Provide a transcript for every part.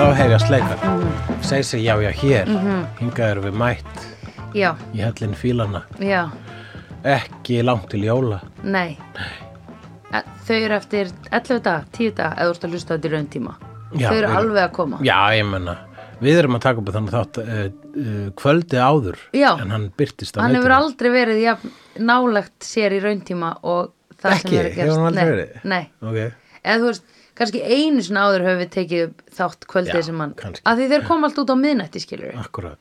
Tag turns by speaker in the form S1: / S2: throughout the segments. S1: Ah,
S2: Scorsese, já, já, hér
S1: Mhm.
S2: hingað erum við mætt
S1: Já,
S2: í hellin fílana
S1: já,
S2: ekki langt til jóla
S1: nei. E- Þau eru eftir 11 dag, 10 dag, eða þú ert að hlusta á þetta í raun tíma.
S2: Já,
S1: Þau eru
S2: við-
S1: alveg að koma.
S2: Já, ég menna, við erum að taka upp þannig þátt uh, uh, kvöldið áður
S1: Já.
S2: en hann byrtist að
S1: Hann hefur aldrei verið jafn, nálægt sér í raun tíma og það
S2: Ekki?
S1: sem er að
S2: Hefur hann aldrei
S1: Nei,
S2: verið?
S1: Nei,
S2: okay.
S1: eða þú veist, kannski einu sinna áður höfum við tekið upp þátt kvöldið
S2: Já,
S1: sem hann.
S2: kannski. Ah.
S1: Af því þeir koma allt út á miðnætti, skilur við.
S2: Akkurat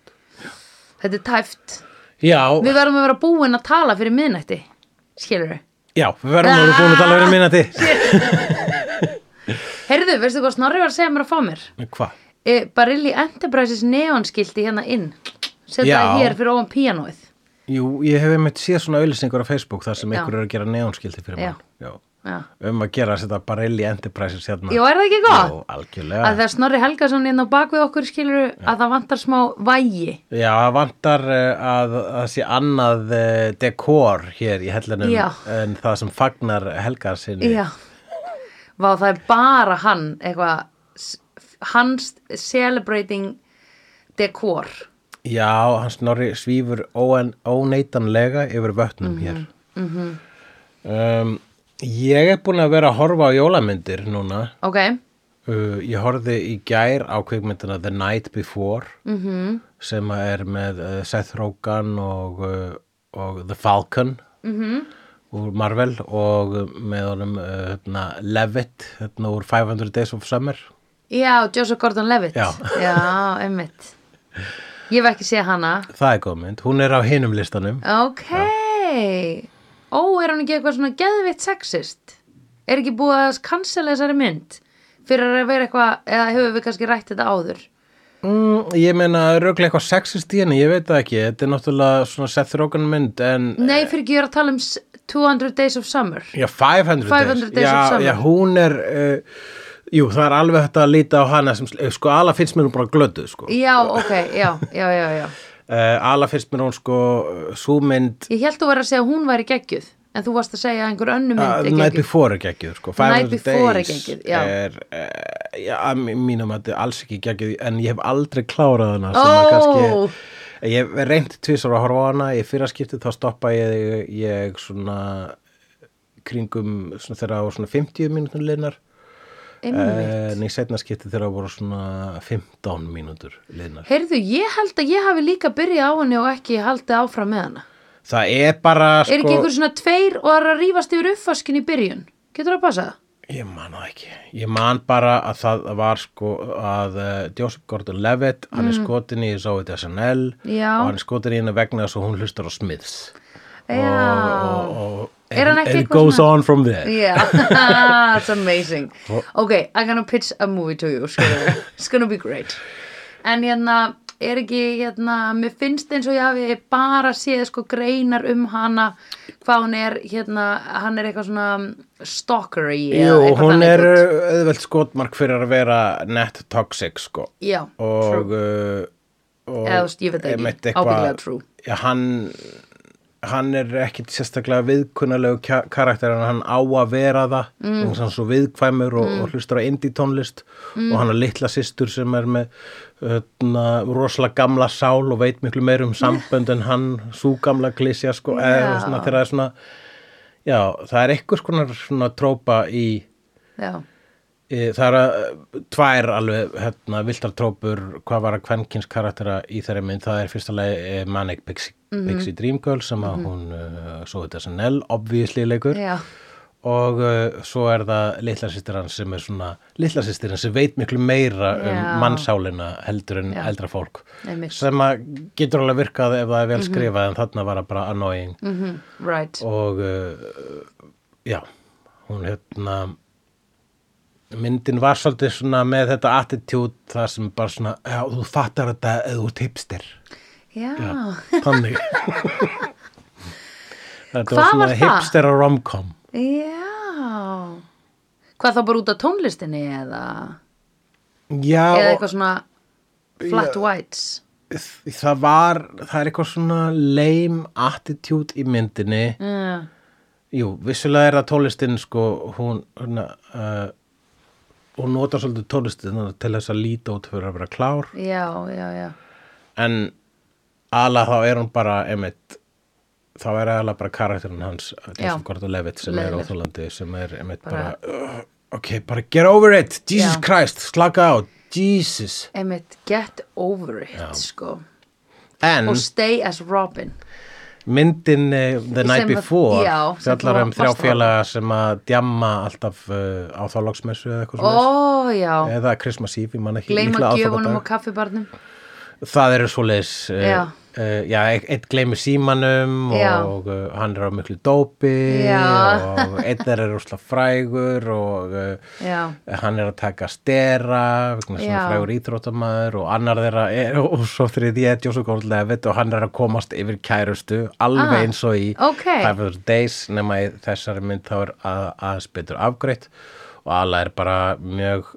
S1: Þetta er tæft.
S2: Já,
S1: Við verðum að vera búin að tala fyrir miðnætti, skilur við.
S2: já, við verðum að vera búin að
S1: Ah.
S2: tala um verið minnati
S1: Heyrðu, veistu hvað Snorri var að segja mér að fá mér?
S2: Hvað?
S1: e, Barilli Enterprises neonskilti hérna inn setja
S2: Já.
S1: það hér fyrir ofan píanóið
S2: Jú, ég hef einmitt séð svona auðlýsingur á Facebook þar sem
S1: Já.
S2: ykkur eru að gera neonskildi fyrir
S1: Já.
S2: mann Já.
S1: Já.
S2: Um að gera að setja Barelli Enterprises hérna
S1: Jú, er það ekki gott?
S2: Jú, algjörlega
S1: að það Snorri Helgason inn á bakvið okkur skilur að það vantar smá vægi
S2: Já, það vantar eh, að það sé annað eh, dekor hér í hellinum
S1: Já.
S2: en það sem fagnar Helga sinni.
S1: já Vá, það er bara hann eitthvað s- hans celebrating decor
S2: Já, hans Norri svífur óen, óneitanlega yfir vötnum
S1: Mhm,
S2: hér. um, ég er búin að vera að horfa á jólamyndir núna.
S1: ok,
S2: Uh, ég horfði í gær á kvikmyndina The Night Before -hmm. sem að er með uh, Seth Rogen og, uh, og The Falcon -hmm. úr Marvel og uh, með honum uh, hérna, Levitt hérna, úr 500 Days of Summer
S1: já, Joseph Gordon-Levitt
S2: Já.
S1: já, einmitt ég hef ekki séð hana
S2: það er góð mynd, hún er á hinum listanum
S1: Ok Ó, er hann ekki eitthvað svona geðvitt sexist? Er ekki búið að cancela þessari mynd? Fyrir að vera eitthvað, eða hefur við kannski rætt þetta áður?
S2: mm, ég meina rauglega eitthvað sexist í henni, ég veit það ekki þetta er náttúrulega svona Seth Rogen mynd en
S1: Nei, fyrir ekki ég er að tala um s- 200 Days of Summer
S2: Já, 500,
S1: 500 Days of
S2: já,
S1: Summer.
S2: Já, hún er, uh, jú, það er alveg hægt að líta á hana sem, sl- eh, sko, Ala finnst mér hún bara glödduð, sko. Uh,
S1: Já, ok, já, já, já, já
S2: Ala finnst mér hún, sko, súmynd,
S1: Ég held þú verið að segja að hún væri geggjuð En þú varst að segja að einhver önnu mynd
S2: uh,
S1: er
S2: Night
S1: geggjuð
S2: Before er geggjuð, sko.
S1: Night
S2: 500
S1: Before er
S2: Days
S1: geggjuð, já.
S2: Er, uh, já, að mí- mínu mati alls ekki geggjuð, en ég hef aldrei klárað hana, sem
S1: Ó.
S2: að kannski... Ég hef reynt tvisar að horfa á hana, ég fyrra skiptið þá stoppa ég, ég svona kringum svona þegar á svona 50 mínútur liðnar
S1: Einmitt.
S2: En í setna skipti þegar það voru svona 15 mínútur liðnar.
S1: Heyrðu, ég held að ég hafi líka byrjað á henni og ekki haldið áfram með hana
S2: Það er bara sko...
S1: Er ekki einhver svona tveir og er að rífast yfir uppfaskin í byrjun? Getur það að passa það?
S2: Ég man það ekki. Ég man bara að það var sko að uh, Joseph Gordon-Levitt, hann er skotin í Zoe Deschanel
S1: Mm. Já.
S2: og hann er skotin í henni vegna þess að hún hlustar á Smiths.
S1: Já.
S2: Og, og, og,
S1: Er hann
S2: and
S1: ekki
S2: it
S1: eitthvað
S2: goes
S1: svona-
S2: on from there.
S1: Yeah, that's amazing. Ok, I'm gonna pitch a movie to you, skilur. It's gonna be great. En hérna, er ekki, hérna, mér finnst eins og ég hafi bara séð sko greinar um hana, hvað hún er, hérna, hann er eitthvað svona stalkery. eða
S2: Jú,
S1: eitthvað
S2: hún
S1: þannig
S2: er
S1: dót.
S2: uh, auðvelt skotmark fyrir að vera net toxic sko.
S1: Já,
S2: og,
S1: true.
S2: uh, og
S1: Eða, þú veist, ég veit það ekki.
S2: einmitt
S1: Ábyggilega true.
S2: já, hann, hann er ekkit sérstaklega viðkunnalegu karakter en hann á að vera það mm. og hann er svo viðkvæmur
S1: Mm.
S2: og, og hlustur á indie tónlist og hann er litla systur sem er með öðna, rosalega gamla sál og veit miklu meir um sambönd en hann sú gamla klísja sko, eða
S1: Já.
S2: svona þegar það er svona já, það er eitthvað skonar svona trópa í
S1: Já,
S2: E, Það eru eh, tvær alveg hérna, viltartrópur, hvað var að kvenkins karaktera í þeirri mynd, það er fyrsta lagi eh, Manic Pixie,
S1: Mhm.
S2: Pixie Dream Girl sem að hún uh, svo þetta sem Nell obvíðisli leikur
S1: já,
S2: og uh, svo er það litla sýstir hans sem er svona litla sýstir hans sem veit miklu meira
S1: Já.
S2: um mannsálina heldur en
S1: Já.
S2: eldra fólk
S1: Einmitt.
S2: sem að getur alveg virkað ef það er vel skrifað en þarna var það bara annoying
S1: mhm, right.
S2: og uh, já, hún hérna myndin var svolítið svona með þetta attitude það sem bara svona, já, þú fattar þetta eða þú tipstir
S1: Já,
S2: þannig þetta
S1: Hvað
S2: var svona
S1: var það?
S2: hipster og romcom
S1: já. Hvað þá bara út af tónlistinni eða?
S2: já,
S1: eða
S2: og
S1: eitthvað svona flat whites
S2: það var það er eitthvað svona lame attitude í myndinni
S1: uh,
S2: Jú, vissulega er það tólestin sko, hún, hérna, uh, og nota svolítið tónlistið til þess að líta út fyrir að vera klár
S1: já, já, já
S2: en ala þá er hún bara einmitt þá er ala bara karakterin hans Jason Gordon Levitt sem er
S1: Levitt.
S2: óþólandi sem er einmitt bara,
S1: Bara-
S2: uh, ok, bara get over it Jesus
S1: Já.
S2: Christ, slaka á, Jesus
S1: einmitt get over it sko
S2: Mm. en
S1: og stay as Robin
S2: myndin eh, The
S1: Sem
S2: Night
S1: að-
S2: Before
S1: já, sem
S2: fjallar
S1: þú
S2: um
S1: varst
S2: þrjá
S1: að-
S2: félaga sem að djamma alltaf uh, á þálagsmessu eða eitthvað svona
S1: ó já,
S2: eða Christmas Eve, ég man ekki
S1: gleyma
S2: líklega
S1: gjöfunum
S2: aðfangadag.
S1: og kaffibarnum
S2: það eru svoleiðis uh,
S1: Já.
S2: uh, já, e- einn gleymir símanum
S1: Já.
S2: og uh, hann er á miklu dópi
S1: Já.
S2: og einn þeirra er rúsla frægur og uh,
S1: já,
S2: hann er að taka stera vegna sem
S1: Já.
S2: frægur íþróttamaður og annar þeirra er, og svo þriði er Jósef Góld Levitt og hann er að komast yfir kærustu alveg
S1: Ah,
S2: eins og í
S1: ok.
S2: Five Other Days nema í þessari mynd þá er að, aðeins betur afgreitt og alla er bara mjög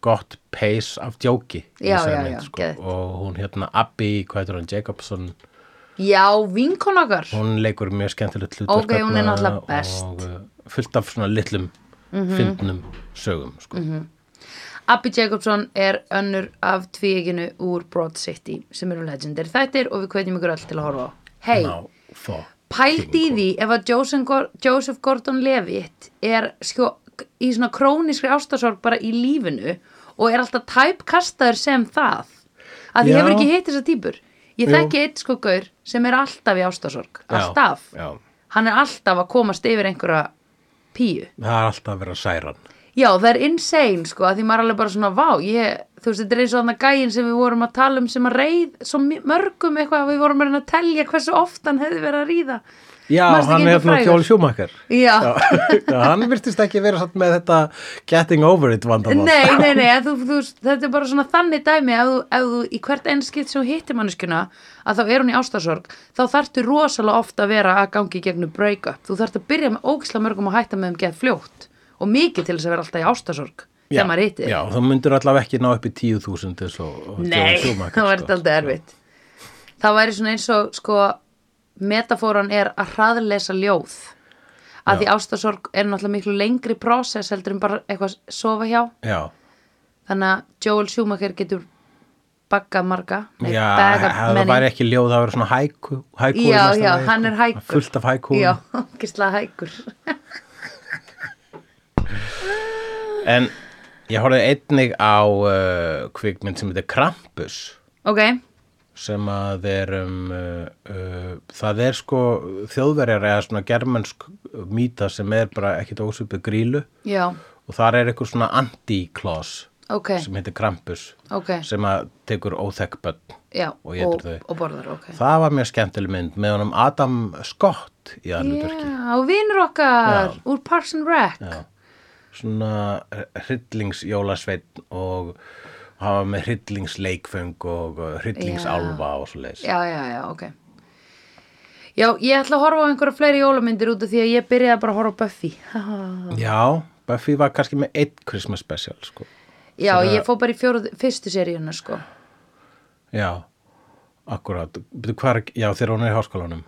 S2: gott pace af djóki í
S1: Já,
S2: þessari
S1: já,
S2: mynd,
S1: já,
S2: sko.
S1: geðveikt.
S2: og hún hérna Abbi, hvað heitir hún, Jacobson
S1: já, vinkonakar
S2: hún leikur mjög skemmtilegt hlutur
S1: Ok, hún er náttúrulega best. Mhm.
S2: og uh, fullt af svona litlum mm fyndnum sögum sko.
S1: Abbi Jacobson er önnur af tvíeginu úr Broad City sem eru legendir þættir og við kveitjum ykkur öll til að horfa á hei,
S2: Ná, fuck.
S1: pælt í því ef að Joseph, Gor- Joseph Gordon-Levitt er sko í svona krónískri ástasorg bara í lífinu og er alltaf tæpkastaður sem það að því
S2: Já.
S1: hefur ekki hitt þessar típur ég
S2: Jú.
S1: þekki eitt sko gaur sem er alltaf í ástasorg
S2: Já,
S1: alltaf,
S2: já.
S1: hann er alltaf að komast yfir einhverja píu
S2: það er alltaf að vera særan
S1: Já, það er insane sko, að því maður er alveg bara svona vá, ég, þú veist, þetta er eins og þannig gæin sem við vorum að tala um sem að reið svo mi- mörgum eitthvað að við vorum að reyna að telja hversu oft hann hefði verið að ríða.
S2: já,
S1: Manstu
S2: hann
S1: ekki
S2: er
S1: einhver
S2: hérna
S1: frægur?
S2: Jól Sjúmakar
S1: Já,
S2: hann virtist ekki vera satt með þetta getting over it vandamál
S1: nei, nei, nei, en þú, þú, veist, þetta er bara svona þannig dæmi ef þú, ef þú í hvert einskitt sem þú hittir manneskjuna að þá er hún í ástasorg, þá þarftu rosalega oft að vera að gangi í gegnum break-up. Þú þarft að byrja með ógislega mörgum og hætta með um geð fljótt og mikið til þess að vera alltaf í ástasorg
S2: já,
S1: þegar maður hittir.
S2: já, þá myndir allavega ekki ná upp í 10.000 eins og
S1: Nei,
S2: Joel Schumacher,
S1: það væri
S2: sko.
S1: alltaf erfitt Það væri svona eins og sko metafóran er að hraðlesa ljóð að því ástasorg er náttúrulega miklu lengri prósess heldur en bara eitthvað að sofa hjá
S2: já,
S1: þannig að Joel Schumacher getur bagga marga nei,
S2: já
S1: bagga
S2: ef það
S1: many.
S2: væri ekki ljóð það væri svona hæku, hæku
S1: Já, já, hann er hækur.
S2: sko. fullt af hæku
S1: Já, ógeðslega hækur
S2: en ég horfði einnig á uh, kvikmynd sem heitir Krampus
S1: Ok,
S2: sem að er um, uh, uh, það er sko þjóðverjar eða svona germansk mýta sem er bara ekkit ósvipið grílu
S1: já,
S2: og þar er eitthvað svona anti-klás
S1: ok,
S2: sem heitir Krampus
S1: ok
S2: sem að tekur óþekk börn
S1: Já,
S2: og étur
S1: og,
S2: þau.
S1: og borðar, ok
S2: það var mjög skemmtileg mynd með honum Adam Scott í aðluturki
S1: Já, og vinur okkar úr Parks and Rec
S2: Já. svona hryllingsjólasveit og hann var með hryllingsleikföng og hryllingsálfa og svo leiðis
S1: já, já, já, ok Já, ég ætla að horfa á einhverja fleiri jólamyndir út af því að ég byrjaði bara að horfa á Buffy
S2: Já, Buffy var kannski með eitt Christmas special sko.
S1: Já, ég fó bara í fjóruð, fyrstu seríuna sko
S2: Já, akkurat Bíddu, hvað er, Já, þegar hún er í háskólanum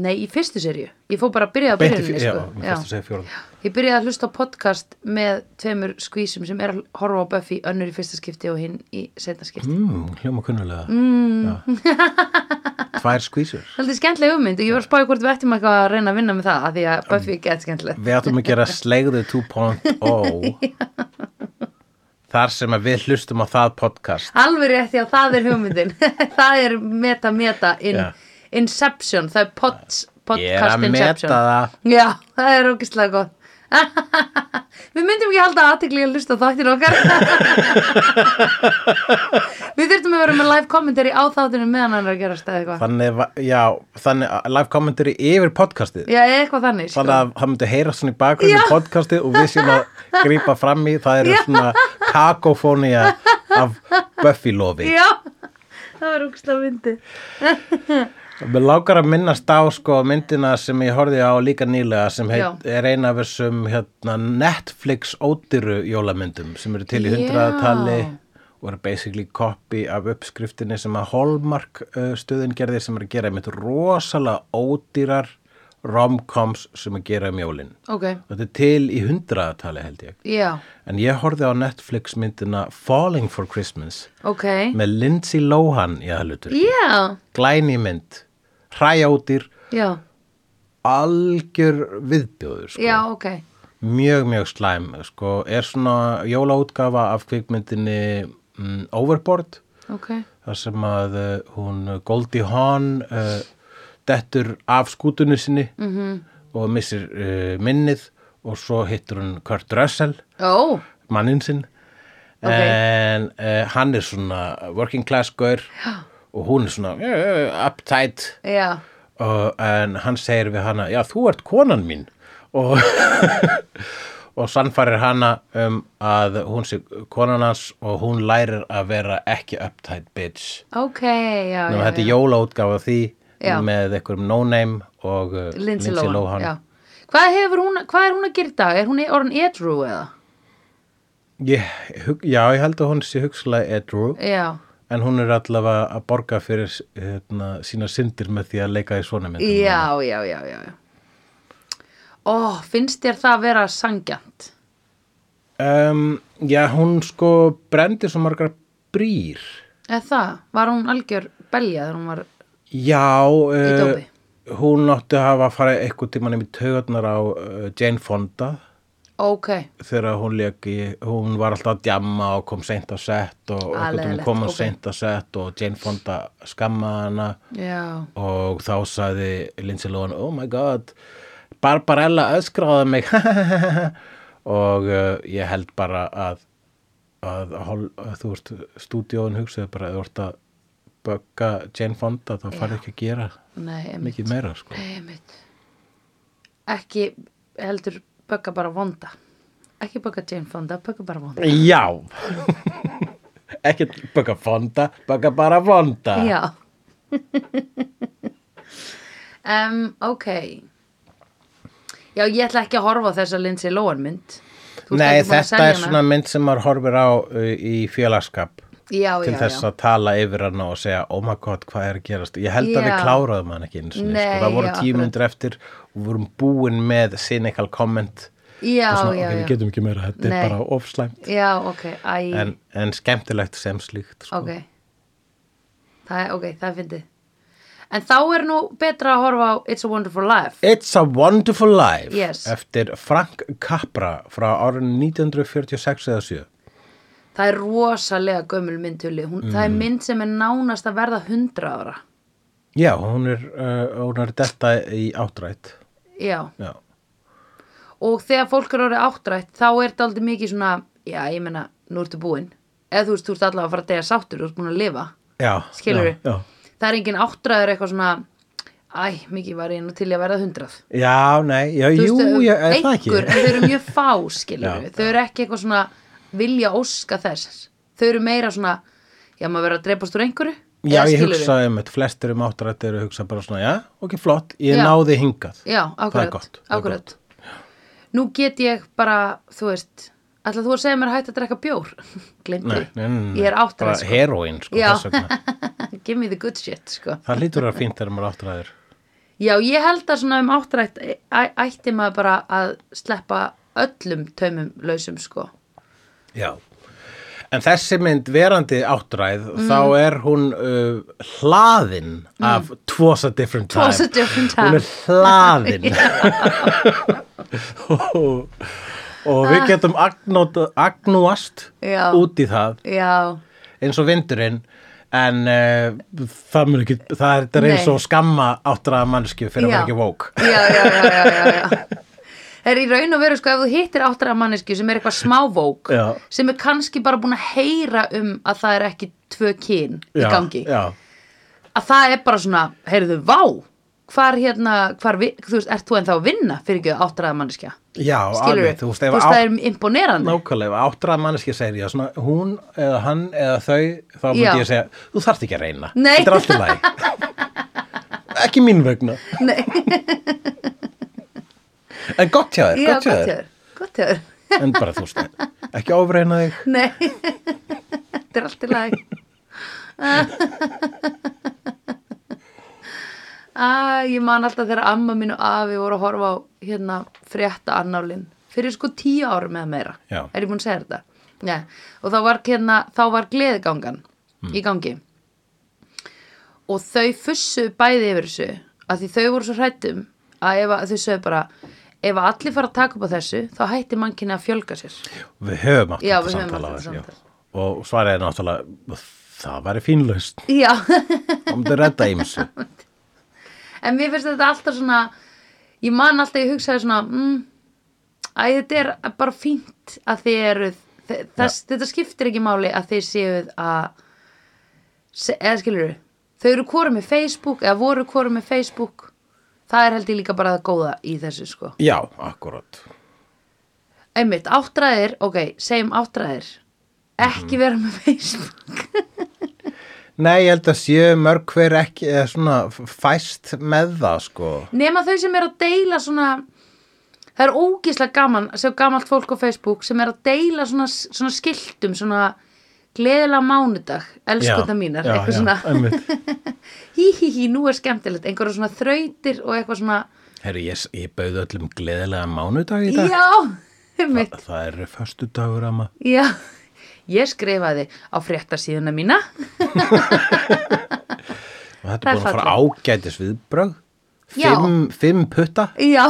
S1: Nei, í fyrstu seríu, ég fó bara að byrjaði á
S2: Beint í
S1: byrjuninni
S2: fjó-
S1: sko
S2: Já, mér fyrst að segja fjóruð
S1: Ég byrjaði að hlusta á podcast með tveimur skvísum sem er að horfa á Buffy önnur í fyrsta skipti og hinn í setna skipti
S2: mm, Hljóma kunnulega mm. Tvær skvísur
S1: Það er skemmtileg ummynd og ég var að spáði hvort við ættum eitthvað að reyna að vinna með það af því að Buffy er gett skemmtileg
S2: Við ættum að gera Slegðu 2.0 oh. Þar sem að við hlustum á það podcast
S1: Alveg rétt, já, það er hugmyndin Það er meta, meta in,
S2: Já.
S1: Inception, það er pods,
S2: Ég er
S1: podcast
S2: að meta
S1: Inception
S2: það
S1: Já, það er ógislega gott Við myndum ekki halda aðtekli að hlusta á þáttir okkar Við þurftum að vera með live commentary á þáttinu meðan hann er að gera stæði eitthvað
S2: Þannig, va- já, þannig að live commentary yfir podcastið
S1: Já, eða eitthvað þannig sko.
S2: Þannig að það myndi heyra svona í bakgrunni
S1: Já.
S2: podcastið og við séum að grípa fram í það eru svona kakofónía af Buffy lofi
S1: Já, það var ógislega myndið
S2: Mér lákar að minnast á sko myndina sem ég horfði á líka nýlega sem heit, er eina af þessum hérna, Netflix ódýru jólamyndum sem eru til í
S1: Já.
S2: hundraðatali og eru basically copy af uppskriftinni sem að Hallmark uh, stuðin gerði sem eru að gera einmitt rosalega ódýrar rom-coms sem að gera um jólin
S1: ok,
S2: þetta er til í hundraðatali held ég
S1: já,
S2: en ég horfði á Netflix myndina Falling for Christmas
S1: ok
S2: með Lindsay Lohan í aðlutur
S1: já,
S2: glæni mynd, hræjátir
S1: já,
S2: algjör viðbjóður sko.
S1: já, ok
S2: mjög mjög slæm sko. er svona jólaútgafa af kvikmyndinni mm, Overboard
S1: ok,
S2: þar sem að uh, hún uh, Goldie Hawn uh, dettur af skútunni sinni
S1: Mhm.
S2: -hmm. og missir uh, minnið og svo hittur hún Kurt Russell
S1: ó,
S2: mannin sinn
S1: Ok.
S2: en uh, hann er svona working class gaur og hún er svona uh, uptight
S1: já
S2: og, en hann segir við hana já þú ert konan mín og, og sannfærir hana um að hún sé konan hans og hún lærir að vera ekki uptight bitch
S1: ok, já,
S2: Nú,
S1: já,
S2: þetta
S1: já.
S2: er jólaútgáfa af því
S1: Já.
S2: með einhverjum no-name og uh,
S1: Lindsay Lohan, já Hvað, hefur hún, hvað er hún að gera í dag? Er hún orðin edru eða?
S2: Ég, hug, já, ég held að hún sé hugslega edru
S1: Já,
S2: en hún er allavega að borga fyrir hérna, sína syndir með því að leika í svona myndum
S1: já, já, já, já, já. Ó, finnst þér það að vera sangjant?
S2: um, Já, hún sko brendi svo margar brýr
S1: Eða það? Var hún algjör belja þegar hún var...
S2: Já,
S1: dópi?
S2: uh, hún átti að hafa að fara eitthvað tíma nefnir taugarnar á uh, Jane Fonda
S1: Ok,
S2: þegar hún leik í, hún var alltaf að djamma og kom seint á sett og
S1: Ah,
S2: einhvern veginn
S1: leiðinlegt,
S2: kom hún
S1: ok.
S2: seint á sett og Jane Fonda skammaði hana
S1: já,
S2: og þá sagði Lindsay Lohan, oh my god, Barbarella öskraði mig og uh, ég held bara að, að, að, að þú veist, stúdíóin hugsaði bara að þú ert að bögga Jane Fonda, þá farið ekki að gera
S1: nei, einmitt,
S2: mikið meira sko.
S1: einmitt. Ekki heldur bögga bara vonda. Ekki bögga Jane Fonda, bögga bara vonda.
S2: Já Ekkert baka fonda, baka bara vonda
S1: Já. um, ok. Já, ég ætla ekki að horfa á þessa Lindsay Lohan mynd. Þú ert ekki búin að
S2: Nei, þetta
S1: selja
S2: er
S1: hana.
S2: svona mynd sem maður horfir á uh, í félagskap
S1: já,
S2: til
S1: já,
S2: þess
S1: já.
S2: að tala yfir hana og segja oh my god, hvað er að gerast? Ég held að
S1: Já.
S2: við kláraðum hann ekki einu sinni
S1: Nei,
S2: sko. Það voru
S1: já, akkurat.
S2: tímundur eftir og við vorum búin með cynical comment
S1: Já,
S2: og svona,
S1: já,
S2: ok,
S1: já.
S2: við getum ekki meira, þetta
S1: Nei.
S2: er bara ofslæmt
S1: Já, ok, æ,
S2: en, en skemmtilegt sem slíkt sko.
S1: ok. Það er, ok, það er fyndið. En þá er nú betra að horfa á It's a Wonderful Life.
S2: It's a Wonderful Life
S1: Yes.
S2: eftir Frank Capra frá árun 1946 eða 7
S1: Það er rosalega gömul myndtuli. Hún, Það
S2: Mhm.
S1: er mynd sem er nánast að verða hundra ára.
S2: Já, hún er, uh, hún er detta í áttrætt.
S1: Já.
S2: Já.
S1: og þegar fólk er orðið áttrætt þá er þetta aldrei mikið svona já, ég meina, nú ertu búinn eða þú veist, þú ert allavega að fara að deyja sáttur þú ert búin að lifa
S2: Já.
S1: Skilurðu?
S2: Já, já.
S1: það er engin áttræður eitthvað svona æ, mikið var ég nú til í að verða hundrað
S2: já, nei, já,
S1: Þú
S2: jú,
S1: veist,
S2: já, er það
S1: einhver,
S2: ekki?
S1: en þau eru mjög fá, skilur
S2: Já,
S1: þau eru ekki eitthvað svona vilja óska þess þau eru meira svona já, maður verður að dreipast úr einhverju Eða
S2: Já, ég
S1: skilurðu?
S2: hugsa um þetta, flestir um áttrætt eru að hugsa bara svona, já, ok, flott, ég
S1: Já.
S2: náði hingað.
S1: já, akkurat,
S2: Það er gott, það er
S1: akkurat. nú get ég bara, þú veist ætla þú að segja mér að hætta að drekka bjór glemdi,
S2: Nei, nei, nei, nei.
S1: ég er áttræð
S2: Bara
S1: sko.
S2: heroín, sko,
S1: Já.
S2: þess vegna.
S1: Give me the good shit, sko.
S2: Það hlýtur að vera fínt þegar maður er áttræður.
S1: Já, ég held að svona um áttrætt æ- ætti maður bara að sleppa öllum taumum lausum, sko.
S2: Já. En þessi mynd verandi áttræð,
S1: Mm.
S2: þá er hún uh, hlaðin af Twas a Different Time.
S1: Twas a Mm. different
S2: Hún
S1: time.
S2: er hlaðin. og, og við getum agnóta- agnúast
S1: Ah. Já.
S2: út í það
S1: Já,
S2: eins og vindurinn en uh, það, mun ekki, það er, þetta er eins
S1: Nei.
S2: og skamma áttræða mannskju fyrir að
S1: Já.
S2: vera ekki vók.
S1: já, já, já, já, já, já. Það er í raun og veru, sko, ef þú hittir áttræða mannesku sem er eitthvað smávók,
S2: Já.
S1: sem er kannski bara búin að heyra um að það er ekki tvö kyn í
S2: Já,
S1: gangi,
S2: Já,
S1: að það er bara svona, heyrðu, vá, hvar hérna, hvar, vi- þú veist, ert þú ennþá að vinna fyrir ekki áttræða manneskja?
S2: já
S1: Skilur
S2: alveg, þú veist, ef
S1: það er imponerandi.
S2: Nákvæmlega, ef áttræða manneskja segir já, svona, hún eða hann eða þau þá myndi
S1: Já.
S2: ég segja, þú þarft ekki að reyna
S1: Nei.
S2: þetta er allt í lagi ekki mín vegna
S1: Nei.
S2: en gott hjá þér,
S1: Já,
S2: gott
S1: gott
S2: hjá þér
S1: hjá þér, gott hjá þér.
S2: en bara þú veist, ekki ofreina þig
S1: Nei, þetta er allt í lagi. að ég man alltaf þegar amma mín og afi voru að horfa á hérna frétta annálinn fyrir sko tíu árum eða meira
S2: Já.
S1: er ég búin að segja þetta Nei. og þá var, hérna, þá var gleðigangan í gangi og þau fussu bæði yfir þessu að því þau voru svo hrættum að ef að þau sögðu bara ef að allir fara að taka upp á þessu þá hætti mannkynni að fjölga sér
S2: Við höfum átt
S1: Já,
S2: þetta
S1: við höfum
S2: samtala
S1: átt þetta
S2: áður, já.
S1: samtal.
S2: Og svarið er náttúrulega, það væri fínlaust.
S1: já,
S2: Það myndi redda ýmsu.
S1: en mér finnst þetta alltaf svona ég man alltaf, ég hugsaði svona mm, að þetta er bara fínt að þið eruð þe- þess, þetta skiptir ekki máli að þið séuð að se- eða skilur þau eru hvora með Facebook eða voru hvora með Facebook það er held ég líka bara það góða í þessu sko
S2: Já, akkurat.
S1: einmitt, áttræðir, ok, segjum áttræðir ekki vera með Facebook
S2: Nei, ég held að séu mörg hver ekki, eða svona fæst með það, sko.
S1: nema þau sem er að deila svona það er ógislega gaman að sjá gamalt fólk á Facebook sem er að deila svona, svona skiltum svona gleðilega mánudag elskunda mínar, eitthvað svona
S2: einmitt.
S1: hí hí hí, nú er skemmtilegt, einhverja svona þrautir og eitthvað svona,
S2: Herru, ég, ég bauði öllum gleðilega mánudag í dag.
S1: já einmitt,
S2: Það er föstudagur að maður.
S1: já ég skrifaði á fréttasíðuna mína Það
S2: Þetta
S1: er
S2: er búin að fara ágætis viðbrögð.
S1: Já.
S2: Fimm, fimm putta.
S1: já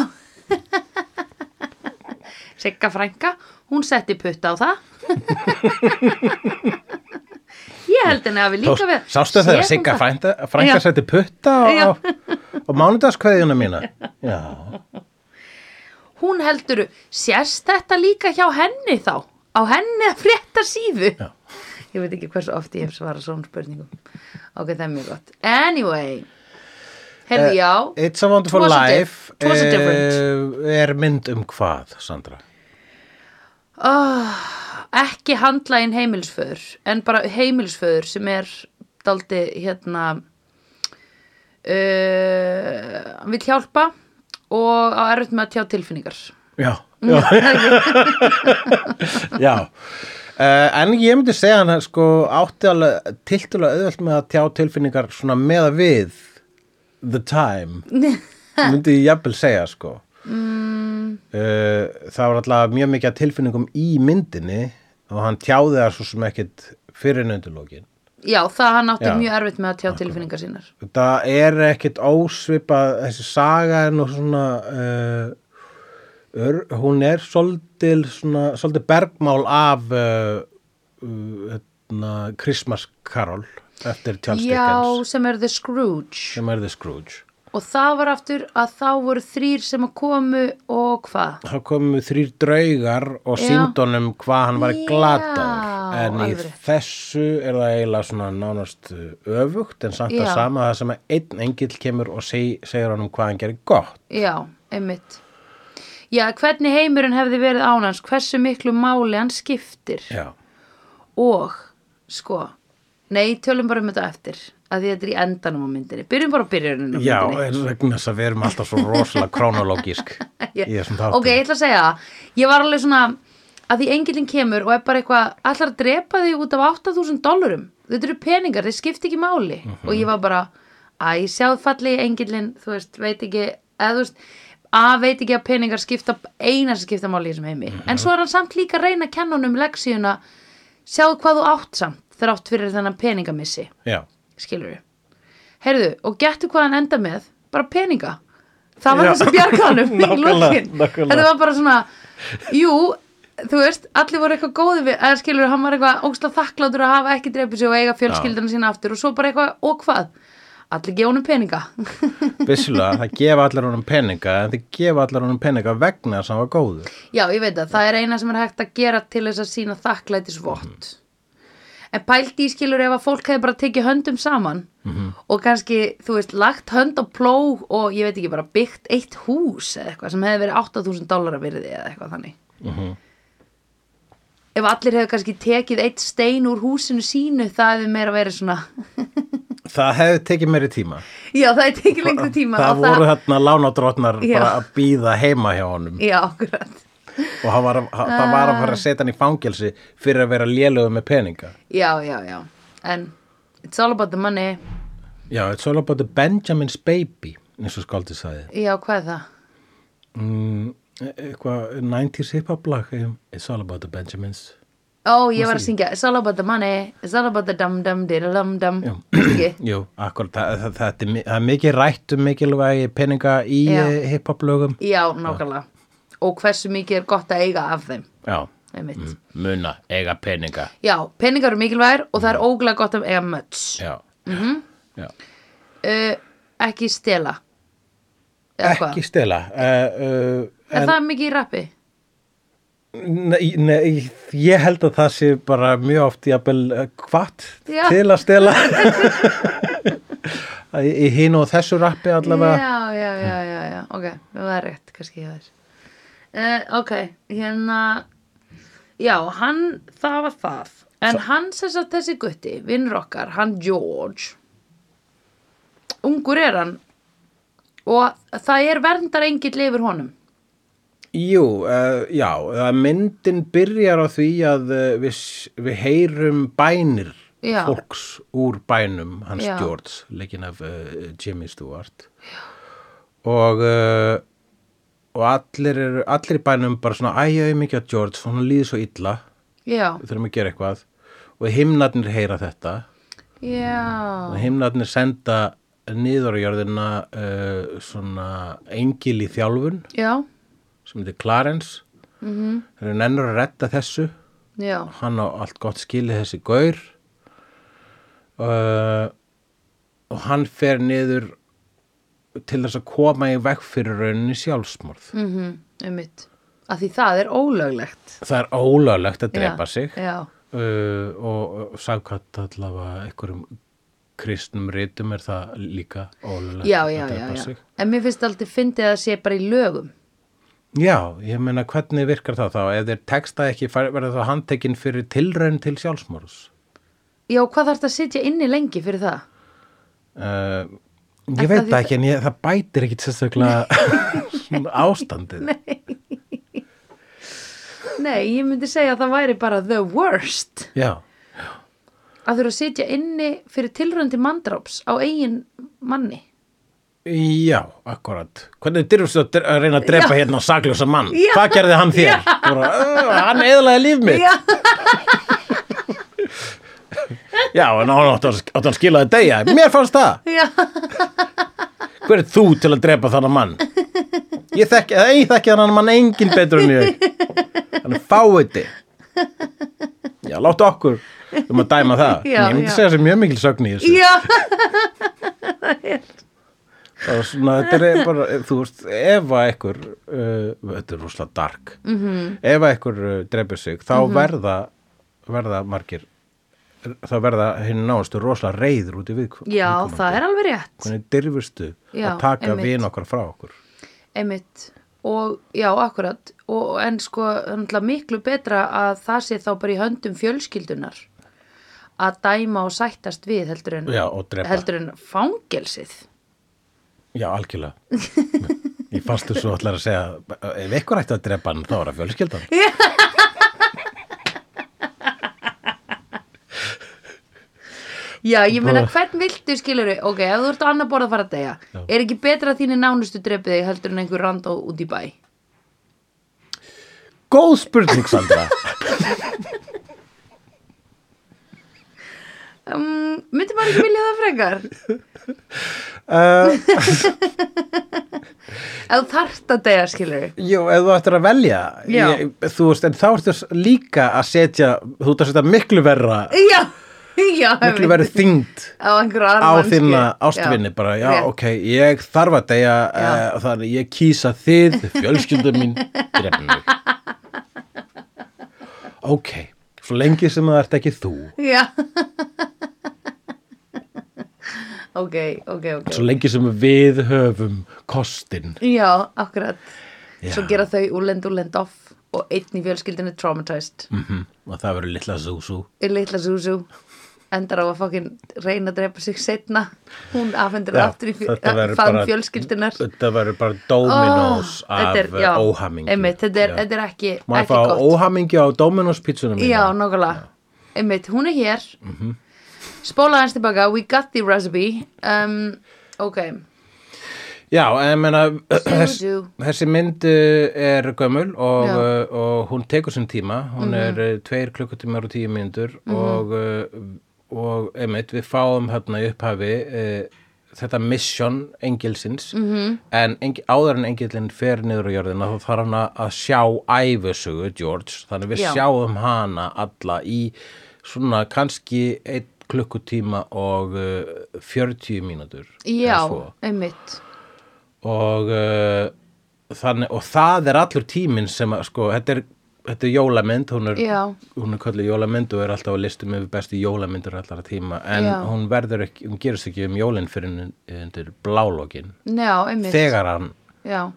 S1: Sigga frænka, hún setti putta á það ég held henni að við líka
S2: Þá-
S1: við
S2: Sástu þegar
S1: Sér hún
S2: Sigga
S1: það?
S2: frænda,
S1: Já.
S2: frænka sætti putta
S1: Já.
S2: á, á mánudagskveðjuna mína? Já.
S1: hún heldur, sérst þetta líka hjá henni þá? Á henni að frétta síðu?
S2: Já.
S1: Ég veit ekki hversu oft ég hef svarað svona spurningum. Ok, það er mjög gott. Anyway,
S2: Eh,
S1: heyrðu, já,
S2: It's a Wonderful
S1: Twas a di-
S2: Life
S1: twas a
S2: eh, er mynd um hvað, Sandra?
S1: Ah, ekki handla inn heimilsföður, en bara heimilsföður sem er daldi, hérna, uh, hann vil hjálpa og á erfitt með að tjá tilfinningar.
S2: Já, já, já. Uh, en ég myndi segja hann að, sko átti alveg tiltulega auðvelt með að tjá tilfinningar svona með að við the time myndi ég jafnvel segja sko mm. það var alltaf mjög mikið af tilfinningum í myndinni og hann tjáði það svo sem ekkit fyrir nöndulókin
S1: Já, það hann átti
S2: Já.
S1: mjög erfitt með að tjá tilfinningar sínar.
S2: það er ekkit ósvipað þessi saga er nú svona uh, ör, hún er svolítil svona, svolítil bergmál af uh, uh, hérna, Christmas Carol eftir Charles
S1: Já,
S2: Dickens
S1: sem er The Scrooge
S2: sem er The Scrooge
S1: og það var aftur að þá voru þrýr sem að komu og hvað
S2: þá komu þrýr draugar
S1: Já.
S2: og sýndu honum hvað hann var
S1: Já,
S2: glataður en í
S1: alveg rétt.
S2: þessu er það eiginlega svona nánast uh, öfugt en samt
S1: Já.
S2: að sama það sem að einn engill kemur og seg, segir honum hvað hann gerir gott
S1: Já, einmitt Já, hvernig heimurinn hefði verið án hans hversu miklu máli hann skiptir
S2: Já,
S1: og sko Nei, tölum bara um þetta eftir að því þetta er í endanum á myndinni Byrjum bara á byrjunum á
S2: Já
S1: myndinni
S2: en vegna þess að við erum alltaf svo rosalega krónológísk í þessum þáttum
S1: Ok, ég ætla að segja það. Ég var alveg svona að því engillin kemur og er bara eitthvað allar að drepa þig út af 8000 dollurum þetta eru peningar, þeir skipti ekki máli og ég var bara, æ, sjáð falli engillin, þú veist, veit ekki eða þú veist, að veit ekki að peningar skipta eina sem skipta máli í þessum heimi en svo er hann samt líka að reyna að kenna honum leksíuna, sjáðu hvað þú átt samt þrátt fyrir þennan peningamissi
S2: Já,
S1: skilur við heyrðu, og getur hvað hann enda með bara peninga það var
S2: Já.
S1: þess að bjarga hannum í
S2: Nákvæmlega,
S1: lokin
S2: nákvæmlega.
S1: þetta var bara svona jú, þú veist, allir voru eitthvað góði við eða skilur við, hann var eitthvað ógstlega þakklátur að hafa ekki dreipið sig og eiga fjölskyldana sína aftur og svo bara eitthvað, og hvað allir gefa honum peninga
S2: vissulega, það gefa allar honum peninga en þið gefa allar honum peninga vegna þess að hann var góður
S1: já, ég veit það, það er eina sem er hægt að gera til þess að sína þakklætisvott
S2: Mhm.
S1: en pældi í skilur ef að fólk hefði bara tekið höndum saman
S2: Mhm.
S1: og kannski, þú veist, lagt hönd á pló og ég veit ekki bara byggt eitt hús eða eitthvað sem hefði verið 8000 dólar að virði eða eitthvað þannig
S2: Mhm.
S1: ef allir hefði kannski tekið eitt stein úr húsinu sínu það hefði meira verið svona
S2: Það hefði tekið meiri tíma
S1: já, það hefði tekið lengri tíma
S2: Það
S1: og
S2: voru þarna lánadrottnar
S1: Já.
S2: bara að býða heima hjá honum
S1: já, akkurat
S2: og hann var, að- hann-
S1: Ah.
S2: það var að fara að setja hann í fangelsi fyrir að vera lélögu með peninga
S1: já, já, já, en it's all about the money
S2: Já, it's all about the Benjamin's baby eins og skáldið sagði
S1: Já, hvað er það?
S2: mm, e- eitthvað 90s hip-hop lag um, It's all about the Benjamins
S1: Ó, ég var að syngja It's all about the money, it's all about the dum dum dum dum
S2: Já.
S1: Ekki?
S2: Jú, akkurat, það, það, það, er mi- það er mikið rætt um mikilvægi peninga í
S1: Já.
S2: eh, hip-hop lögum
S1: Já, nákvæmlega Og hversu mikið er gott að eiga af þeim
S2: Já,
S1: einmitt.
S2: Mm, muna, eiga peninga
S1: Já, peningar eru mikilvægir og það er ógulega gott að eiga möts
S2: Mm. Já, mm
S1: Mhm.
S2: -hmm. Já.
S1: uh, Ekki stela Eða hvað?
S2: ekki stela uh, uh,
S1: Er það mikið í rappi?
S2: Nei, nei, ég held að það sé bara mjög oft jafnvel hvart
S1: Já.
S2: til að stela Í- í hinn og þessu rappi allavega
S1: Já, já, já, já, já, ok, það er rétt, kannski ég þess. Uh, ok, hérna, já, hann, það var það. En hann sem sagt þessi gutti, vinnur okkar, hann George, ungur er hann og það er verndar engill yfir honum.
S2: Jú, uh, já, það myndin byrjar á því að uh, við, s- við heyrum bænir
S1: Já.
S2: fólks úr bænum hans
S1: Já.
S2: George, leikin af uh, Jimmy Stewart og uh, og allir, eru, allir í bænum bara svona æjaði mikið að George, hún líður svo illa
S1: Já,
S2: við þurfum að gera eitthvað og himnarnir heyra þetta
S1: já,
S2: og himnarnir senda niður á jörðina uh, svona engil í þjálfun
S1: já,
S2: sem heitir Clarence mm
S1: Mhm.
S2: -hmm. þeir eru nennur að retta þessu
S1: já,
S2: hann á allt gott skilið þessi gaur uh, og hann fer niður til þess að koma í veg fyrir rauninni sjálfsmorð
S1: mhm, mm einmitt. Að því það er ólöglegt.
S2: það er ólöglegt að drepa
S1: Já,
S2: sig
S1: Já,
S2: uh, og sagkvæmt allavega einhverjum kristnum rítum er það líka ólulegt
S1: já, já, já, já. En mér finnst aldrei fyndið að það sé bara í lögum.
S2: Já, ég meina hvernig virkar það þá ef þeir texta ekki fær- verða þá handtekinn fyrir tilraun til sjálfsmorðs
S1: Já, hvað þarf þetta að sitja inni lengi fyrir það?
S2: uh,
S1: Er
S2: Ég veit
S1: það
S2: það
S1: því-
S2: ekki en ég, það bætir ekkit sérstaklega svona ástandið
S1: Nei, ég myndi segja að það væri bara the worst
S2: Já,
S1: að þurfa að sitja inni fyrir tilröndi mandráps á eigin manni.
S2: já, akkurat Hvernig dyrfum þú að dre- að reyna að drepa hérna sakljósa mann?
S1: Já.
S2: Hvað gerði hann þér?
S1: Já.
S2: Bara, "Ugh, hann eðlaði líf mitt
S1: Já,
S2: Já, en hann átti að- átti hann skilaði degja Mér fannst það
S1: já,
S2: hver er þú til að drepa þannig mann ég þekki, eða ég þekki þannig mann engin betur en ég hann er fáiði já, láttu okkur um að dæma það
S1: Já,
S2: en ég myndi
S1: já.
S2: segja sem mjög mikil sögn í þessu
S1: já,
S2: bara svona, þetta er bara, þú veist ef að einhver, uh, þetta er rúslega dark
S1: Mhm.
S2: -hmm. ef að einhver uh, drepur sig, þá verða verða margir þá verða hinn náðustu rosalega reyður út í viðkvæm
S1: já, það er alveg rétt.
S2: hvernig dyrfustu
S1: Já,
S2: að taka
S1: einmitt.
S2: vin okkar frá okkur
S1: Einmitt. Og já, akkurat. Og, en sko, náttúrulega miklu betra að það sé þá bara í höndum fjölskyldunar að dæma og sættast við heldur en,
S2: já, og drepa
S1: heldur en fangelsið.
S2: Já, algjörlega. Ég fannst þú svo allar að segja ef ykkur ætti að drepa hann, þá er það fjölskyldan.
S1: Já, ég meina hvern viltu skilur ok, ef þú ert á annar borð að fara að deyja
S2: Já.
S1: er ekki betra að þínu nánustu drepið þig heldur en einhver randó út í bæ
S2: Góð spurning, Sandra.
S1: um, myndi maður ekki vilja það frekar ef
S2: uh,
S1: þú þarft að deyja skilur
S2: jú, ef þú ættir að velja,
S1: Já.
S2: þú veist, en þá ertu s- líka að setja, þú ert að setja miklu verra,
S1: já, já
S2: miklu
S1: einmitt.
S2: verri þyngd
S1: á einhverja
S2: á
S1: armann
S2: þinna ástvinni bara, já, ok, ég þarf að deyja, uh,
S1: Já.
S2: þannig ég kýsa þið, fjölskyldan mín, drefnum mig. Ok, svo lengi sem það ert ekki þú.
S1: já ok, ok, ok
S2: svo lengi sem við höfum kostin
S1: já, akkurat
S2: Já.
S1: svo gera þau úlend úlend off og einn í fjölskyldinu traumatized
S2: mm og það verður litla súsú
S1: í litla Suzu endar á að fokkin reyna að drepa sig setna hún afhendur
S2: Já,
S1: aftur í
S2: þetta verður
S1: fann
S2: bara-
S1: fjölskyldunar
S2: þetta verður bara dominós af eh,
S1: þetta er, já,
S2: óhamingi
S1: einmitt, þetta, er,
S2: Já.
S1: þetta er ekki,
S2: má ég
S1: ekki
S2: fá
S1: gott
S2: óhamingi á dominós pítsuna mína
S1: já, nákvæmlega einmitt, hún er hér mm
S2: Mhm.
S1: -hmm. spóla hans tilbaka, we got the recipe um, ok
S2: Já, en meina, þess,
S1: do.
S2: þessi mynd uh, er gömul og,
S1: Já. Mhm.
S2: uh, og hún tekur sinn tíma, hún er uh, tveir klukkutímar og tíu myndur og, uh, og einmitt við fáum hérna í upphafi uh, þetta mission engilsins
S1: Mhm.
S2: -hmm. en engi, áður en engilinn fer niður á jörðina þá þarf hann að að sjá æfisugu George, þannig við
S1: Já.
S2: sjáum hana alla í svona kannski einn klukkutíma og uh, 40 mínútur eða
S1: Já,
S2: svo
S1: einmitt
S2: og, uh, þannig, og það er allur tíminn sem að sko, þetta er, þetta er jólamynd hún er,
S1: Já.
S2: hún er kallið jólamynd og er alltaf á listum yfir bestu jólamyndur allara tíma en
S1: Já.
S2: hún verður ekki, hún gerist ekki um jólinn fyrir en- undir blálokin
S1: Já, einmitt
S2: þegar hann
S1: Já,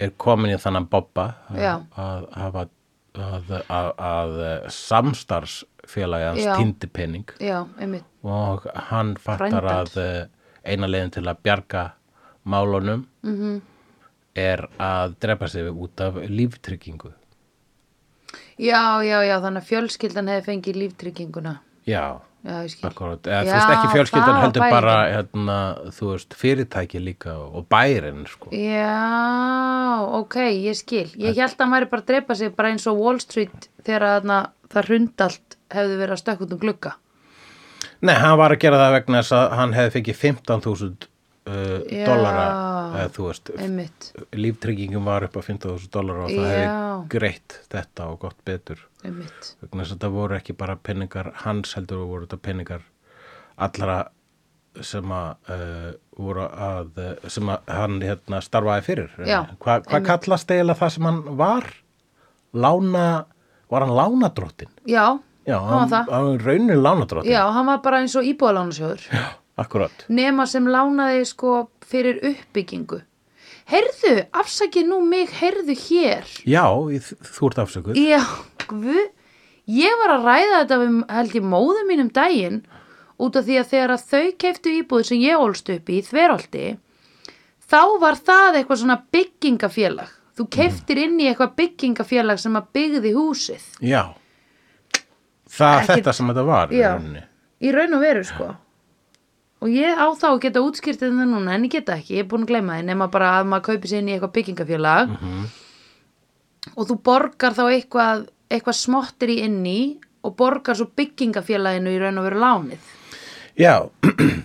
S2: er komin í þannan bobba
S1: Já.
S2: að, að, hafa- að, að, að samstarfsfélagi hans
S1: Já.
S2: týndi pening
S1: já, einmitt
S2: og hann fattar
S1: Frændans.
S2: að eh, eina leiðin til að bjarga málunum -hmm.
S1: Mhm.
S2: er að drepa sig út af líftryggingu.
S1: Já, já, já, þannig að fjölskyldan hefði fengið líftrygginguna
S2: Já,
S1: Já, ég skil
S2: akkurat. Eða, þú
S1: Já,
S2: veist ekki fjölskyldan
S1: það
S2: heldur
S1: bærin.
S2: bara hérna, þú veist, fyrirtæki líka og bærin sko.
S1: Já, ok, ég skil Ég held að hann væri bara að drepa sig bara eins og Wall Street þegar þarna, það hrundalt hefði verið að stökk út um glugga
S2: Nei, hann var að gera það vegna þess að hann hefði fengið 15.000 uh,
S1: Já.
S2: dollara, eða, þú veist,
S1: Einmitt,
S2: líftryggingum var upp á 15.000 dollara og það
S1: Já.
S2: hefði greitt þetta og gott betur.
S1: einmitt
S2: vegna þess að þetta voru ekki bara penningar hans heldur og voru þetta penningar allra sem að uh, voru að eh, sem að hann hérna starfaði fyrir
S1: Já,
S2: Hva, hvað kallast eiginlega það sem hann var lána var hann lánadróttin
S1: Já,
S2: já,
S1: hann var það
S2: hann raunin lánadróttin
S1: Já, hann var bara eins og íbúðalánasjóður
S2: akkurat
S1: nema sem lánaði sko fyrir uppbyggingu Heyrðu, afsakið nú mig, heyrðu hér
S2: já, í- þú ert afsökuð
S1: Já, guð, ég var að ræða þetta við held ég móðum mínum daginn út af því að þegar að þau keftu íbúð sem ég ólst upp í í þverolti þá var það eitthvað svona byggingafélag. Þú keftir inn í eitthvað byggingafélag sem að byggði húsið.
S2: já það
S1: Ekki-
S2: þetta sem þetta var í
S1: Já.
S2: rauninni
S1: Í raun og veru sko. Og ég á þá að geta útskýrt þetta núna en ég geta ekki, ég er búin að gleyma því nema bara að maður kaupi sér inn í eitthvað byggingafélag
S2: Mhm.
S1: og þú borgar þá eitthvað, eitthvað smottir í inn í og borgar svo byggingafélaginu í raun og veru lánið.
S2: Já,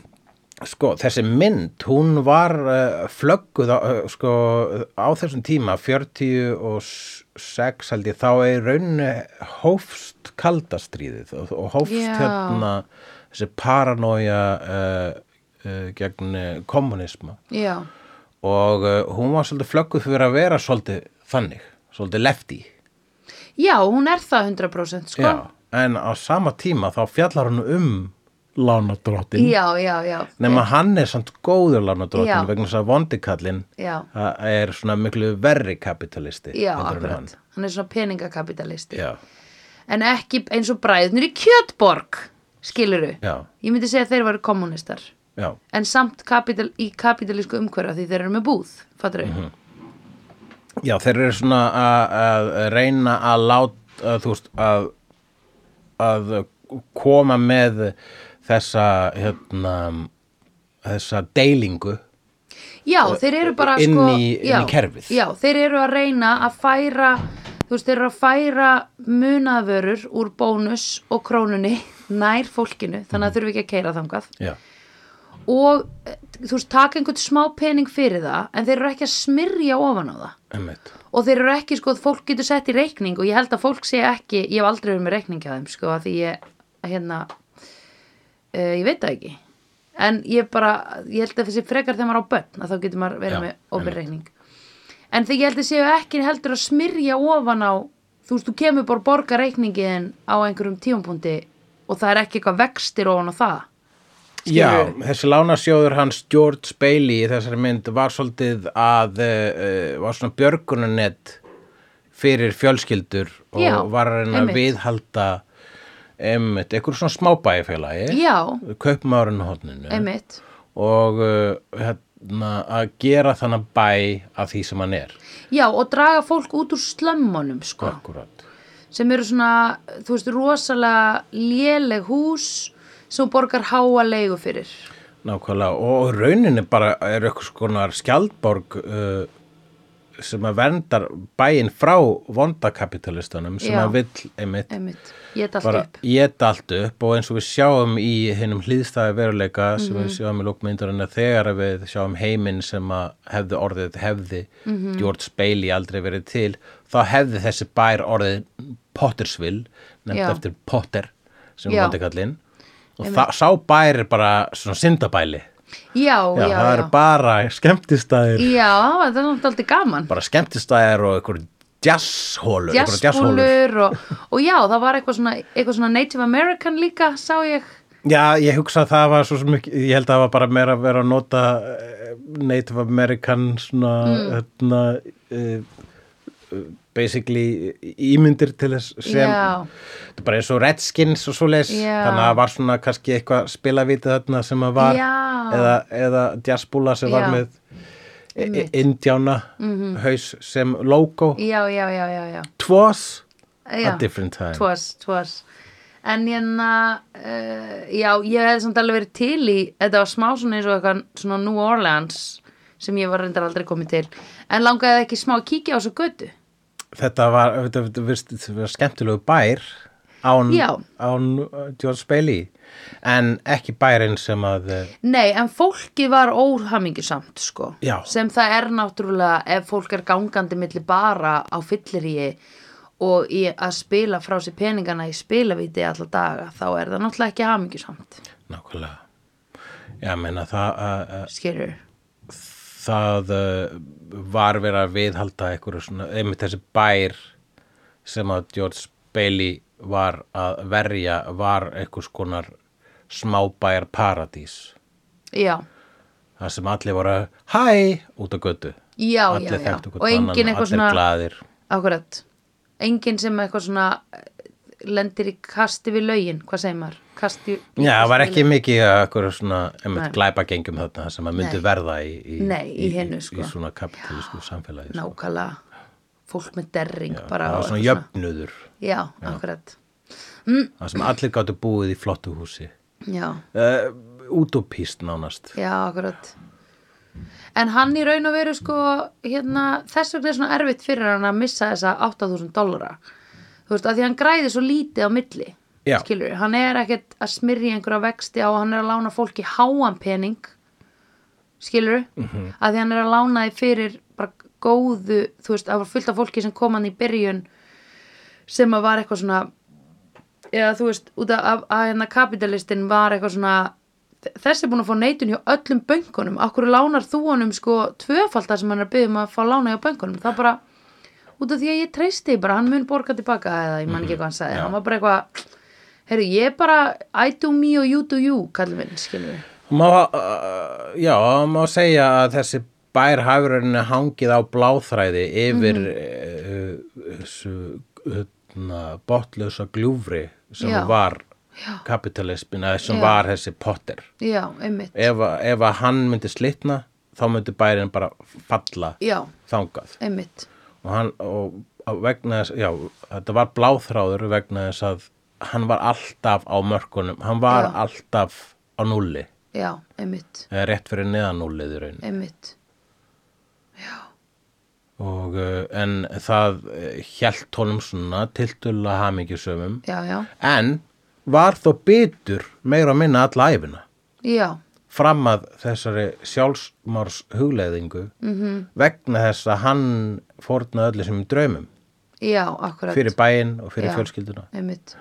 S2: sko, þessi mynd, hún var uh, flögguð á, uh, sko, á þessum tíma, 46 held ég, þá er raunni hófst kaldastríðið og, og hófst
S1: Já.
S2: hérna þessi paranoja uh, uh, gegn eh, komunisma
S1: Já,
S2: og uh, hún var svolítið flögguð fyrir að vera svolítið þannig, svolítið lefti.
S1: já, hún er það 100% sko.
S2: Já, en á sama tíma þá fjallar hún um lánadrottin.
S1: já, já, já.
S2: Nefn að hann er samt góður lánadróttin
S1: Já.
S2: vegna þess að vondikallin
S1: Já.
S2: er svona miklu verri kapitalisti.
S1: Já,
S2: heldur en hann.
S1: akkurat. Hann er svona peningakapitalisti.
S2: Já,
S1: En ekki eins og bræðnir í kjötborg, skiluru.
S2: Já.
S1: Ég myndi segja að þeir varu kommunistar.
S2: já,
S1: En samt kapital, í kapitalísku umhverfa því þeir eru með búð, fattur þau?
S2: Mhm. já, þeir eru svona að- að reyna að láta, að, þú veist, að, að koma með þessa, hérna, þessa deilingu.
S1: Já, þeir eru bara
S2: inn
S1: sko,
S2: í- inn í
S1: já,
S2: kerfið.
S1: Já, þeir eru að reyna að færa þú veist, þeir eru að færa munavörur úr bónus og krónunni nær fólkinu,
S2: Mhm.
S1: þannig að þurfi ekki að keira þangað
S2: Já,
S1: og eh, þú veist, taka einhvern smá pening fyrir það, en þeir eru ekki að smyrja ofan á það
S2: emmitt.
S1: og þeir eru ekki, sko, fólk getur sett í reikning og ég held að fólk sé ekki, ég hef aldrei verið með reikning hjá þeim, sko, að því ég hérna, uh, ég veit það ekki en ég bara ég held að þessi frekar þegar maður á bönn að þá getur maður verið
S2: Já,
S1: með ofin reikning en þegar ég held að séu ekki heldur að smyrja ofan á, þú veist, þú kemur bara að borga reikningin á einhverjum tíumpundi og það er ekki eitthvað vextir ofan á það
S2: Já,
S1: Skilurðu?
S2: þessi lánasjóður hans George Bailey í þessari mynd var svolítið að uh, var svona björgunanett fyrir fjölskyldur og
S1: Já,
S2: var að reyna að
S1: einmitt.
S2: viðhalda einmitt, einhver svona smábæfélagi
S1: Já.
S2: kaupmárun hóðninu
S1: einmitt
S2: og uh, hérna, að gera þannig bæ af því sem hann er
S1: Já, og draga fólk út úr slömmunum, sko,
S2: akkurat
S1: sem eru svona, þú veist, rosalega léleg hús sem þú borgar háa leigu fyrir.
S2: nákvæmlega og rauninni bara er eitthvað skonar skjaldborg uh, sem að verndar bæinn frá vondakapitalistunum sem
S1: Já.
S2: að vill einmitt
S1: einmitt, ég dalt
S2: bara
S1: upp
S2: geta allt upp og eins og við sjáum í hinnum hlýðstæði veruleika sem
S1: Mhm.
S2: við sjáum í lókmyndarinn að þegar að við sjáum heiminn sem að hefði orðið hefði
S1: Mhm.
S2: George Bailey aldrei verið til þá hefði þessi bær orðið Pottersville, nefnd
S1: Já.
S2: eftir Potter sem
S1: Já.
S2: hóndi kallinn og það, sá bær er bara svona syndabæli
S1: já, já,
S2: já,
S1: já,
S2: það
S1: já.
S2: eru bara skemmtistæðir
S1: það er náttúrulega gaman
S2: bara skemmtistæðir og einhverjum jazzhólur einhverjar jazzhólur.
S1: jazzbúlur og, og já, það var eitthvað svona, eitthvað svona Native American líka, sá ég
S2: Já, ég hugsa að það var svo sem ekki, ég held að það var bara meira að vera að nota eh, Native American svona,
S1: Mm.
S2: hérna, uh, basically ímyndir til þess sem,
S1: Já.
S2: þetta er bara eins og Redskins og svoleiðis,
S1: Já.
S2: þannig að það var svona kannski eitthvað spilavítið þarna sem að var,
S1: Já.
S2: eða, eða jazzbúla sem var
S1: Já. Mhm.
S2: með e- e- indjána haus sem logo,
S1: já, já, já, já, já.
S2: twas
S1: já.
S2: a different time.
S1: twas, twas en hérna uh, já, ég hefði samt alveg verið til í þetta var smá svona eins og eitthvað svona New Orleans sem ég var reyndar aldrei komið til en langaði ekki smá að kíkja á svo götu
S2: þetta var, þetta, þetta, þetta, þetta var skemmtilegu bær án,
S1: Já.
S2: án uh, George Bailey en ekki bærin sem að uh,
S1: nei, en fólkið var óhamingjusamt sko,
S2: Já.
S1: sem það er náttúrulega ef fólk er gangandi milli bara á fylliríi og í að spila frá sér peningana í spilaviti alla daga, þá er það náttúrulega ekki hamingjusamt,
S2: nákvæmlega Já, meina, það, uh, uh,
S1: skilur
S2: það uh, var verið að viðhalda einhverju svona, einmitt þessi bær sem að George Bailey var að verja var einhvers konar smábæjar paradís
S1: já,
S2: það sem allir voru að hæ út á götu
S1: já,
S2: allir
S1: já, já
S2: þekktu hvort
S1: og engin
S2: annan,
S1: eitthvað
S2: allir
S1: svona
S2: glaðir
S1: Akkurat. Enginn sem eitthvað svona eh, lendir í kasti við lögin, hvað segir maður? Kasti,
S2: Já, það var ekki mikið að eitthvað svona
S1: Nei.
S2: einmitt glæpagengjum þarna sem að myndu
S1: Nei.
S2: verða í, í,
S1: Nei, í hinu, sko.
S2: í svona kapitalísku samfélagi sko.
S1: Nákvæmlega, fólk með derring bara.
S2: það
S1: og
S2: var svona
S1: eitthvað
S2: jöfnuður
S1: Já, akkurat.
S2: það sem allir gáttu búið í flottu húsi
S1: Já,
S2: uh, útopíst nánast
S1: já, akkurat. En hann í raun og veru sko, hérna, þess vegna er svona erfitt fyrir hann að missa þessa 8000 dollara. Þú veist, að því hann græði svo lítið á milli.
S2: Já.
S1: Skilur, hann er ekkert að smyrja einhverja vexti á, hann er að lána fólki háan pening. skilur að því hann er að lána þið fyrir bara góðu, þú veist, það var fullt af fólki sem kom hann í byrjun sem að var eitthvað svona eða þú veist, út af að, að hérna kapitalistin var eitthvað svona þessi er búin að fá neitun hjá öllum bönkunum akkur lánar þú honum sko tvöfald það sem hann er að byggja um að fá lána hjá bönkunum það bara, út af því að ég treysti því bara, hann mun borga tilbaka eða ég man ekki hvað hann sagði,
S2: Mhm, já.
S1: hann var bara eitthvað heyrðu, ég bara, I do me og you do you kallum minn, skilur við
S2: má, uh, já, má segja að þessi bær hafurinn hangið á bláþræði yfir
S1: Mhm.
S2: mm -hmm. uh, uh, botlösa gljúfri sem
S1: Já.
S2: var kapitalismin eða sem
S1: Já.
S2: var þessi potter
S1: já, einmitt
S2: ef, að- ef að hann myndi slitna þá myndi bærin bara falla
S1: Já,
S2: þangað
S1: einmitt.
S2: og, hann, og á- vegna þess, já, þetta var bláþráður vegna þess að hann var alltaf á mörkunum hann var
S1: Já.
S2: alltaf á núli
S1: Já, einmitt.
S2: eða Eh, rétt fyrir neðan núlið í raun
S1: Einmitt.
S2: og, uh, en það hjælt honum svona tiltölulega hamingjusöfum
S1: Já, já.
S2: en var þó bitur meira að minna alla æfina
S1: Já,
S2: fram að þessari sjálfsmárs hugleiðingu -hmm.
S1: Mhm.
S2: vegna þess að hann fórnaði öllu sem draumum
S1: já, akkurat.
S2: fyrir bæinn og fyrir
S1: Já.
S2: fjölskylduna
S1: Einmitt.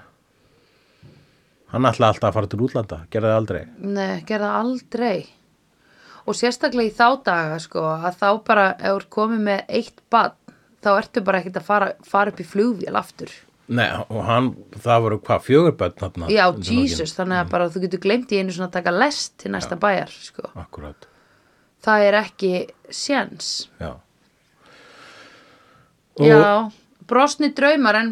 S2: hann ætlaði alltaf að fara til útlanda, gerði það aldrei
S1: Nei, gerða aldrei. Og sérstaklega í þá daga, sko, að þá bara, ef þú ert komið með eitt badn, þá ertu bara ekkert að fara, fara upp í flugvél aftur.
S2: Nei, og hann, það voru hvað, fjögurbönd þarna
S1: Já,
S2: undir lokin. Mm.
S1: Jesus, þannig að bara þú getur glemt í einu svona að taka lest til næsta bæjar, sko.
S2: Akkúrat,
S1: Það er ekki séns.
S2: já
S1: Já, brosni draumar en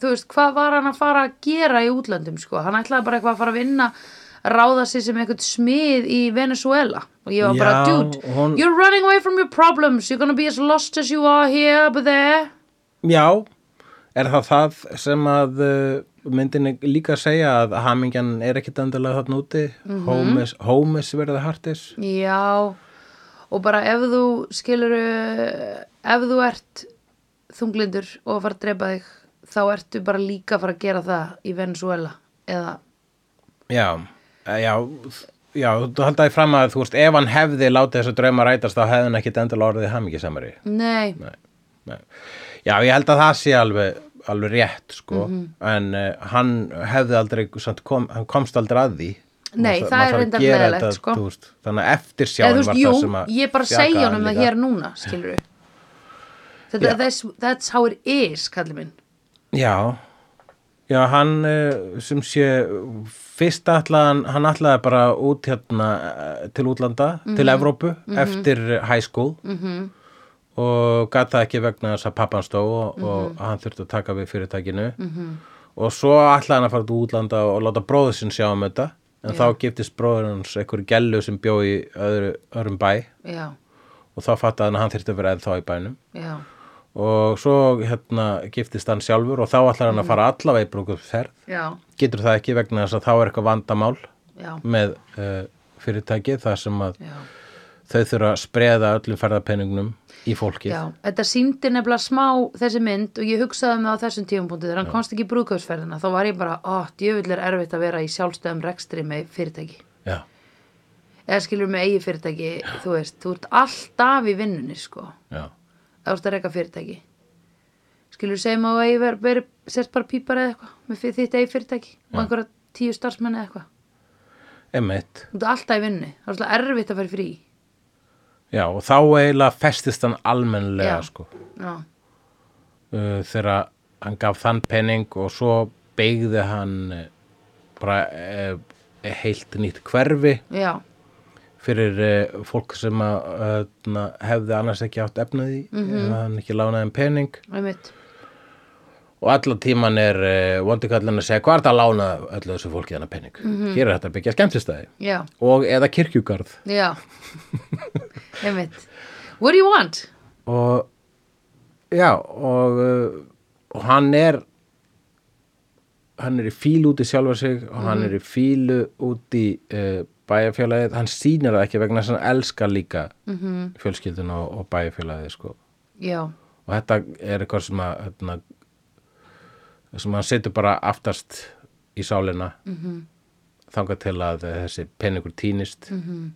S1: þú veist, hvað var hann að fara að gera í útlöndum sko? Hann ætlaði bara eitthvað að fara að vinna ráða sig sem eitthvað smið í Venezuela og ég var bara,
S2: Já,
S1: dude,
S2: hún-
S1: you're running away from your problems you're gonna be as lost as you are here but there
S2: Já, Er það það sem að uh, myndin er líka að segja að hamingjan er ekkit endilega þarna úti
S1: Mhm.
S2: home, is, home is where the heart is
S1: Já, og bara ef þú skilur ef þú ert þunglindur og að fara að drepa þig þá ertu bara líka að fara að gera það í Venezuela eða,
S2: Já, eh, já, þ- já þú haldaði fram að þú veist ef hann hefði látið þessu drauma rætast þá hefði hann ekkit endilega orðið hamingjasamari
S1: nei,
S2: Nei, nei. Já, ég held að það sé alveg, alveg rétt, sko,
S1: Mhm.
S2: en uh, hann hefði aldrei, samt, kom, hann komst aldrei að því.
S1: Nei,
S2: Maður
S1: það er
S2: þarf- maður þarf að
S1: reyndar
S2: gera
S1: leiðilegt,
S2: þetta,
S1: sko.
S2: þú Veist, þannig að eftir
S1: eða þú
S2: sjáum var
S1: veist,
S2: það
S1: jú,
S2: sem að...
S1: ég er bara að
S2: bjargaði
S1: segja
S2: hann
S1: honum það
S2: líka.
S1: hér núna, skilur þetta,
S2: Já.
S1: that's, that's how it is, kallir minn
S2: Já, já hann eh, sem sé fyrst ætlaðan, hann ætlaði bara út hérna eh, til útlanda, til Evrópu eftir high school -hmm. og gat það ekki vegna þess að pappan stó og, og hann þurfti að taka við fyrirtækinu -hmm. og svo ætlaði hann að fara til útlanda og láta bróður sinn sjá um þetta en þá giftist bróður hans einhverju gellu sem bjó í öðru, öðrum bæ
S1: já,
S2: og þá fattaði hann að hann þyrfti að vera ennþá í bænum
S1: já,
S2: og svo hérna giftist hann sjálfur og þá ætlar hann að fara allavega í brúkupferð
S1: já,
S2: getur það ekki vegna þess að þá er eitthvað vandamál
S1: já,
S2: með uh, fyrirtæki þar sem að
S1: já.
S2: þau þurfa að spreða öllum ferðapenningnum í fólkið
S1: Já, þetta síndi nefnilega smá þessi mynd og ég hugsaði með á þessum tíumpunkti þegar hann komst ekki í brúðkaupsferðina þá var ég bara, ó, djöfull er erfitt að vera í sjálfstöðum rekstri með fyrirtæki
S2: Já.
S1: eða skilur með eigi fyrirtæki, þú veist, þú ert alltaf í vinnunni, sko
S2: Já.
S1: eða þú ert að reka fyrirtæki skilur segjum að þú eigi verið veri, sérst bara pípar eða eitthvað með fyrir þitt eigi fyrirtæki og einhverja tíu starfsmenn eða eitthvað
S2: Einmitt.
S1: þú ert alltaf í vinnunni, það er svolítið erfitt að fara í frí
S2: Já, og þá eiginlega festist hann almennlega
S1: Já.
S2: sko,
S1: Já,
S2: uh, þegar hann gaf þann penning og svo beigði hann eh, bara uh, heilt nýtt hverfi
S1: já,
S2: fyrir uh, fólk sem að, uh, hefði annars ekki átt efnaði mm -hmm. eða hann ekki lánaði um pening
S1: einmitt
S2: og allan tíman er uh, vondikallin að segja hvað er það að lána öllu þessu fólki þennan pening hér er þetta að byggja skemmtistæði
S1: Já,
S2: og eða kirkjugarð
S1: já einmitt What do you want?
S2: og já og, uh, og hann er hann er í fílu út í sjálfa sig og hann er í fílu út í uh, bæjarfélagið, hann sýnir það ekki vegna þess að hann elskar líka mm -hmm. fjölskylduna og, og bæjarfélagið sko.
S1: Já,
S2: og þetta er eitthvað sem að hérna, sem hann setur bara aftast í sálina -hmm. þangað til að eh, þessi peningur týnist -hmm.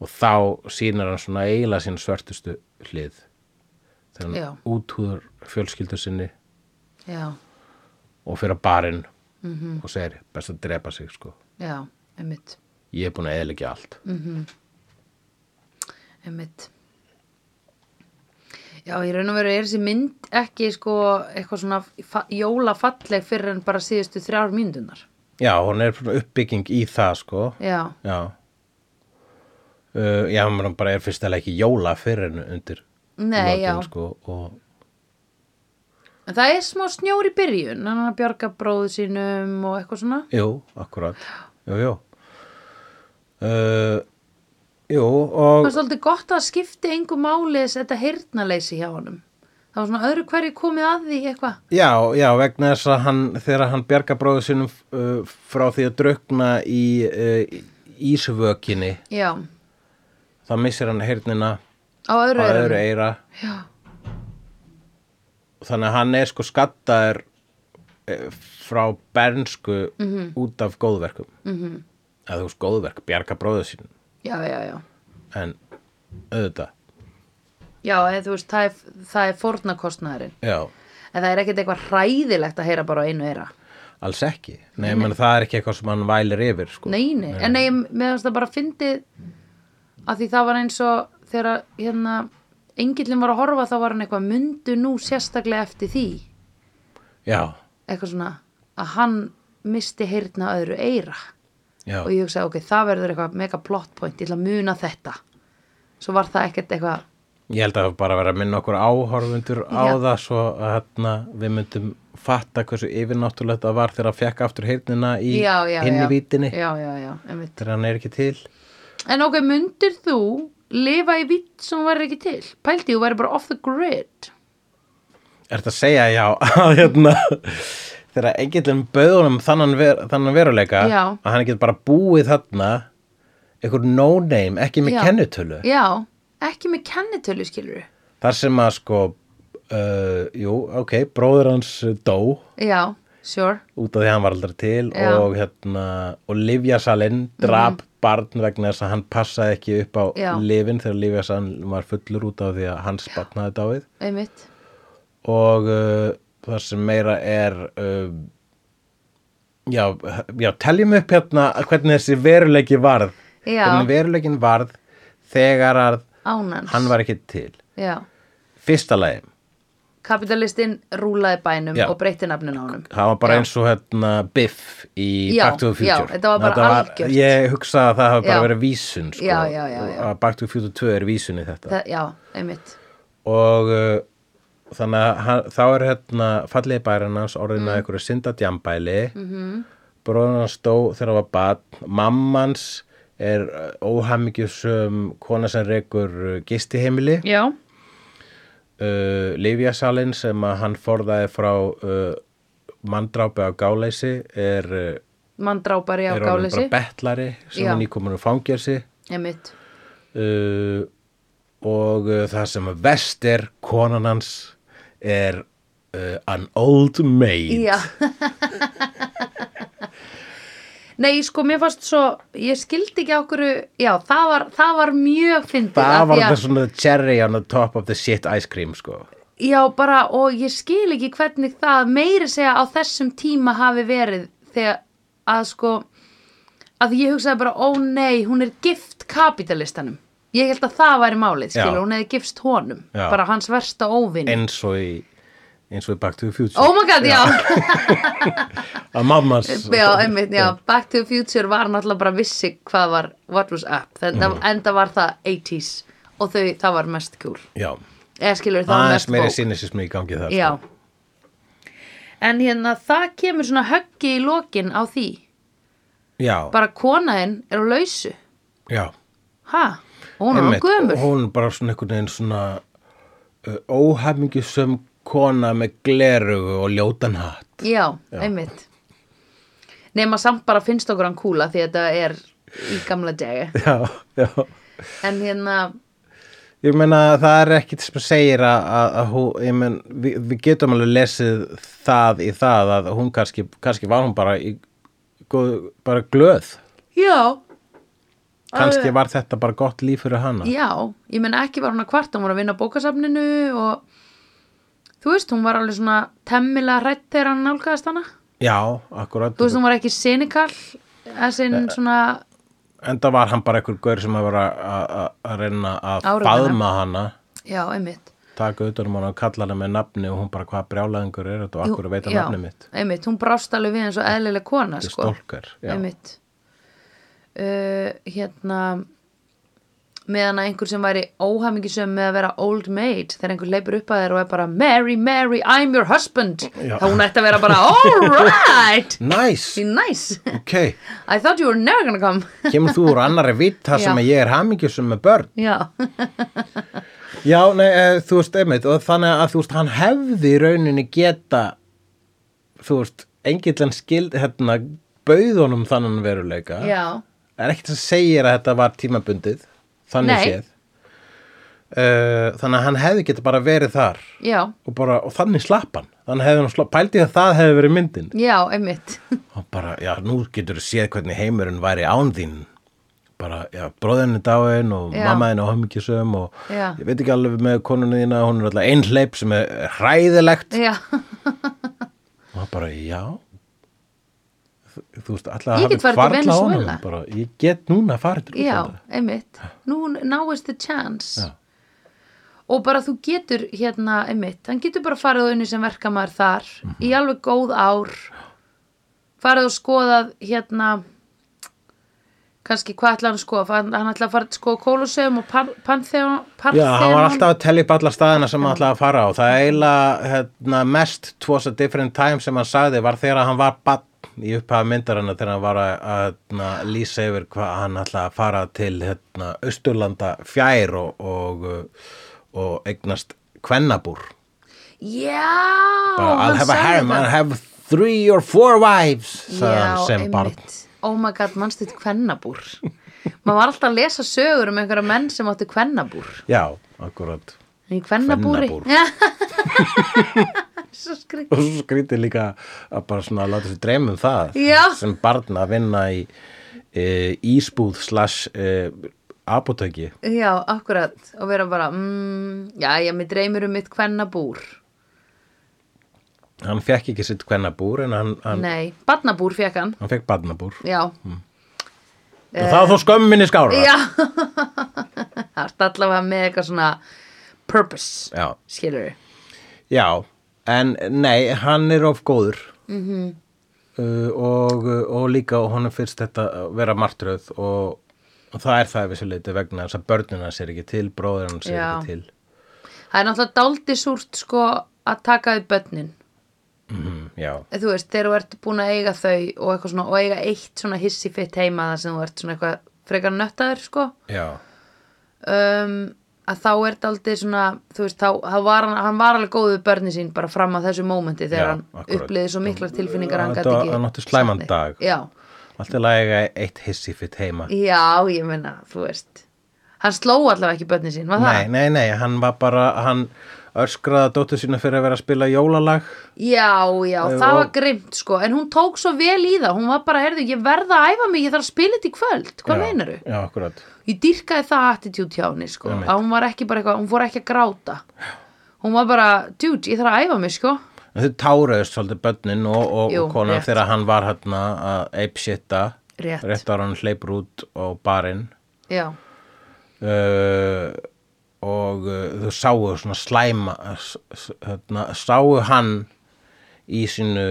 S2: og þá sýnir hann svona eiginlega sín svörtustu hlið þegar hann
S1: Já.
S2: úthúður fjölskyldu sinni
S1: já,
S2: og fyrir barinn -hmm. og segir best að drepa sig sko
S1: já, einmitt
S2: ég er búin að eðleggja allt
S1: einmitt Já, í raun og veru er þessi mynd ekki sko eitthvað svona fa- jólafalleg fyrir en bara síðustu þrjár myndunar
S2: já, hún er svona uppbygging í það sko
S1: Já,
S2: já Uh, já, hann bara er fyrst að ekki jóla fyrir en undir
S1: nei,
S2: lokin,
S1: já
S2: sko, og,
S1: En það er smá snjór í byrjun hann er að bjarga bróðu sínum og eitthvað svona
S2: jú, akkurat jú, jú uh, jú, og
S1: Það er svolítið gott að það skipti engu máli þess þetta heyrnaleysi hjá honum Það var svona öðru hverju komið að því eitthvað
S2: já, já, vegna þess að hann þegar hann bjarga bróðu sinum uh, frá því að draukna í uh, ísvökinni
S1: Já,
S2: þá missir hann heyrnina
S1: á öðru
S2: á
S1: eyranu.
S2: öðru eira
S1: Já,
S2: þannig að hann er sko skattaður eh, frá bernsku
S1: Mhm.
S2: út af góðverkum mm -hmm. eða þú veist góðverk, bjarga bróðu sinum
S1: já, já, já
S2: en auðvitað,
S1: Já, eða þú veist, það er, það er fórnarkostnaðurinn.
S2: já
S1: En það er ekkert eitthvað hræðilegt að heyra bara á einu eira.
S2: Alls ekki. Nei, nei. Menn, það er ekki eitthvað sem hann vælir yfir, sko.
S1: Nei, nei, en nei, meðan það bara fyndið að því það var eins og þegar að, hérna, engillin var að horfa þá var hann eitthvað mundu nú sérstaklega eftir því.
S2: Já,
S1: Eitthvað svona að hann misti heyrna á öðru eira.
S2: já,
S1: Og ég hugsaði, ok, það verður eitthvað mega plot point, ég ætla að muna þetta. Svo var það ekkert eitthvað,
S2: Ég held að það bara verið að minna okkur áhorfundur á
S1: Já.
S2: það svo að hérna, við myndum fatta hversu yfirnáttúrulegt það var þegar hann fekk aftur heyrnina í
S1: já, já, já.
S2: inn í vítinni
S1: Já, já, já, einmitt.
S2: þegar hann er ekki til.
S1: En ok, myndir þú lifa í vitt sem hún væri ekki til? Pældi, þú væri bara off the grid.
S2: ert að segja já að hérna þegar engillin bauðunum þannan, ver, þannan veruleika
S1: Já.
S2: að hann getur bara búið þarna einhver no-name, ekki með
S1: Já.
S2: kennutölu
S1: Já, ekki með kennitölu skilur
S2: þar sem að sko uh, jú, ok, bróður hans dó
S1: Já, sure
S2: út af því að hann var aldrei til
S1: Já. Mhm.
S2: og hérna, og Livjasalinn drap barn vegna þess að hann passaði ekki upp á
S1: Já.
S2: lifin þegar Livjasalinn var fullur út af því að hans barnaði dáið
S1: Einmitt
S2: og uh, það sem meira er uh, já, já, teljum upp hérna hvernig þessi veruleiki varð
S1: Já.
S2: hvernig veruleikin varð þegar að
S1: Ánans
S2: hann var ekki til
S1: Já
S2: fyrsta lagi,
S1: Kapitalistinn rúlaði bænum
S2: Já.
S1: og breytti nafnin á honum
S2: það var bara
S1: Já.
S2: eins og hérna Biff í
S1: Já,
S2: Back to the
S1: já,
S2: Future
S1: þetta var bara algjört.
S2: ég hugsa að það hafi bara
S1: Já.
S2: verið vísun sko,
S1: Já, já, já, já.
S2: að Back to the Future 2 er vísun í þetta
S1: Það, Já, einmitt
S2: og uh, þannig að hann, þá er hérna fallegi bærin hans orðin
S1: Mm.
S2: að einhverju syndadjambæli mm
S1: Mhm.
S2: -hmm. bróðan hans dó þegar hann var batn mammans er óhamingjusum kona sem rekur uh, gistiheimili
S1: Já,
S2: uh, Livjasalinn sem að hann forðaði frá uh, manndrápi á gáleysi er, uh,
S1: mann drápari á
S2: er orðin bara
S1: gáleysi
S2: betlari sem
S1: Já.
S2: hann íkomur úr fangelsi
S1: Einmitt
S2: uh, og uh, það sem er vest er konan hans er uh, an old maid
S1: Já Nei, sko, mér fannst svo, ég skildi ekki okkur, já, það var, það var mjög fyndið. af
S2: það
S1: því
S2: var
S1: að-
S2: það svona cherry on the top of the shit ice cream sko
S1: Já, bara, og ég skil ekki hvernig það meiri segja á þessum tíma hafi verið þegar að sko að ég hugsaði bara, ó nei, hún er gift kapitalistanum. Ég held að það væri málið, skilur,
S2: Já.
S1: hún hefði gifst honum,
S2: Já.
S1: bara hans versta óvinn.
S2: eins og í eins og í Back to the Future
S1: Oh my god, já,
S2: að mammas
S1: já, einmitt, já, Back to the Future var náttúrulega bara vissi hvað var, what was up, þannig mm. enda var það 80s og þau, það var mest kjúl.
S2: já.
S1: Eða skilur, það var
S2: aðeins
S1: mest
S2: meiri
S1: bók.
S2: sinnesismi í gangi sko. það
S1: Já. En hérna, það kemur svona höggi í lokin á því.
S2: já,
S1: Bara konaðinn er á lausu.
S2: já.
S1: Ha? Og hún er á
S2: Einmitt,
S1: gömur.
S2: hún bara svona einhvern veginn svona uh, óhamingjusum kona með glerugu og ljótan hatt
S1: Já, einmitt. Nefn að samt bara finnst okkur hann kúla því að þetta er í gamla degi.
S2: já, já
S1: En hérna,
S2: Ég meina það er ekkit sem segir að, að, að hún, ég men, við, við getum alveg lesið það í það að hún kannski, kannski var hún bara, í, góð, bara glöð.
S1: já,
S2: Kannski var þetta bara gott líf fyrir hana.
S1: já, ég menna ekki var hún að kvarta, hún var að vinna á bókasafninu og þú veist, hún var alveg svona temmilega hrætt þegar hann nálgæðast hana.
S2: Já, akkurat.
S1: Þú veist, hún var ekki sinikall, þessin
S2: Eh.
S1: svona,
S2: Enda var hann bara einhver gaur sem að vera að- að að reyna að
S1: Áreita
S2: faðma hana,
S1: já, einmitt.
S2: taka utanum hana og kalla hana með nafni og hún bara hvað brjálæðingur er þetta og
S1: Jú,
S2: akkur veita
S1: já,
S2: nafni mitt.
S1: einmitt, hún brást alveg við eins og eðlileg kona
S2: Þetta er
S1: sko.
S2: stólkar. Já,
S1: einmitt uh, hérna meðan að einhver sem væri óhamingisum með að vera old maid þegar einhver leipur upp að þér og er bara Mary, Mary, I'm your husband
S2: Já.
S1: þá hún ætti að vera bara all right
S2: Nice,
S1: be nice
S2: ok.
S1: I thought you were never gonna come
S2: Kemur þú úr annari vitt þar sem
S1: Já.
S2: að ég er hamingjusum með börn?
S1: já,
S2: Já, nei, e, þú veist, einmitt og þannig að þú veist, hann hefði í rauninni geta þú veist, engillan skild hérna, bauð honum þannan veruleika
S1: já,
S2: Það er ekkert sem segir að þetta var tímabundið þannig
S1: Nei.
S2: séð uh, þannig að hann hefði geta bara verið þar
S1: já
S2: og, bara, og þannig slapp hann þannig hefði hann slapp, pældi að það hefði verið myndin
S1: já, einmitt
S2: og bara, já, nú getur þú séð hvernig heimurinn væri án þín bara, já, bróðinni dáin og
S1: Já.
S2: mamma henni áhengisum og
S1: Já.
S2: ég veit ekki alveg með konunni þína hún er alltaf einhleip sem er hræðilegt
S1: já,
S2: og hann bara, já þú, þú veist, alltaf
S1: Ég get farið til
S2: hvarflað að
S1: Venesúela.
S2: honum, bara, ég get núna farið til
S1: já,
S2: útlanda.
S1: einmitt nú, now is the chance
S2: Já.
S1: og bara þú getur hérna einmitt, hann getur bara farið og unni sem verkamaður þar í
S2: Mhm.
S1: alveg góð ár farið og skoðað hérna kannski hvað ætla hann að skoða hann, hann ætla að fara að skoða Kólusegum og Pan- Pantheon
S2: Já, hann var
S1: Parthenon.
S2: alltaf að telja upp alla staðina sem hann ætlaði að fara á. Það er eiginlega hérna, mest twas a different time sem hann sagði var þegar hann var bann í upphafa myndarinnar þegar hann var að, að hérna, lýsa yfir hvað hann ætlaði að fara til hérna, Östurlanda fjær og, og, uh, og eignast kvennabúr.
S1: já,
S2: bara, I'll
S1: hann
S2: have a
S1: sagði
S2: harem,
S1: það.
S2: I'll have three or four wives sagði
S1: Já,
S2: hann sem barn
S1: einmitt. oh my god, mannstu þetta kvennabúr maður var alltaf að lesa sögur um einhverja menn sem áttu kvennabúr
S2: já, akkurat
S1: en í kvennabúri
S2: Kvennabúr.
S1: svo skrið
S2: og svo skrítið líka að bara svona láta sér dreyma um það
S1: Já.
S2: sem barn að vinna í e, ísbúð slash e, apotöki
S1: já, akkurat, og vera bara mm, já, já, mér dreymir um mitt kvennabúr
S2: hann fekk ekki sitt kvennabúr en hann, hann,
S1: nei, barnabúr fekk hann
S2: hann fekk barnabúr
S1: já,
S2: Mm. og það var þó skömminni skára
S1: já það er allavega með eitthvað svona purpose,
S2: já,
S1: skilur við
S2: Já, en nei, hann er of góður
S1: Mhm.
S2: uh, og, og líka og honum fyrst þetta að vera martröð og, og það er það að vissu leiti vegna þess að börnina sér ekki til, bróður hann sér
S1: Já.
S2: ekki til.
S1: það er náttúrulega dáldi súrt sko að taka við börnin
S2: Mm, já,
S1: þú veist, þegar þú ert búin að eiga þau og, eitthvað svona, og eiga eitt svona hissi fitt heima þar sem þú ert svona eitthvað frekar nöttaður sko
S2: já,
S1: um, að þá er þetta aldrei svona þú veist, þá, þá var hann, hann var alveg góð við börni sín bara fram að þessu mómenti þegar
S2: Já,
S1: hann
S2: akkúrat.
S1: uppliði svo miklar tilfinningar hann
S2: Þetta
S1: gat
S2: var-
S1: ekki
S2: hann átti slæman
S1: sagt neitt.
S2: dag.
S1: já,
S2: allt er læga eitt hissi fyrir teima.
S1: já, ég menna, þú veist hann sló allavega ekki börni sín, var
S2: Nei,
S1: það?
S2: nei, nei, hann var bara, hann öskraði dóttu sína fyrir að vera að spila jólalag.
S1: Já, já,
S2: Nei,
S1: það
S2: og-
S1: var grimt sko en hún tók svo vel í það, hún var bara heyrðu, ég verða að æfa mig, ég þarf að spila þetta í kvöld hvað
S2: Já,
S1: meinaru?
S2: Já, akkurat.
S1: ég dýrkaði það attitude hjá henni sko.
S2: Einmitt.
S1: að hún var ekki bara eitthvað, hún fór ekki að gráta hún var bara, dude, ég þarf að æfa mig sko.
S2: En þau táraðust svolítið börnin og, og,
S1: Jú,
S2: og konan
S1: rétt.
S2: þegar hann var hérna að eipsitta
S1: Rétt.
S2: rétt ára hann hleypur út á barinn
S1: já,
S2: uh, og uh, þau sáu svona slæma s- s- hérna, sáu hann í sínu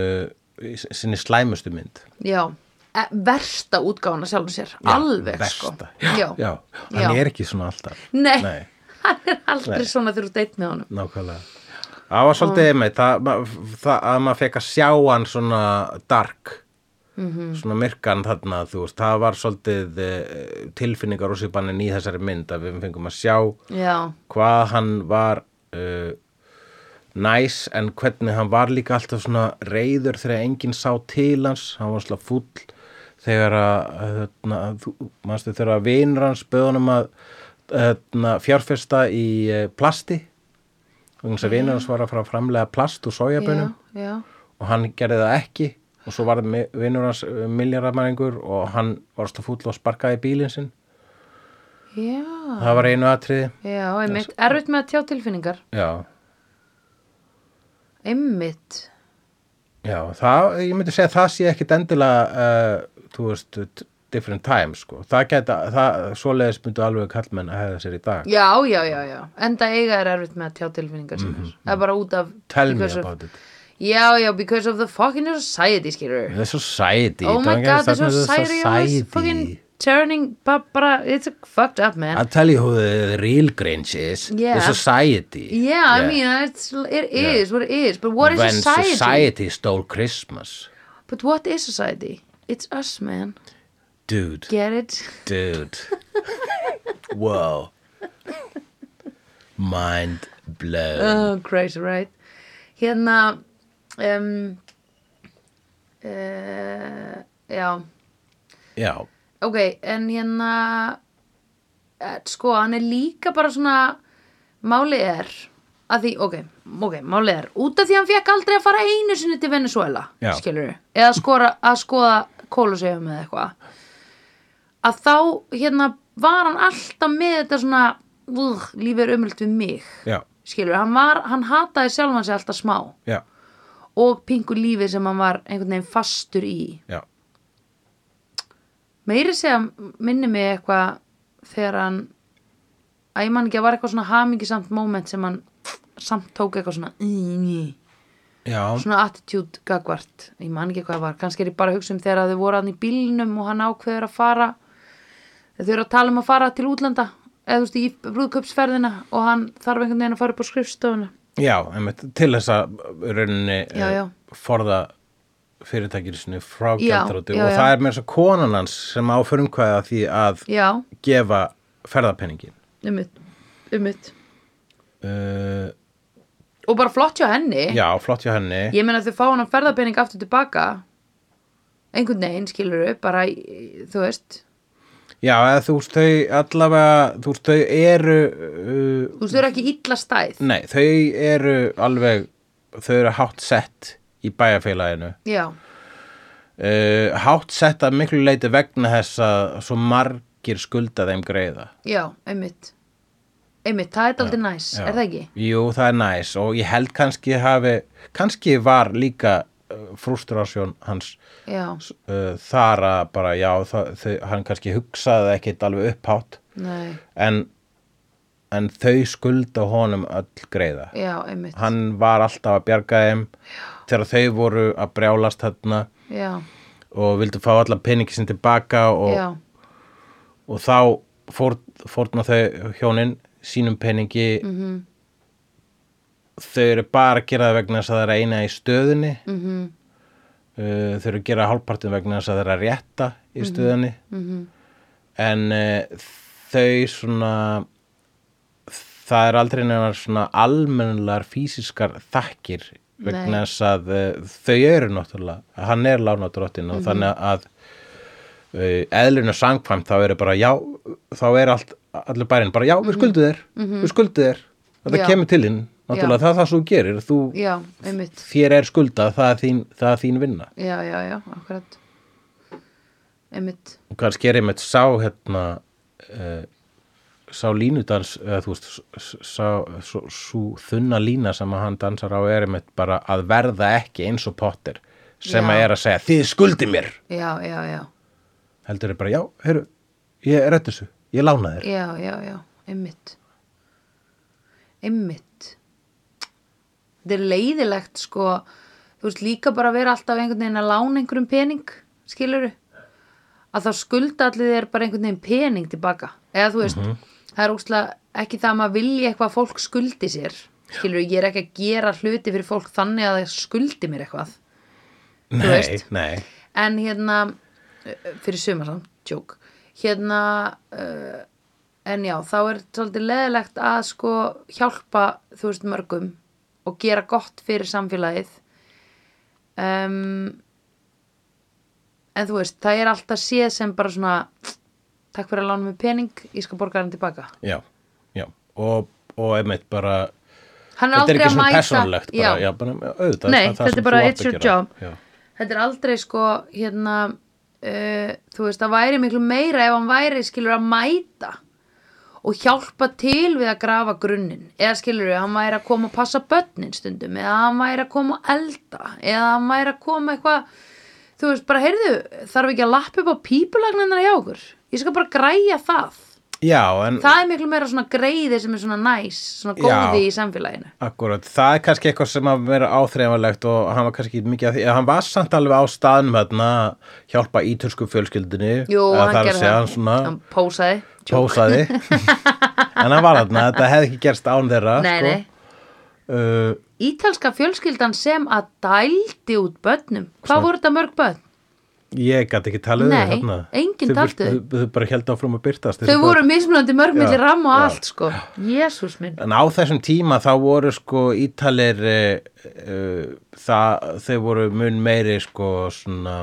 S2: í s- sinni slæmustu mynd
S1: já e, versta útgána sjálfum sér, alveg sko.
S2: versta. já, já. hann
S1: Já.
S2: er ekki svona alltaf
S1: Nei.
S2: Nei.
S1: hann er aldrei svona þegar þú deitt með honum
S2: nákvæmlega það var svolítið um. einmitt það, ma- það, að maður fekk að sjá hann svona dark -hmm. svona myrkan þarna þú veist það var svolítið eh, tilfinningar úsipannin í þessari mynd að við fengum að sjá
S1: já,
S2: hvað hann var uh, næs en hvernig hann var líka alltaf svona reyður þegar enginn sá til hans hann var svona fúll þegar að hérna, þú, manstu, þegar að vinur hans böðunum að hérna, fjárfesta í eh, plasti vegna þess að vinur hans var að fara að framlega plast úr
S1: já,
S2: sójabönum
S1: já
S2: og hann gerði það ekki og svo varð mi- vinur hans miljardamæringur og hann var alltaf fúll og sparkaði bílinn sinn
S1: já,
S2: það var einu atriði
S1: já, einmitt erfitt með að tjá tilfinningar
S2: já,
S1: einmitt,
S2: Já, það, ég myndi segja að það sé ekkit endilega, uh, þú veist, t- different times, sko. Það geta, það, svoleiðis myndu alveg kallmenn að hefða sér í dag.
S1: já, já, já, já enda eiga er erfitt með að tjá tilfinningar sem er það er bara út af
S2: Mhm, Tell me
S1: because of-
S2: about it.
S1: já, já, because of the fucking society skilur
S2: The society.
S1: Oh my
S2: don't get
S1: god, the
S2: started with
S1: society always fucking turning ba- bara, it's fucked up man
S2: I'll tell you who the, the real Grinch is.
S1: Yeah.
S2: The society.
S1: yeah, I mean, it's, it is what it is but what is
S2: When
S1: society?
S2: society stole Christmas.
S1: but what is society? It's us man,
S2: Dude,
S1: get it?
S2: dude. Whoa. Mind blown.
S1: oh, crazy, right? hérna um, uh, já
S2: Já,
S1: ok, en hérna eh, sko, hann er líka bara svona máli er að því, ok, ok, máli er út af því hann fekk aldrei að fara einu sinni til Venezuela,
S2: Já.
S1: skilur eða skora, að skoða kólusefum eða eitthvað að þá, hérna, var hann alltaf með þetta svona uh, lífið er umöld við mig
S2: já,
S1: skilur, hann var, hann hataði sjálfan sig alltaf smá
S2: já,
S1: og pingu lífið sem hann var einhvern veginn fastur í
S2: já.
S1: meiri segja minni mig eitthvað þegar hann að ég man ekki að var eitthvað svona hamingisamt moment sem hann samt tók eitthvað svona "Í, í",
S2: Já,
S1: svona attitude gagvart ég man ekki hvað það var, kannski er ég bara að hugsa um þegar að þau voru hann í bílnum og hann ákveður að fara þau eru að tala um að fara til útlanda eða þú veist í brúðköpsferðina og hann þarf einhvern veginn að fara upp á skrifstofuna
S2: Já, einmitt, til þess að uh, rauninni
S1: Já,
S2: eh,
S1: já.
S2: forða fyrirtækir sinni frá
S1: Já,
S2: gjaldrúti
S1: já,
S2: og
S1: já.
S2: það er með þess að konan hans sem á frumkvæða því að
S1: já,
S2: gefa ferðapenningin
S1: ummitt ummitt
S2: uh,
S1: og og bara flott hjá henni
S2: já, flott hjá henni
S1: ég meina þau fá hann að ferðarpenning aftur tilbaka einhvern veginn skilur upp bara, í- þú veist
S2: já, eða, þú veist, þau allavega þú veist, þau eru uh,
S1: þú veist, þau eru ekki illa stæð
S2: nei, þau eru alveg þau eru hátt sett í bæjarfélaginu
S1: já,
S2: uh, hátt sett að miklu leiti vegna þess að svo margir skulda þeim greiða
S1: já, einmitt einmitt, það er aldrei næs,
S2: Já.
S1: er það ekki?
S2: Jú, það er næs og ég held kannski hafi, kannski var líka uh, frustrasjón hans
S1: já,
S2: uh, þar að bara, já, það, þau, hann kannski hugsaði ekkit alveg upphátt
S1: nei,
S2: en, en þau skulda honum öll greiða.
S1: já, einmitt
S2: Hann var alltaf að bjarga þeim þegar þau voru að brjálast þarna
S1: já,
S2: og vildu fá allar peningi sinni tilbaka og,
S1: já,
S2: og þá fór, fórna þau hjónin sínum peningi
S1: Mm.
S2: -hmm.
S1: Mhm,
S2: þau eru bara að gera það vegna þess að það er að eina í stöðunni mm -hmm.
S1: mhm,
S2: þau Eh, eru að gera hálfpartin vegna þess að það er að rétta
S1: Mhm.
S2: í stöðunni mm -hmm. en uh, þau svona það er aldrei nefnar svona almennilegar fysiskar þakkir vegna
S1: Nei.
S2: þess að uh, þau eru náttúrulega, hann er lánadrottin
S1: Mhm.
S2: og þannig að uh, eðluna sangkvæmt þá eru bara já, þá er allt, allir bærin bara já, við skuldum þér, við skuldum þér þetta
S1: Mhm. Já.
S2: kemur til þín, náttúrulega það er það sem þú gerir þú,
S1: já, einmitt
S2: þér er skuldað, það er þín, það er þín vinna
S1: já, já, já, akkurat einmitt,
S2: og kannski er einmitt sá hérna uh, sá línudans eða þú veist, s- sá svo, svo þunna lína sem að hann dansar á er einmitt bara að verða ekki eins og potter sem
S1: Já.
S2: að er að segja, þið skuldið mér
S1: já, já, já
S2: heldur er bara, já, heyrðu ég er þessu, ég lána þér
S1: já, já, já, einmitt einmitt þetta er leiðilegt sko, þú veist líka bara að vera alltaf einhvern veginn að lána einhverjum pening skiluru að þá skulda allir þér bara einhvern veginn pening tilbaka, eða þú veist það er óslega ekki það að maður vilji eitthvað að fólk skuldi sér, skiluru ég er ekki að gera hluti fyrir fólk þannig að það skuldi mér eitthvað
S2: nei,
S1: veist.
S2: nei
S1: en hérna eh, fyrir sumar samt, tjók hérna uh, en já, þá er svolítið leðilegt að sko hjálpa þú veist mörgum og gera gott fyrir samfélagið um, en þú veist, það er alltaf séð sem bara svona takk fyrir að lána mig pening, ég skal borga hann tilbaka
S2: Já, já, og, og einmitt bara,
S1: hann er
S2: þetta er
S1: aldrei
S2: ekki
S1: að
S2: svona
S1: mæta
S2: persónulegt bara, já, bara, auðvitað,
S1: Nei,
S2: það- það
S1: þetta
S2: sem
S1: er bara
S2: þú ert
S1: it's
S2: að
S1: your
S2: gera.
S1: job.
S2: Já,
S1: þetta er aldrei sko hérna uh, þú veist, það væri miklu meira ef hann væri skilur að mæta og hjálpa til við að grafa grunnin eða skilur við, hann væri að koma að passa börnin stundum, eða hann væri að koma að elda, eða hann væri að koma eitthvað þú veist, bara heyrðu þarf ekki að lappa upp á pípulagnarnar hjá okkur ég skal bara græja það
S2: já en það...
S1: það er miklu meira svona greiði sem er svona næs, svona
S2: Já.
S1: góði í samfélaginu
S2: akkurat, það er kannski eitthvað sem að vera áþreifanlegt og hann var kannski mikið að því, hann var samt alveg á staðnum hérna, að hjálpa ítölsku fjölskyldinni,
S1: Jú,
S2: Eða
S1: hann
S2: það er að
S1: gerði
S2: segja
S1: það,
S2: hann svona,
S1: hann pósaði
S2: pósaði, en hann var hérna, þetta hefði ekki gerst án þeirra,
S1: Nei,
S2: sko,
S1: nei.
S2: Uh,
S1: Ítalska fjölskyldan sem að dældi út börnum. Hvað voru þetta mörg börn?
S2: ég gæti ekki talið þau
S1: Nei,
S2: þarna.
S1: enginn
S2: Þau-
S1: taldi
S2: þau-
S1: þau.
S2: þau bara held áfram að byrtast
S1: Þau voru mismunandi mörg milli
S2: Já,
S1: ram og
S2: já.
S1: allt sko. Jésús minn.
S2: En á þessum tíma þá voru sko ítalir uh, uh, það, þau voru mun meiri sko svona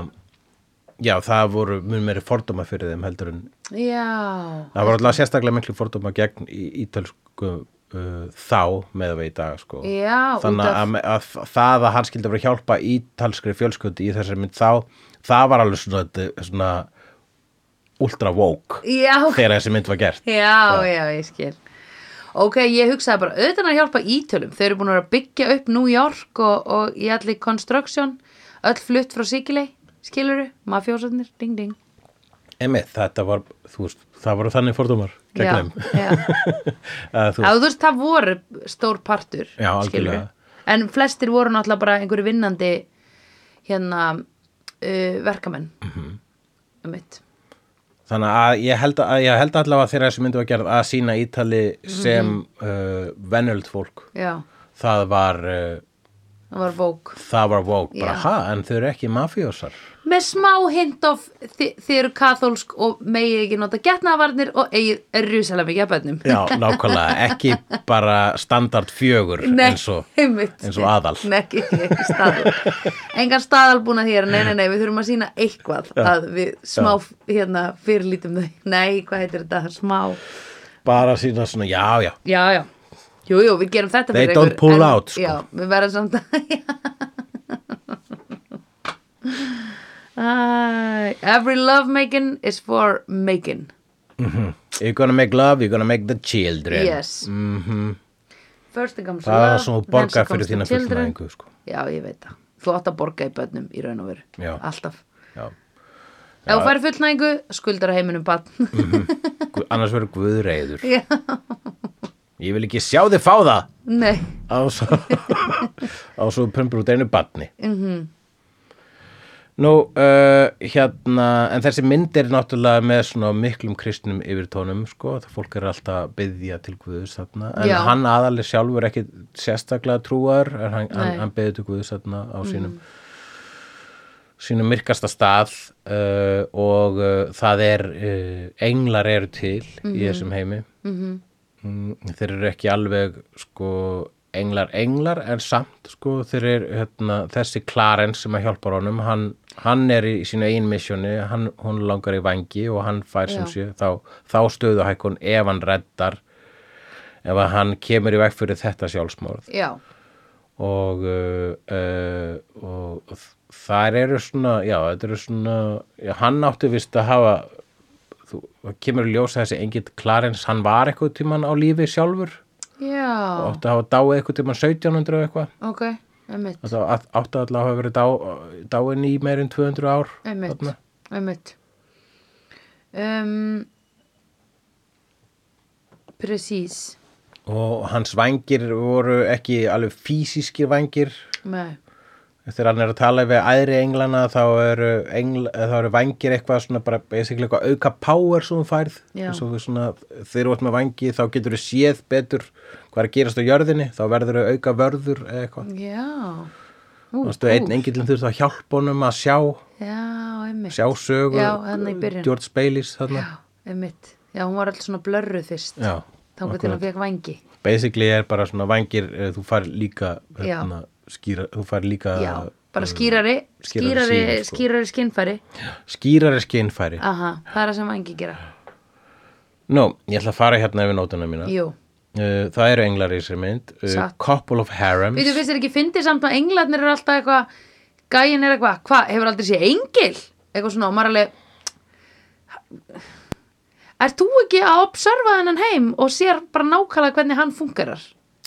S2: já það voru mun meiri fordóma fyrir þeim heldur en
S1: Já,
S2: það voru alltaf sérstaklega miklu fordóma gegn í- ítalsku uh, þá með að við í dag sko
S1: Já, út
S2: þannig
S1: af-
S2: að, að, það að hann skildi að vera að hjálpa ítalskri fjölskyldi í þessari mynd þá það var alveg svona, þetta- svona ultra woke
S1: já,
S2: þegar þessi mynd var gert
S1: já, já, ég skil. Ok, ég hugsaði bara, auðvitað er að hjálpa ítölum. Þau eru búin að vera að byggja upp New York og, og í allir construction, öll flutt frá Sikilei, skiluru, mafjósarnir, ding, ding.
S2: Emið, þetta var, þú veist, það voru þannig fordómar gegn
S1: Já,
S2: þeim.
S1: já.
S2: Að Eh, þú-
S1: Já, þú veist, það voru stór partur
S2: Já, algjörlega.
S1: skilurðu. En flestir voru náttúrulega bara einhverju vinnandi hérna uh, verkamenn
S2: Mhm.
S1: um mitt
S2: Þannig að ég held, að, ég held allavega þegar þessi myndi var gerð að sína
S1: Mhm.
S2: Ítali sem mm uh, venjöld fólk.
S1: Já,
S2: Það var, uh,
S1: það var vók
S2: það var vók, bara
S1: Já.
S2: ha, en þau eru ekki mafíósar
S1: með smá hint of þi þið eru kathólsk og megið ekki nota getnaðvarnir og eigið rúsalega mikið að bönnum
S2: já, nákvæmlega, ekki bara standard fjögur
S1: Nei,
S2: eins og,
S1: einmitt.
S2: eins og aðal
S1: Nei, ekki, ekki staðal Engan staðal búin að hér, nei, nei, nei, við þurfum að sína eitthvað að við smá, hérna, fyrirlítum þau Nei, hvað heitir þetta, smá
S2: bara sína svona, já, já
S1: Já, já, jú, jú, við gerum þetta
S2: They
S1: fyrir
S2: don't
S1: ykkur,
S2: pull
S1: en-
S2: out, sko.
S1: Já, við verðum samt að Æ, Every love making is for making
S2: mhm, you're gonna make love, you're gonna make the children
S1: Yes mm First it comes
S2: Mhm. það
S1: love
S2: er svona
S1: then
S2: borga
S1: it comes
S2: fyrir
S1: the
S2: þína
S1: children.
S2: fullnæðingu sko.
S1: Já, ég veit það. Þú átt að borga í börnum í raun og veru.
S2: Já.
S1: Alltaf.
S2: Já. Mhm.
S1: Ef þú færi fullnæðingu, skuldar að heiminum bann.
S2: Gu- annars verður guðreiður
S1: Já.
S2: ég vil ekki sjá þið fá það
S1: Nei.
S2: á svo, á svo pumpur út einu batni mm -hmm.
S1: Mhm.
S2: Nú, uh, hérna, en þessi mynd er náttúrulega með svona miklum kristnum yfir tónum, sko, það fólk er alltaf að byggja til Guðus þarna, en
S1: Já.
S2: hann aðalega sjálfur ekki sérstaklega trúar, en
S1: Nei.
S2: hann,
S1: Mhm.
S2: hann, hann byggði til Guðus þarna á sínum sínum myrkasta stað uh, og uh, það er uh, englar eru til
S1: Mhm.
S2: í þessum heimi Mm, þeir eru ekki alveg sko englar englar en samt sko þeir eru hérna, þessi Clarence sem að hjálpar honum hann, hann er í sínu eigin misjónu hann, hún langar í vangi og hann fær sem sé
S1: Já.
S2: þá, þá stöðuhækun ef hann reddar ef að hann kemur í veg fyrir þetta sjálfsmorð
S1: Já.
S2: og, uh, uh, og þar eru svona já, þetta eru svona já, hann átti vist að hafa þú, það kemur í ljós að þessi engin Clarence, hann var eitthvað tíman á lífi sjálfur
S1: Já.
S2: og átti að hafa dáið eitthvað tíman 1700 og eitthvað
S1: Ok, einmitt.
S2: Þetta á- átti alltaf að hafa verið dá, dáin í meir en 200 ár
S1: Einmitt.
S2: þarna.
S1: Einmitt. Um, Precís.
S2: og hans vangir voru ekki alveg fysískir vangir
S1: Nei.
S2: þegar hann er að tala við æðri englana þá eru, engl, þá eru vangir eitthvað svona bara basically eitthvað auka power sem þú færð
S1: Já.
S2: eins og þú svona, þegar þú ert með vangi þá getur þú séð betur hvað er að gerast á jörðinni þá verður þú auka vörður eða eitthvað
S1: Já. Ú,
S2: Þú veistu, einn engillin þurft að hjálpa honum að sjá
S1: Já, einmitt.
S2: sjá sögu
S1: Já, þarna í byrjun.
S2: George Baileys þarna
S1: Já, einmitt. Já, hún var alltaf svona blörruð fyrst.
S2: Já,
S1: Þangar til
S2: akkurat.
S1: hún fekk vangi.
S2: basically er bara svona vangir eh, þú fær líka
S1: Já.
S2: hérna, skýra, þú fær líka
S1: Já, bara skýrari,
S2: skýrari
S1: skýrari,
S2: sýn, sko.
S1: skýrari skinnfæri.
S2: skýrari skeinfæri
S1: Aha, það er það sem vangi gera.
S2: Nú, ég ætla að fara hérna yfir nótuna mína
S1: Jú.
S2: Uh, það eru englar í þessari mynd uh,
S1: Satt.
S2: Couple of Harems
S1: Við þú finnst þér ekki fyndið samt að englarnir eru alltaf eitthvað, gæin er eitthvað, hvað, hefur aldrei séð engil? Eitthvað svona, og maður alveg, er þú ekki að observa þennan heim og sér bara nákvæmlega hvernig hann fungerar?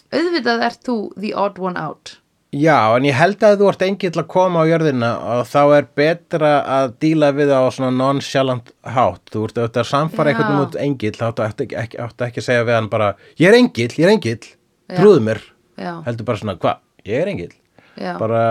S1: Auðvitað ert þú the odd one out.
S2: Já, en ég held að þú ert engill að koma á jörðina og þá er betra að díla við það á svona nonchalant hátt þú ert auðvitað að samfara
S1: Já.
S2: einhvern um út engill þá áttu ekki, ekki, áttu ekki að segja við hann bara ég er engill, ég er engill, trúðu mér
S1: Já,
S2: heldur bara svona, hva, ég er engill
S1: já,
S2: bara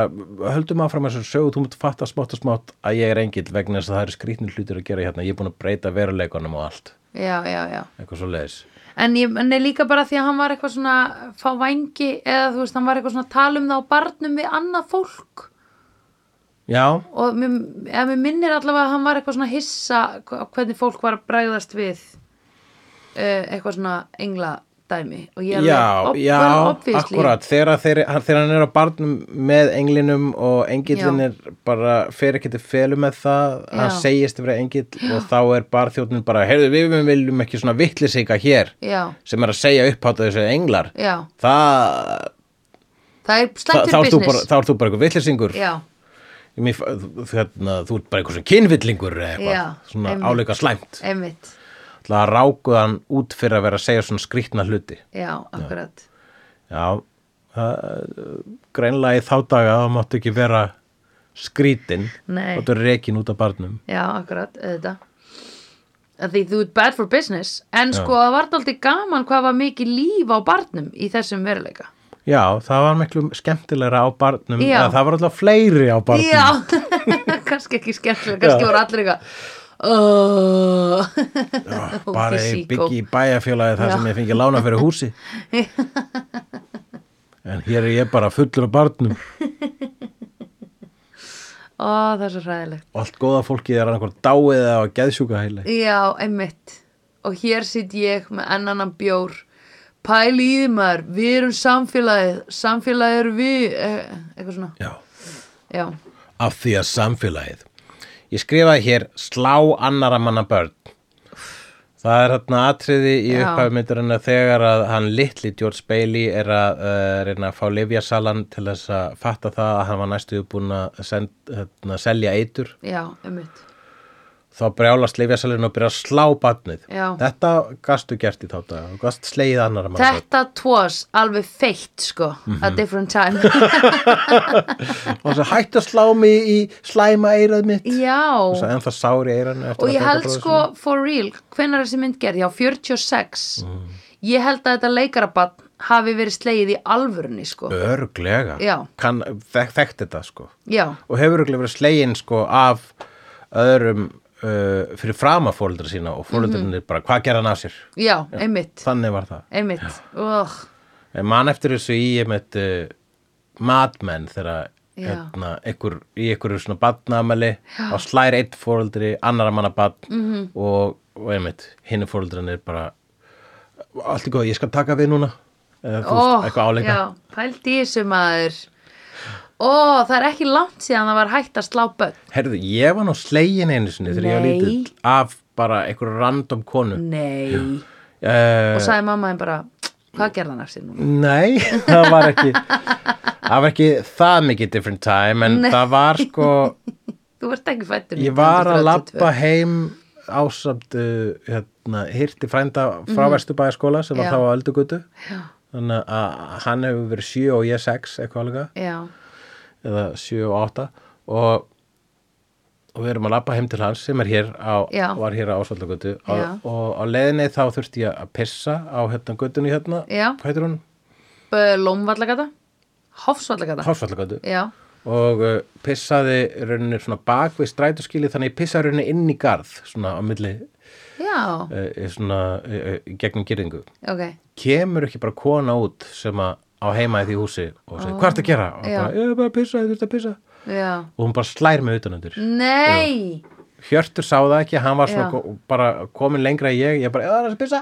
S2: höldum áfram þessu sögu þú mútt fatta smátt og smátt að ég er engill vegna þess að það eru skrýtnir hlutir að gera hérna ég er búin að breyta veruleikunum og allt
S1: já, já, já.
S2: eitthvað svo leiðis
S1: En ég en er líka bara því að hann var eitthvað svona fá vængi eða þú veist, hann var eitthvað svona að tala um það á barnum við annað fólk.
S2: Já,
S1: og mér, eða mér minnir allavega að hann var eitthvað svona hissa hva- hvernig fólk var að bræðast við uh, eitthvað svona engla dæmi og ég er
S2: já,
S1: alveg, ob-
S2: já,
S1: well, obviously.
S2: akkurat þegar, þeir, hann, þegar hann er á barnum með englinum og engillin
S1: Já.
S2: er bara fer ekki til felu með það hann
S1: Já.
S2: segist vera engill og þá er barþjóðnin bara, heyrðu við viljum ekki svona vittlisika hér
S1: já,
S2: sem er að segja upphátt að þessu englar
S1: já,
S2: það,
S1: það er
S2: það,
S1: slæmt
S2: þá,
S1: fyrir
S2: ert þú bara,
S1: business
S2: þá ert þú bara eitthvað vittlisingur
S1: já,
S2: Mér fa- þú, hérna, þú ert bara eitthvað sem kynvillingur eða eitthvað,
S1: Já,
S2: svona
S1: einmitt.
S2: áleika slæmt
S1: einmitt
S2: Það að ráku hann út fyrir að vera að segja svona skrýtna hluti
S1: já, akkurat
S2: Já, það, greinlega í þá daga þá máttu ekki vera skrítin
S1: Nei.
S2: máttu reikin út af barnum
S1: Já, akkurat, auðvitað að því þú ert bad for business en sko það var aldrei gaman hvað var mikið líf á barnum í þessum veruleika
S2: Já, það var miklu skemmtilegra á barnum
S1: Já.
S2: eða það var alltaf fleiri á barnum
S1: já, kannski ekki skemmtilega kannski voru allir eitthvað oh,
S2: Ah, bara í byggi í bæjarfélagi þar
S1: Já.
S2: sem ég fengi lána fyrir húsi en hér er ég bara fullur á barnum
S1: Ó, það er svo hræðilegt.
S2: og allt góða fólkið er annað dáið eða á geðsjúka heila
S1: Já, einmitt. Og hér sitt ég með ennanan bjór. Pæli í því maður, við erum samfélagið, samfélagið eru við, eh, eitthvað svona.
S2: já,
S1: Já,
S2: af því að samfélagið ég skrifaði hér slá annara manna börn það er hérna atriði í
S1: Já.
S2: upphafmyndurinn að þegar að hann litli George Bailey er að uh, reyna að fá lifjasalan til þess að fatta það að hann var næstuðu búin að send, hérna, selja eitur
S1: já, einmitt.
S2: þá brjálast lifjasalinn og byrja að slá barnið
S1: Já.
S2: þetta gastu gert í þátt og gast slegið annara manna börn
S1: Þetta tvoðs alveg feitt, sko, a different time.
S2: og þess að hættu að slá mig í slæma eirað mitt
S1: já,
S2: þess að ennþá sári eiranu
S1: og ég held sko, for real, hvenær er þessi mynd gerð? Já, 46.
S2: Mm.
S1: Ég held að þetta leikarabann hafi verið slegið í alvörunni, sko.
S2: örglega
S1: Já.
S2: kann, þek, þekkt þetta sko
S1: Já,
S2: og hefur örglega verið slegin sko af öðrum uh, fyrir frama fóreldra sína og fóreldrinni
S1: Mhm.
S2: bara hvað gerði hann af sér
S1: já, einmitt,
S2: þannig var það
S1: einmitt. Oh,
S2: en mann eftir þessu í ég með uh, matmenn þegar
S1: Já.
S2: hérna, einhver, í einhverju svona badnamæli og slær einn fóreldri annara manna badn -hmm.
S1: Mhm.
S2: og, og einmitt hinn fóreldrin er bara allt í góð, ég skal taka við núna eða þú veist,
S1: oh,
S2: eitthvað áleika
S1: já, pældi í þessu maður ó, það er ekki langt síðan það var hægt að slá börn
S2: Herðu, ég var nú slegin einu sinni þegar ég var
S1: Nei.
S2: lítill af bara einhverju random konu.
S1: nei,
S2: Uh,
S1: og sagði mamma þeim bara hvað gerði hann af sér núna
S2: nei, það var ekki, það var ekki það mikið different time, en það var sko,
S1: þú varst ekki fættur
S2: ég var að labba heim ásamt uh, hérna, hirti frænda frá mm. Vesturbæðaskóla sem var
S1: Já.
S2: þá á Öldugutu. Þannig að hann hefur verið sjö og ég sex, eitthvað alveg.
S1: já,
S2: eða 7 og 8 og, og við erum að labba heim til hans sem er hér á,
S1: Já.
S2: var hér á Ásvallagötu
S1: Já.
S2: og á leiðinni þá þurfti ég að pissa á hérna göttunni hérna
S1: Já.
S2: hvað heitir hún?
S1: lómvallagata hofsvallagata
S2: Hásvallagötu
S1: já,
S2: og uh, pissaði í rauninni svona bak við strætóskili þannig ég pissaði í rauninni inn í garð svona á milli
S1: já,
S2: uh, svona uh, uh, gegnum gyrðingu
S1: ok
S2: kemur ekki bara kona út sem að á heima í því húsi og segir hvað ertu að gera? og
S1: Já.
S2: bara, ég er bara að pissa, ég þurfti að pissa
S1: já,
S2: og hún bara slær mig utanundir
S1: nei
S2: Hjörtur sá það ekki, hann var svona
S1: Já.
S2: ko- bara komin lengra en ég, ég bara, eða það er að spisa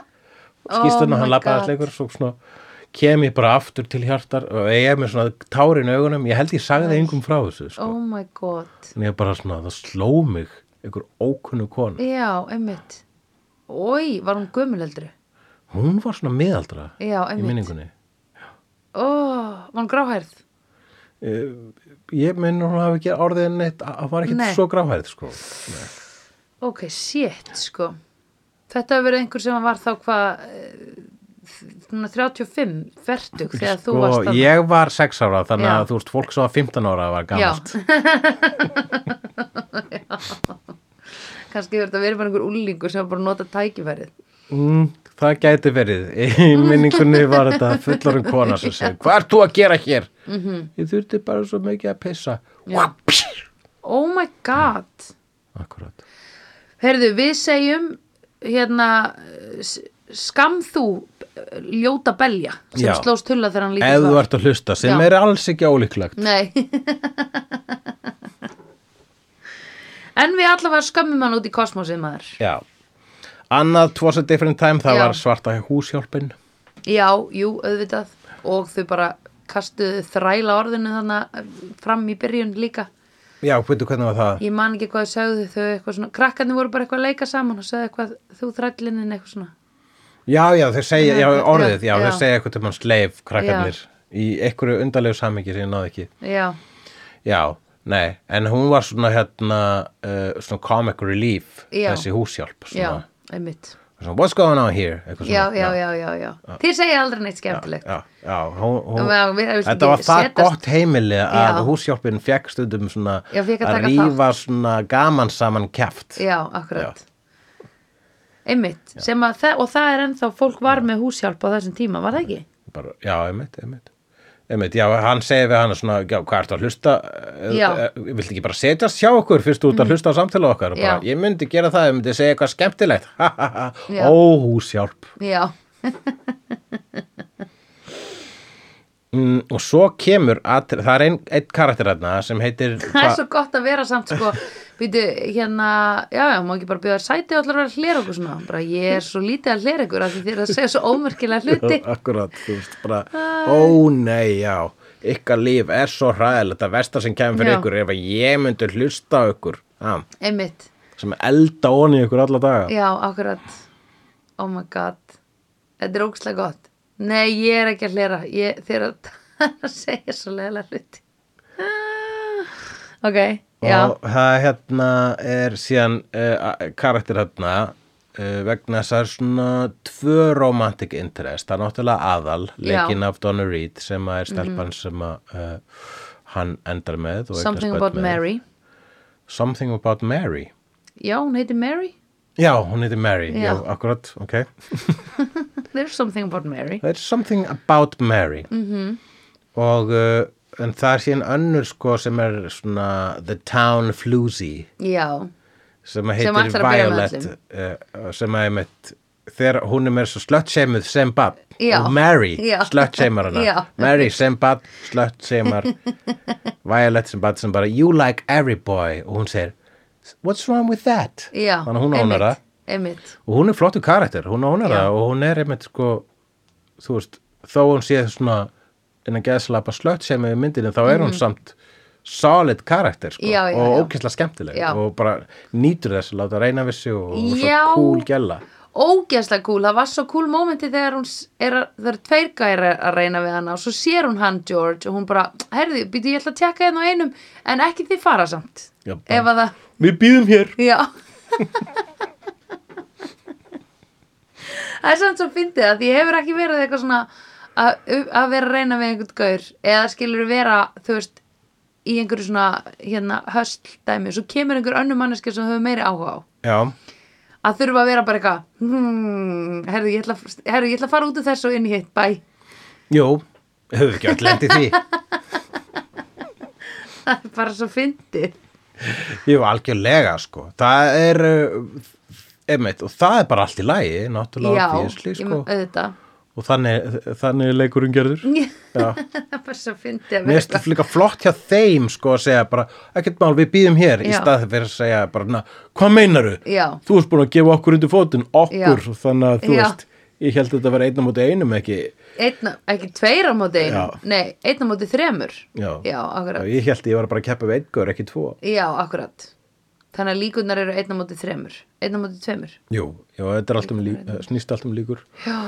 S1: Oh
S2: skýst hann og hann
S1: my
S2: labbaði
S1: God.
S2: alls lengur svo svona kem ég bara aftur til hjartar og ég er með svona tárin augunum ég held ég sagði það yngum frá þessu sko.
S1: oh my god,
S2: en ég bara svona, það sló mig einhver ókunnu konu
S1: já, einmitt oi, var hún gömuleldri
S2: hún var svona miðaldra
S1: já,
S2: í
S1: einmitt,
S2: minningunni
S1: ó, var hún gráhærð
S2: ég minn hún hafi ekki orðið um neitt að var ekkert
S1: Nei.
S2: svo gráhæð sko.
S1: Ok, shit, sko. Þetta hefur verið einhver sem var þá hvað, eh, svona 35, vertug, þegar þú varst
S2: sko,
S1: að...
S2: ég var 6 ára þannig
S1: Já.
S2: að þú veist, fólk svo að 15 ára var gamalt
S1: Kannski hefur þetta verið bara einhver úlingur sem var bara að nota tækifærið.
S2: Mm, það gæti verið. Í minningunni var þetta fullarum kona sem segi, hvað ert þú að gera hér? -hmm. Ég þurfti bara svo mikið að pissa. Vá, pssst.
S1: Oh my god.
S2: Akkurat.
S1: Heyrðu, við segjum, hérna, eh, s- skam þú eh, ljóta belja sem
S2: Já.
S1: slóst tulla þegar hann
S2: Ef
S1: lítið
S2: þú ert að hlusta, sem
S1: Já.
S2: er alls ekki ólíklegt.
S1: Nei. en við allavega skömmum hann út í kosmosið maður.
S2: Já. Annað Twas a Different Time, það
S1: Já.
S2: var svarta húshjálpin.
S1: Já, jú, auðvitað og þau bara kastuðu þræla orðinu þannig fram í byrjun líka
S2: Já, veitu hvernig var það?
S1: ég man ekki hvað þau sögðu þau eitthvað svona krakkarnir voru bara eitthvað að leika saman og sögðu eitthvað þú þrællinin eitthvað svona
S2: Já, já, þau segja, já,
S1: Já,
S2: orðið, já,
S1: já.
S2: þau segja eitthvað til mann sleif krakkarnir í einhverju undarlegu samingi sem ég náði ekki.
S1: já,
S2: Já, nei, en hún var svona hérna, uh, svona comic relief,
S1: Já.
S2: þessi húshjálp, svona.
S1: já, einmitt
S2: svona, what's going on here eitthvað svona.
S1: já, já, já, já, já, þið segja aldrei neitt skemmtilegt
S2: já, já, hún, hún,
S1: Já, við- við-
S2: þetta var það
S1: setast-
S2: gott heimili að
S1: Já.
S2: húsjálpin fekk stundum svona
S1: Já, fékk að
S2: að
S1: taka
S2: rífa svona gaman saman kæft
S1: já, akkurat einmitt, sem að það, og það er ennþá fólk var með húshjálp á þessum tíma, var það ekki?
S2: Bara, já, einmitt, einmitt Einmitt, já, hann segir við hann svona, já, hvað ertu að hlusta
S1: Já. Mm.
S2: Eh, eh, viltu ekki bara setjast hjá okkur fyrst út að hlusta á samtala okkar Og bara,
S1: Já.
S2: ég myndi gera það, ég myndi segja eitthvað skemmtilegt Ha, ha, ha.
S1: Já.
S2: ó húsjálp
S1: Já
S2: Mm, og svo kemur að, það er einn ein karakter þarna sem heitir
S1: það er svo gott að vera samt sko býtu hérna, já já, má ekki bara bjóða þér sæti og allar vera að hlera okkur svona bara ég er svo lítið að hlera ykkur af því þér er að segja svo ómerkilega hluti
S2: Akkurat, þú veist, bara, ó nei, já, ykkar líf er svo hræðilegt að versta sem kemur fyrir
S1: Já.
S2: ykkur ef að ég myndi hlusta á ykkur, já,
S1: einmitt,
S2: sem elda onni ykkur alla daga.
S1: já, akkurat oh my god þetta er ógslag gott nei, ég er ekki að hlera ég, þér er að segja svo leðilega hluti ok, já
S2: Og það hérna er síðan uh, karakter hérna uh, vegna þess að það er svona tvö romantic interest, það er náttúrulega aðal,
S1: Já. Mhm.
S2: leikinn af Donna Reed sem að er stelpan sem að uh, hann endar með og eignast
S1: something
S2: börn
S1: about
S2: með.
S1: Mary
S2: Something about Mary.
S1: já, hún heitir Mary
S2: Já, hún heitir Mary, já,
S1: Já.
S2: akkurat, ok.
S1: there's something about Mary
S2: There's something about Mary -hmm.
S1: Mhm.
S2: og uh, en það er síðan önnur sko sem er svona The Town Floozy
S1: já,
S2: sem
S1: Sem
S2: heitir
S1: ætlar að byrja með
S2: Violet uh, sem að einmitt þegar hún er með svo slöttsheimið sem bann
S1: Já.
S2: og Mary
S1: Já.
S2: slöttsheimar hana
S1: Já.
S2: Mary sem bann, slöttsheimar Violet sem bann sem bara You like every boy og hún segir What's wrong with that?
S1: já
S2: Þannig að hún ánara það
S1: einmitt, einmitt
S2: og hún er flottu karakter, hún ánar
S1: Já.
S2: það og hún er einmitt sko þú veist, þó hún sé svona innan geðslapa slött sem er myndinu þá er hún samt solid karakter sko,
S1: Mhm. Já, já, já.
S2: og ókesslega skemmtileg
S1: Já.
S2: og bara nýtur þess að láta reyna við sig og, og svo
S1: Já.
S2: cool gæla
S1: ógeðslega cool, það var svo cool momenti þegar hún s- er að, það eru tveir gæri að reyna við hana og svo sér hún hann George og hún bara, herði, býtu ég ætla að tjekka hérna á einum en ekki þið fara samt
S2: Já, bara-
S1: ef að það,
S2: Við býðum hér
S1: já það er samt svo fyndið að því hefur ekki verið eitthvað svona að, að vera að reyna við einhvern gaur eða skilur vera, þú veist í einhverju svona, hérna, höstl dæmi og svo kemur einhver önnur manneski sem þú hefur meiri áhuga á
S2: Já,
S1: að þurfa að vera bara eitthvað hmm, herru, ég ætla, herru, ég ætla að fara út úr þessu og inn í hitt, bæ
S2: jú, höfum ekki öll lent í því
S1: það er bara svo fyndið
S2: Jú, algjörlega sko það er uh, einmitt, og það er bara allt í lagi náttúrulega obviously,
S1: ég-
S2: sko.
S1: auðvitað
S2: og þannig, þannig er leikurinn gerður Já.
S1: það er bara svo fyndið að
S2: Mér
S1: vera
S2: finnst líka flott hjá þeim sko að segja bara, ekkert mál, við býðum hér í
S1: Já.
S2: stað fyrir að segja bara, na, hvað meinaru?
S1: Já.
S2: Þú ert búin að gefa okkur undir fótinn, okkur,
S1: Já.
S2: þannig að þú
S1: Já.
S2: veist, ég held að þetta vera einn á móti einum ekki,
S1: einna, ekki tveir á móti einum,
S2: Já.
S1: nei, einn á móti þremur
S2: já,
S1: já, akkurat,
S2: ég held að ég var bara að keppa við einhver, ekki tvo.
S1: já, akkurat þannig að líkunar eru einn á móti þremur einn á móti tveimur
S2: Jú, já, þetta er allt um líkur, snýst allt um líkur.
S1: já,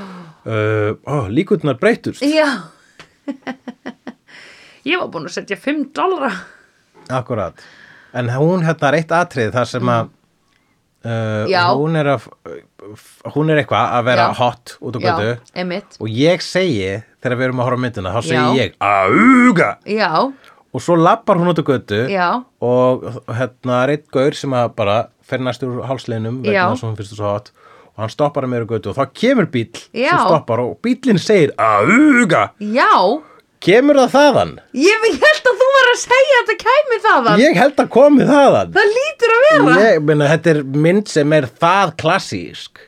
S2: Uh, ó, líkurnar breytust,
S1: já. ég var búin að setja 5 dólara
S2: akkurat, en hún hérna er eitt atrið þar sem að, Uh,
S1: Mm. Já.
S2: hún er að hún er eitthvað að vera
S1: Já.
S2: hot út og götu
S1: já, emitt
S2: og ég segi þegar við erum að horfa á myndina þá segi
S1: Já.
S2: ég auga
S1: já,
S2: og svo lappar hún út á götu
S1: já,
S2: og hérna er einn gaur sem að bara fer næstur úr hálslinum
S1: Já.
S2: vegna þess að hún finnst svo hot og hann stoppar að mér á götu og þá kemur bíll
S1: Já.
S2: sem stoppar og bíllinn segir auga
S1: já
S2: kemur það þaðan
S1: Ég ég held að þú var að segja að þetta kæmi þaðan
S2: ég held að komi þaðan
S1: Það lítur að vera
S2: ég meina þetta er mynd sem er það klassísk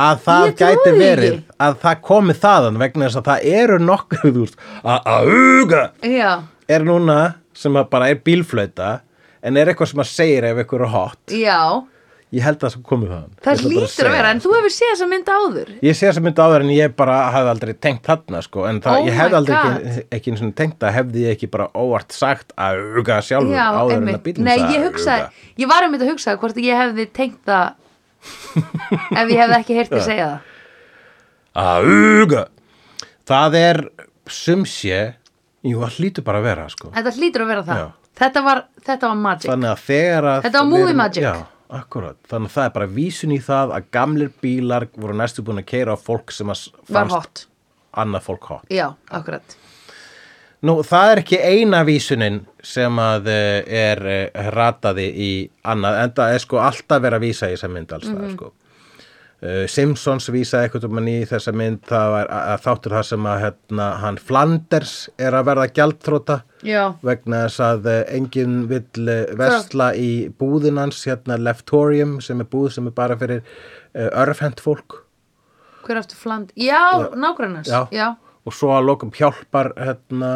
S2: að það
S1: Ég trúi
S2: gæti
S1: því
S2: verið
S1: ekki.
S2: að það komi þaðan vegna þess að það eru nokkuð þú veist, að auga
S1: Já,
S2: er núna sem að bara er bílflöta en er eitthvað sem að segir ef ykkur er hot
S1: já
S2: ég held að það komið þaðan Ég
S1: Það
S2: ætla bara
S1: lítur að
S2: segja
S1: vera En
S2: það.
S1: þú hefur séð þessa mynd áður
S2: ég sé þess að mynda áður en ég bara hafði aldrei tengt þarna sko en það,
S1: Oh
S2: ég hefði
S1: my
S2: aldrei
S1: God.
S2: ekki, ekki einu sinni tengt það hefði ég ekki bara óvart sagt að auga sjálfur
S1: Já,
S2: áður en að
S1: einmitt
S2: bílum
S1: Nei, ég
S2: sagði að auga.
S1: hugsaði Ég var einmitt að hugsa hvort ég hefði tengt það Ef ég hefði ekki heyrt að segja það
S2: að auga það er sumsé jú, það hlýtur bara að vera sko
S1: Þetta hlýtur að vera það
S2: Já.
S1: þetta var, þetta var magic
S2: þannig að þegar að
S1: Þetta var
S2: við
S1: movie
S2: erum-
S1: magic.
S2: já, akkurat, þannig að það er bara vísun í það að gamlir bílar voru næstu búin að keira á fólk sem að s-
S1: Var
S2: fannst
S1: hot
S2: annað fólk hot
S1: Já, akkurat
S2: nú það er ekki eina vísunin sem að eh, er eh, rataði í annað en það er sko alltaf verið að vísa í þessa mynd alls það
S1: Mhm.
S2: sko Uh, Simpsons vísaði eitthvað um hann í þessa mynd það var að, að þáttur það sem að hérna, hann Flanders er að verða gjaldþróta
S1: Já,
S2: vegna þess að eh, enginn vill eh, versla í búðin hans hérna Leftorium sem er búð sem er bara fyrir uh, örfhent fólk
S1: hver aftur fland Já, nágrannars
S2: Já.
S1: Já,
S2: og svo að lokum hjálpar hérna,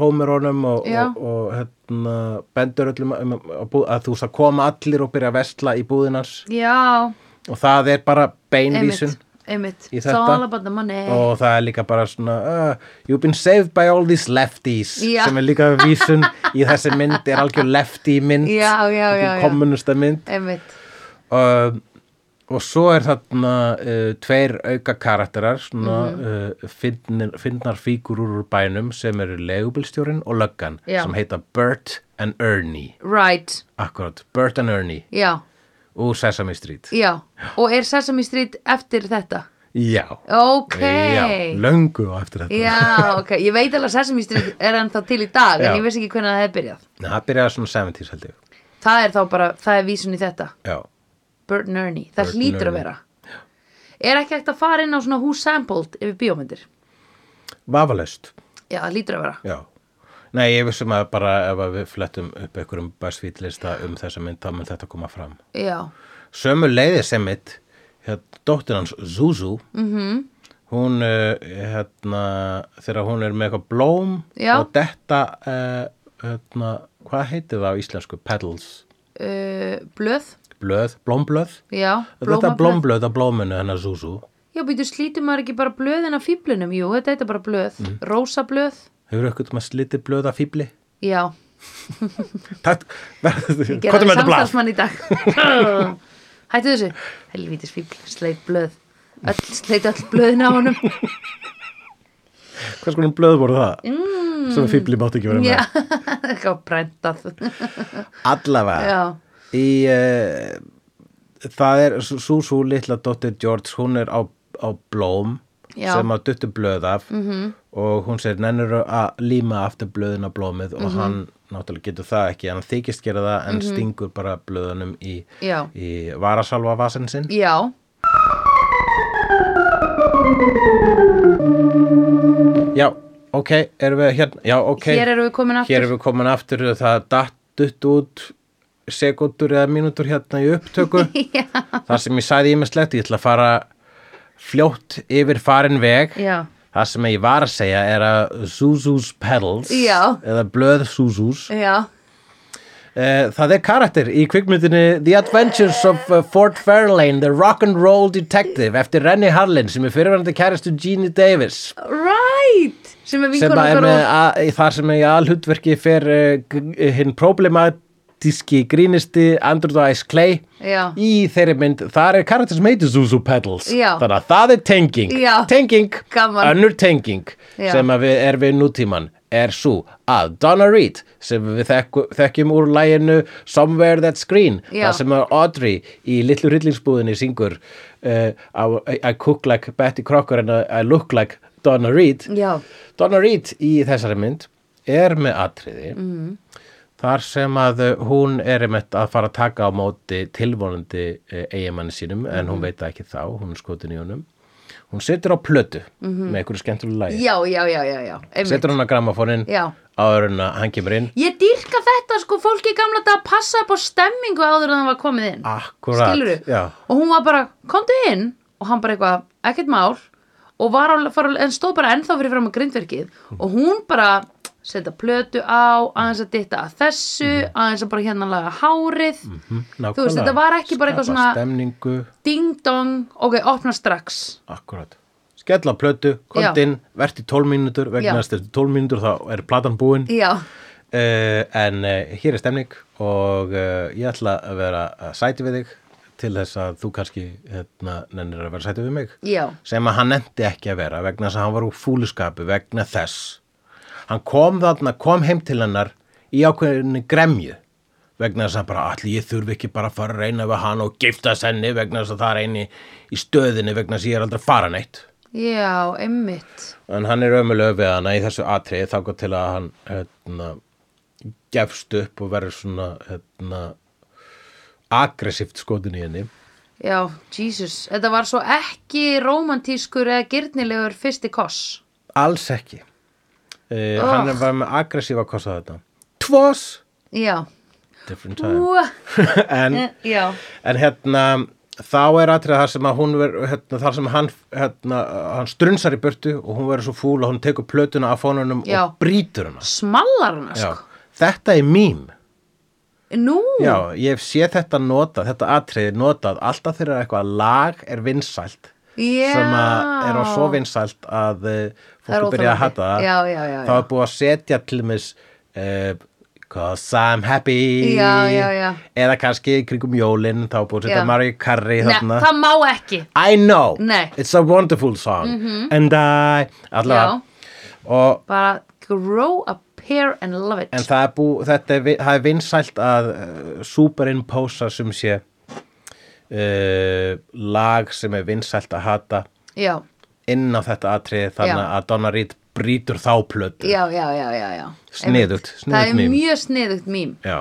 S2: Homer honum og,
S1: Já.
S2: og, og hérna, bendur öllum um, að, bú- að þú veist að koma allir og byrja að vesla í búðinans
S1: já,
S2: og það er bara beinvísun
S1: einmitt, Eh. einmitt.
S2: í
S1: It's
S2: þetta.
S1: all about the money
S2: og það er líka bara svona uh, you've been saved by all these lefties
S1: Já.
S2: sem er líka vísun í þessi mynd er algjör lefty mynd
S1: Já, já, já, já.
S2: kommunusta mynd
S1: einmitt,
S2: uh, og svo er þarna uh, tveir auka karakterar svona
S1: Mhm.
S2: uh, finnar, finnar fígurur úr bænum sem eru legubilstjórin og löggan
S1: Já.
S2: sem heita Bert and Ernie
S1: right
S2: akkurat, Bert and Ernie
S1: já,
S2: úr Sesame Street
S1: já, og er Sesame Street eftir þetta?
S2: já,
S1: ok
S2: já, löngu á eftir þetta
S1: Já, ok, ég veit alveg að Sesame Street er ennþá til í dag
S2: Já.
S1: en ég veist ekki hvernig það hefði byrjað
S2: Nei, það byrjaði svona 70s held ég
S1: Það er þá bara, það er vísun í þetta
S2: já
S1: Bert and Ernie, það
S2: Bert and
S1: hlýtur að
S2: Ernie.
S1: vera Er ekki hægt að fara inn á svona Who Sampled yfir bíómyndir?
S2: Vafalaust,
S1: Já, það hlýtur að vera
S2: já. Nei, ég vissum að bara ef að við flettum upp einhverjum basvítlista um þessa mynd, þá mun þetta koma fram.
S1: Já,
S2: Sömu leiði sem mitt, hérna, dóttir hans Zuzu, mm
S1: Mhm.
S2: -hmm. hún, eh, hérna, þegar hún er með eitthvað blóm
S1: Já.
S2: og detta, eh, hérna, hvað heitir það á íslensku? Petals,
S1: uh, blöð
S2: blöð, blómblöð?
S1: Já,
S2: Þetta
S1: blómablöð.
S2: er blómblöð á blóminu hennar Zuzu.
S1: Já, býtu, slítur maður ekki bara blöðin af fíblunum? Jú, þetta heitir bara blöð
S2: Mhm.
S1: mm. Rósa blöð,
S2: Hefur eitthvað maður slitið blöð af fíbli?
S1: já
S2: Takk,
S1: Ég
S2: verður,
S1: gerði samstarfsmann í dag Hættu þessu Helvítis fíbl, sleit blöð öll, Sleit öll blöðin á honum
S2: hvers konar blöð voru það mm. sem fíbli mátt ekki vera með
S1: Já, eitthvað prentað
S2: allavega
S1: Já,
S2: í, uh, það er Súsú litla dóttir George hún er á, á blóm
S1: Já. Mhm.
S2: sem að duttu blöð af -hmm. og hún segir nennir að líma aftur blöðin á blómið
S1: Mhm.
S2: og hann náttúrulega getur það ekki, hann þykist gera það en stingur bara blöðunum í,
S1: Já.
S2: í varasalva vasen sinn
S1: já
S2: já, ok, erum við hérna já, ok,
S1: Hér erum við komin aftur
S2: Hér erum við komin aftur það datt út sekundur eða mínútur hérna í upptöku þar sem ég sæði ímislegt ég ætla að fara fljótt yfir farin veg
S1: Já.
S2: það sem ég var að segja er að Zuzu's Pedals
S1: Já.
S2: eða blöð Zuzu's
S1: Já,
S2: Eh, Það er karakter í kvikmyndinni The Adventures of eh, Fort Fairlane The Rock'n'Roll Detective eftir Rennie Harlin sem er fyrirverandi kæristu Jeannie Davis
S1: right Sem er
S2: sem
S1: vinkona
S2: að er
S1: okkar
S2: með
S1: og
S2: að, í þar sem í alhutverki fer uh, hinn problematíski grínisti Andrew Dice Clay
S1: Já.
S2: í þeirri mynd, þar er karakter sem heitir Zuzu Pedals,
S1: Já.
S2: þannig að það er tenging
S1: Já.
S2: tenging,
S1: Gaman.
S2: önnur tenging
S1: Já.
S2: sem að við er við nútíman er svo að Donna Reed sem við þekku, þekkjum úr læginu Somewhere That's Green
S1: Já.
S2: það sem að Audrey í Litlu Rillingsbúðinni syngur uh, I, I cook like Betty Crocker and I, I look like Donna Reed
S1: Já.
S2: Donna Reed í þessari mynd er með atriði
S1: Mhm.
S2: þar sem að uh, hún er einmitt að fara að taka á móti tilvonandi uh, eigimanni sínum en
S1: Mhm.
S2: hún veit það ekki þá, hún er skotin í honum hún setur á plötu
S1: Mhm.
S2: með einhverju skemmtulegu lagi
S1: Já, já, já, já, já Einmitt.
S2: setur hún á gramafónin
S1: Já.
S2: áður en að hann kemur inn
S1: Ég dýrka þetta sko fólki í gamla dag að passa upp á stemmingu áður en það var komið inn
S2: Akkúrat,
S1: Skilurðu?
S2: já.
S1: Og hún var bara, komdu inn og hann bara eitthvað, ekkert mál og var á, fara, en stóð bara ennþá fyrir fram á grindverkið og hún bara setja plötu á, aðeins að ditta að þessu,
S2: Mhm.
S1: aðeins að bara hérna laga hárið Þú veist, þetta var ekki bara eitthvað
S2: Skapa
S1: svona-
S2: stemningu,
S1: ding dong, ok, opna strax
S2: akkurat skella á plötu, komd
S1: Já.
S2: inn, verti 12 mínútur
S1: Já.
S2: vegna þess að 12 mínútur þá er platan búin
S1: Já,
S2: Uh, en uh, hér er stemning og uh, ég ætla að vera að sæti við þig til þess að þú kannski hérna, nennir að vera sæti við mig
S1: Já.
S2: sem að hann nefndi ekki að vera vegna þess að hann var úr fúluskapu vegna þess hann kom þarna, kom heim til hennar í ákveðinni gremju vegna þess að bara allir ég þurfi ekki bara að fara að reyna við hann og giftast henni vegna þess að það er eini í stöðinni vegna þess að ég er aldrei að fara neitt
S1: já, einmitt
S2: en hann er ömulega við hana í þessu atrið þá til að hann hérna, gefst upp og verður svona hérna, aggressíft skotin í henni
S1: Já, Jesus, þetta var svo ekki romantískur eða gyrnilegur fyrsti koss
S2: alls ekki uh,
S1: Ah.
S2: hann var með aggressífa kosta þetta tvos
S1: Já,
S2: different time
S1: Ú,
S2: en,
S1: já,
S2: en hérna þá er aðrið þar sem að hún ver, hérna, þar sem hann, hérna, hann strunsar í burtu og hún verður svo fúl og hún tekur plötuna af fónunum
S1: Já.
S2: og brýtur hana
S1: smallar hana
S2: Já.
S1: sko
S2: þetta er mím
S1: nú,
S2: Já, ég hef séð þetta notað, þetta atriði notað alltaf þegar eitthvað lag er vinsælt
S1: Já.
S2: sem að er á svo vinsælt að eh,
S1: Það er
S2: fólk byrja að
S1: óþolandi.
S2: hata það
S1: Já, já, já,
S2: þá
S1: já.
S2: er búið að setja til mis uh, Cause I'm happy
S1: Já, já, já.
S2: eða kannski í kringum jólin þá er búið að
S1: Já.
S2: setja Mario Curry
S1: ne,
S2: þarna
S1: það má ekki
S2: I know,
S1: Nei. Mhm.
S2: it's a wonderful song and I allavega,
S1: Já.
S2: og
S1: bara grow a pair and love it
S2: en það er, bú, þetta er, vi- það er vinsælt að uh, superimposa sem sé uh, lag sem er vinsælt að hata
S1: já,
S2: inn á þetta atrið þannig
S1: Já.
S2: að Donna Reed brýtur þá plötu
S1: já, já, já, já, já.
S2: Sniðugt,
S1: Einmitt.
S2: sniðugt
S1: það er
S2: mím.
S1: mjög sniðugt mím
S2: Já,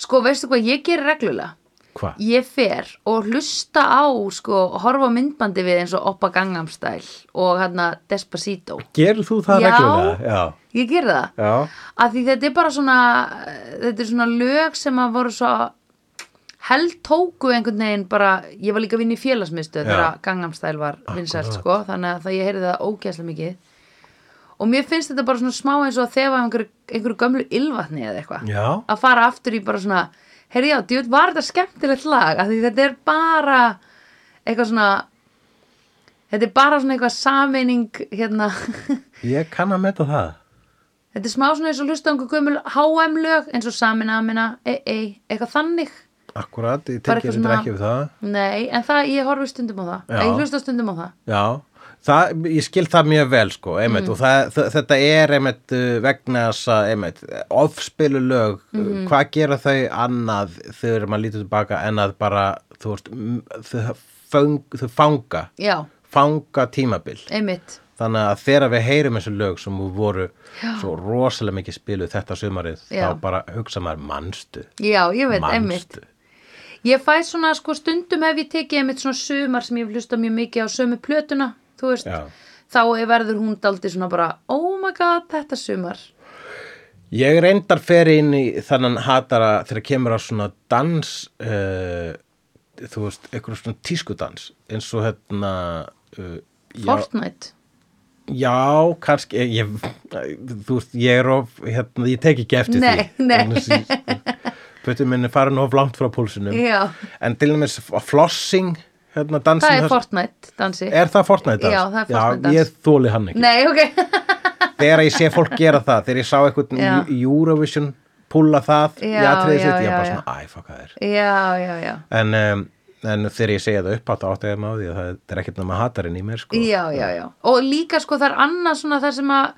S1: sko, veistu hvað ég gerir reglulega
S2: hva?
S1: ég fer og hlusta á sko, horfa á myndbandi við eins og Oppa Gangnam Style og hérna Despacito
S2: Gerir þú það
S1: Já.
S2: reglulega? Já,
S1: ég gerði það
S2: já,
S1: að því þetta er bara svona þetta er svona lög sem að voru svo held tóku einhvern veginn bara, ég var líka að vinna í félagsmiðstöð þegar
S2: Já.
S1: að Gangnam Style var vinsælt
S2: Akkurat.
S1: sko, þannig að það ég heyrði það ógæslega mikið og mér finnst þetta bara svona smá eins og að þefa einhverju, einhverju gömlu ylvatni eða eitthvað
S2: já,
S1: að fara aftur í bara svona heyrði já, djúið, var þetta skemmtilegt lag að því þetta er bara eitthvað svona þetta er bara svona eitthvað sameining hérna
S2: ég kann að meta það
S1: Þetta er smá svona eins og hlusta á einhver gömul HM-lög eins og samin amina, ei, ei, eitthvað þannig.
S2: Akkurat, ég
S1: Bara eitthvað
S2: tekir þetta
S1: svona-
S2: ekki við það
S1: Nei, en það, ég horfi stundum á það.
S2: Já.
S1: Ég hlusta stundum á það.
S2: Já, það, ég skil það mjög vel sko, einmitt,
S1: Mm.
S2: og það, þ- þetta er einmitt uh, vegna þess að einmitt, ofspilu lög,
S1: Mhm.
S2: hvað gera þau annað þegar maður lítur tilbaka en að bara, þú veist, m- þau, föng, þau fanga,
S1: Já,
S2: fanga tímabil.
S1: einmitt.
S2: Þannig að þegar við heyrum þessu lög sem voru svo rosalega mikið spiluð þetta sumarið,
S1: Já.
S2: þá bara hugsa maður mannstu,
S1: Já, ég veit, einmitt.
S2: mannstu.
S1: Ég fæ svona, sko, stundum hef ég tekið einmitt svona sumar sem ég hef hlusta mjög mikið á sömu plötuna, þú veist.
S2: Já.
S1: Þá er- verður hún daldi svona bara, oh my god, þetta sumar.
S2: Ég reyndar fer inn í þannan hatara þegar kemur á svona dans uh, þú veist, eitthvað svona tískudans eins og hérna uh, já,
S1: Fortnite.
S2: já, kannski eh, ég, ég, þú veist, ég er of hérna, ég tek ekki eftir
S1: Nei,
S2: því
S1: nei.
S2: Pötu minn er farin of langt frá púlsinum
S1: Já.
S2: en til dæmis flossing hérna dansin
S1: Það er
S2: þar-
S1: Fortnite, dansi.
S2: er það Fortnite dans?
S1: Já, það er Fortnite dans.
S2: Já, ég þóli hann ekki
S1: Nei, ok.
S2: þegar ég sé fólk gera það þegar ég sá eitthvað
S1: Já.
S2: Eurovision púla það í
S1: Já,
S2: atriðið
S1: já,
S2: sitt ég
S1: já,
S2: bara
S1: já.
S2: svona, æ, fuck það er
S1: já, já, já.
S2: en, um, en þegar ég segja það upp átt átt eða maður því að það er ekkert nema hatarinn í mér sko.
S1: já, já, já, og líka sko það er annað svona þar sem að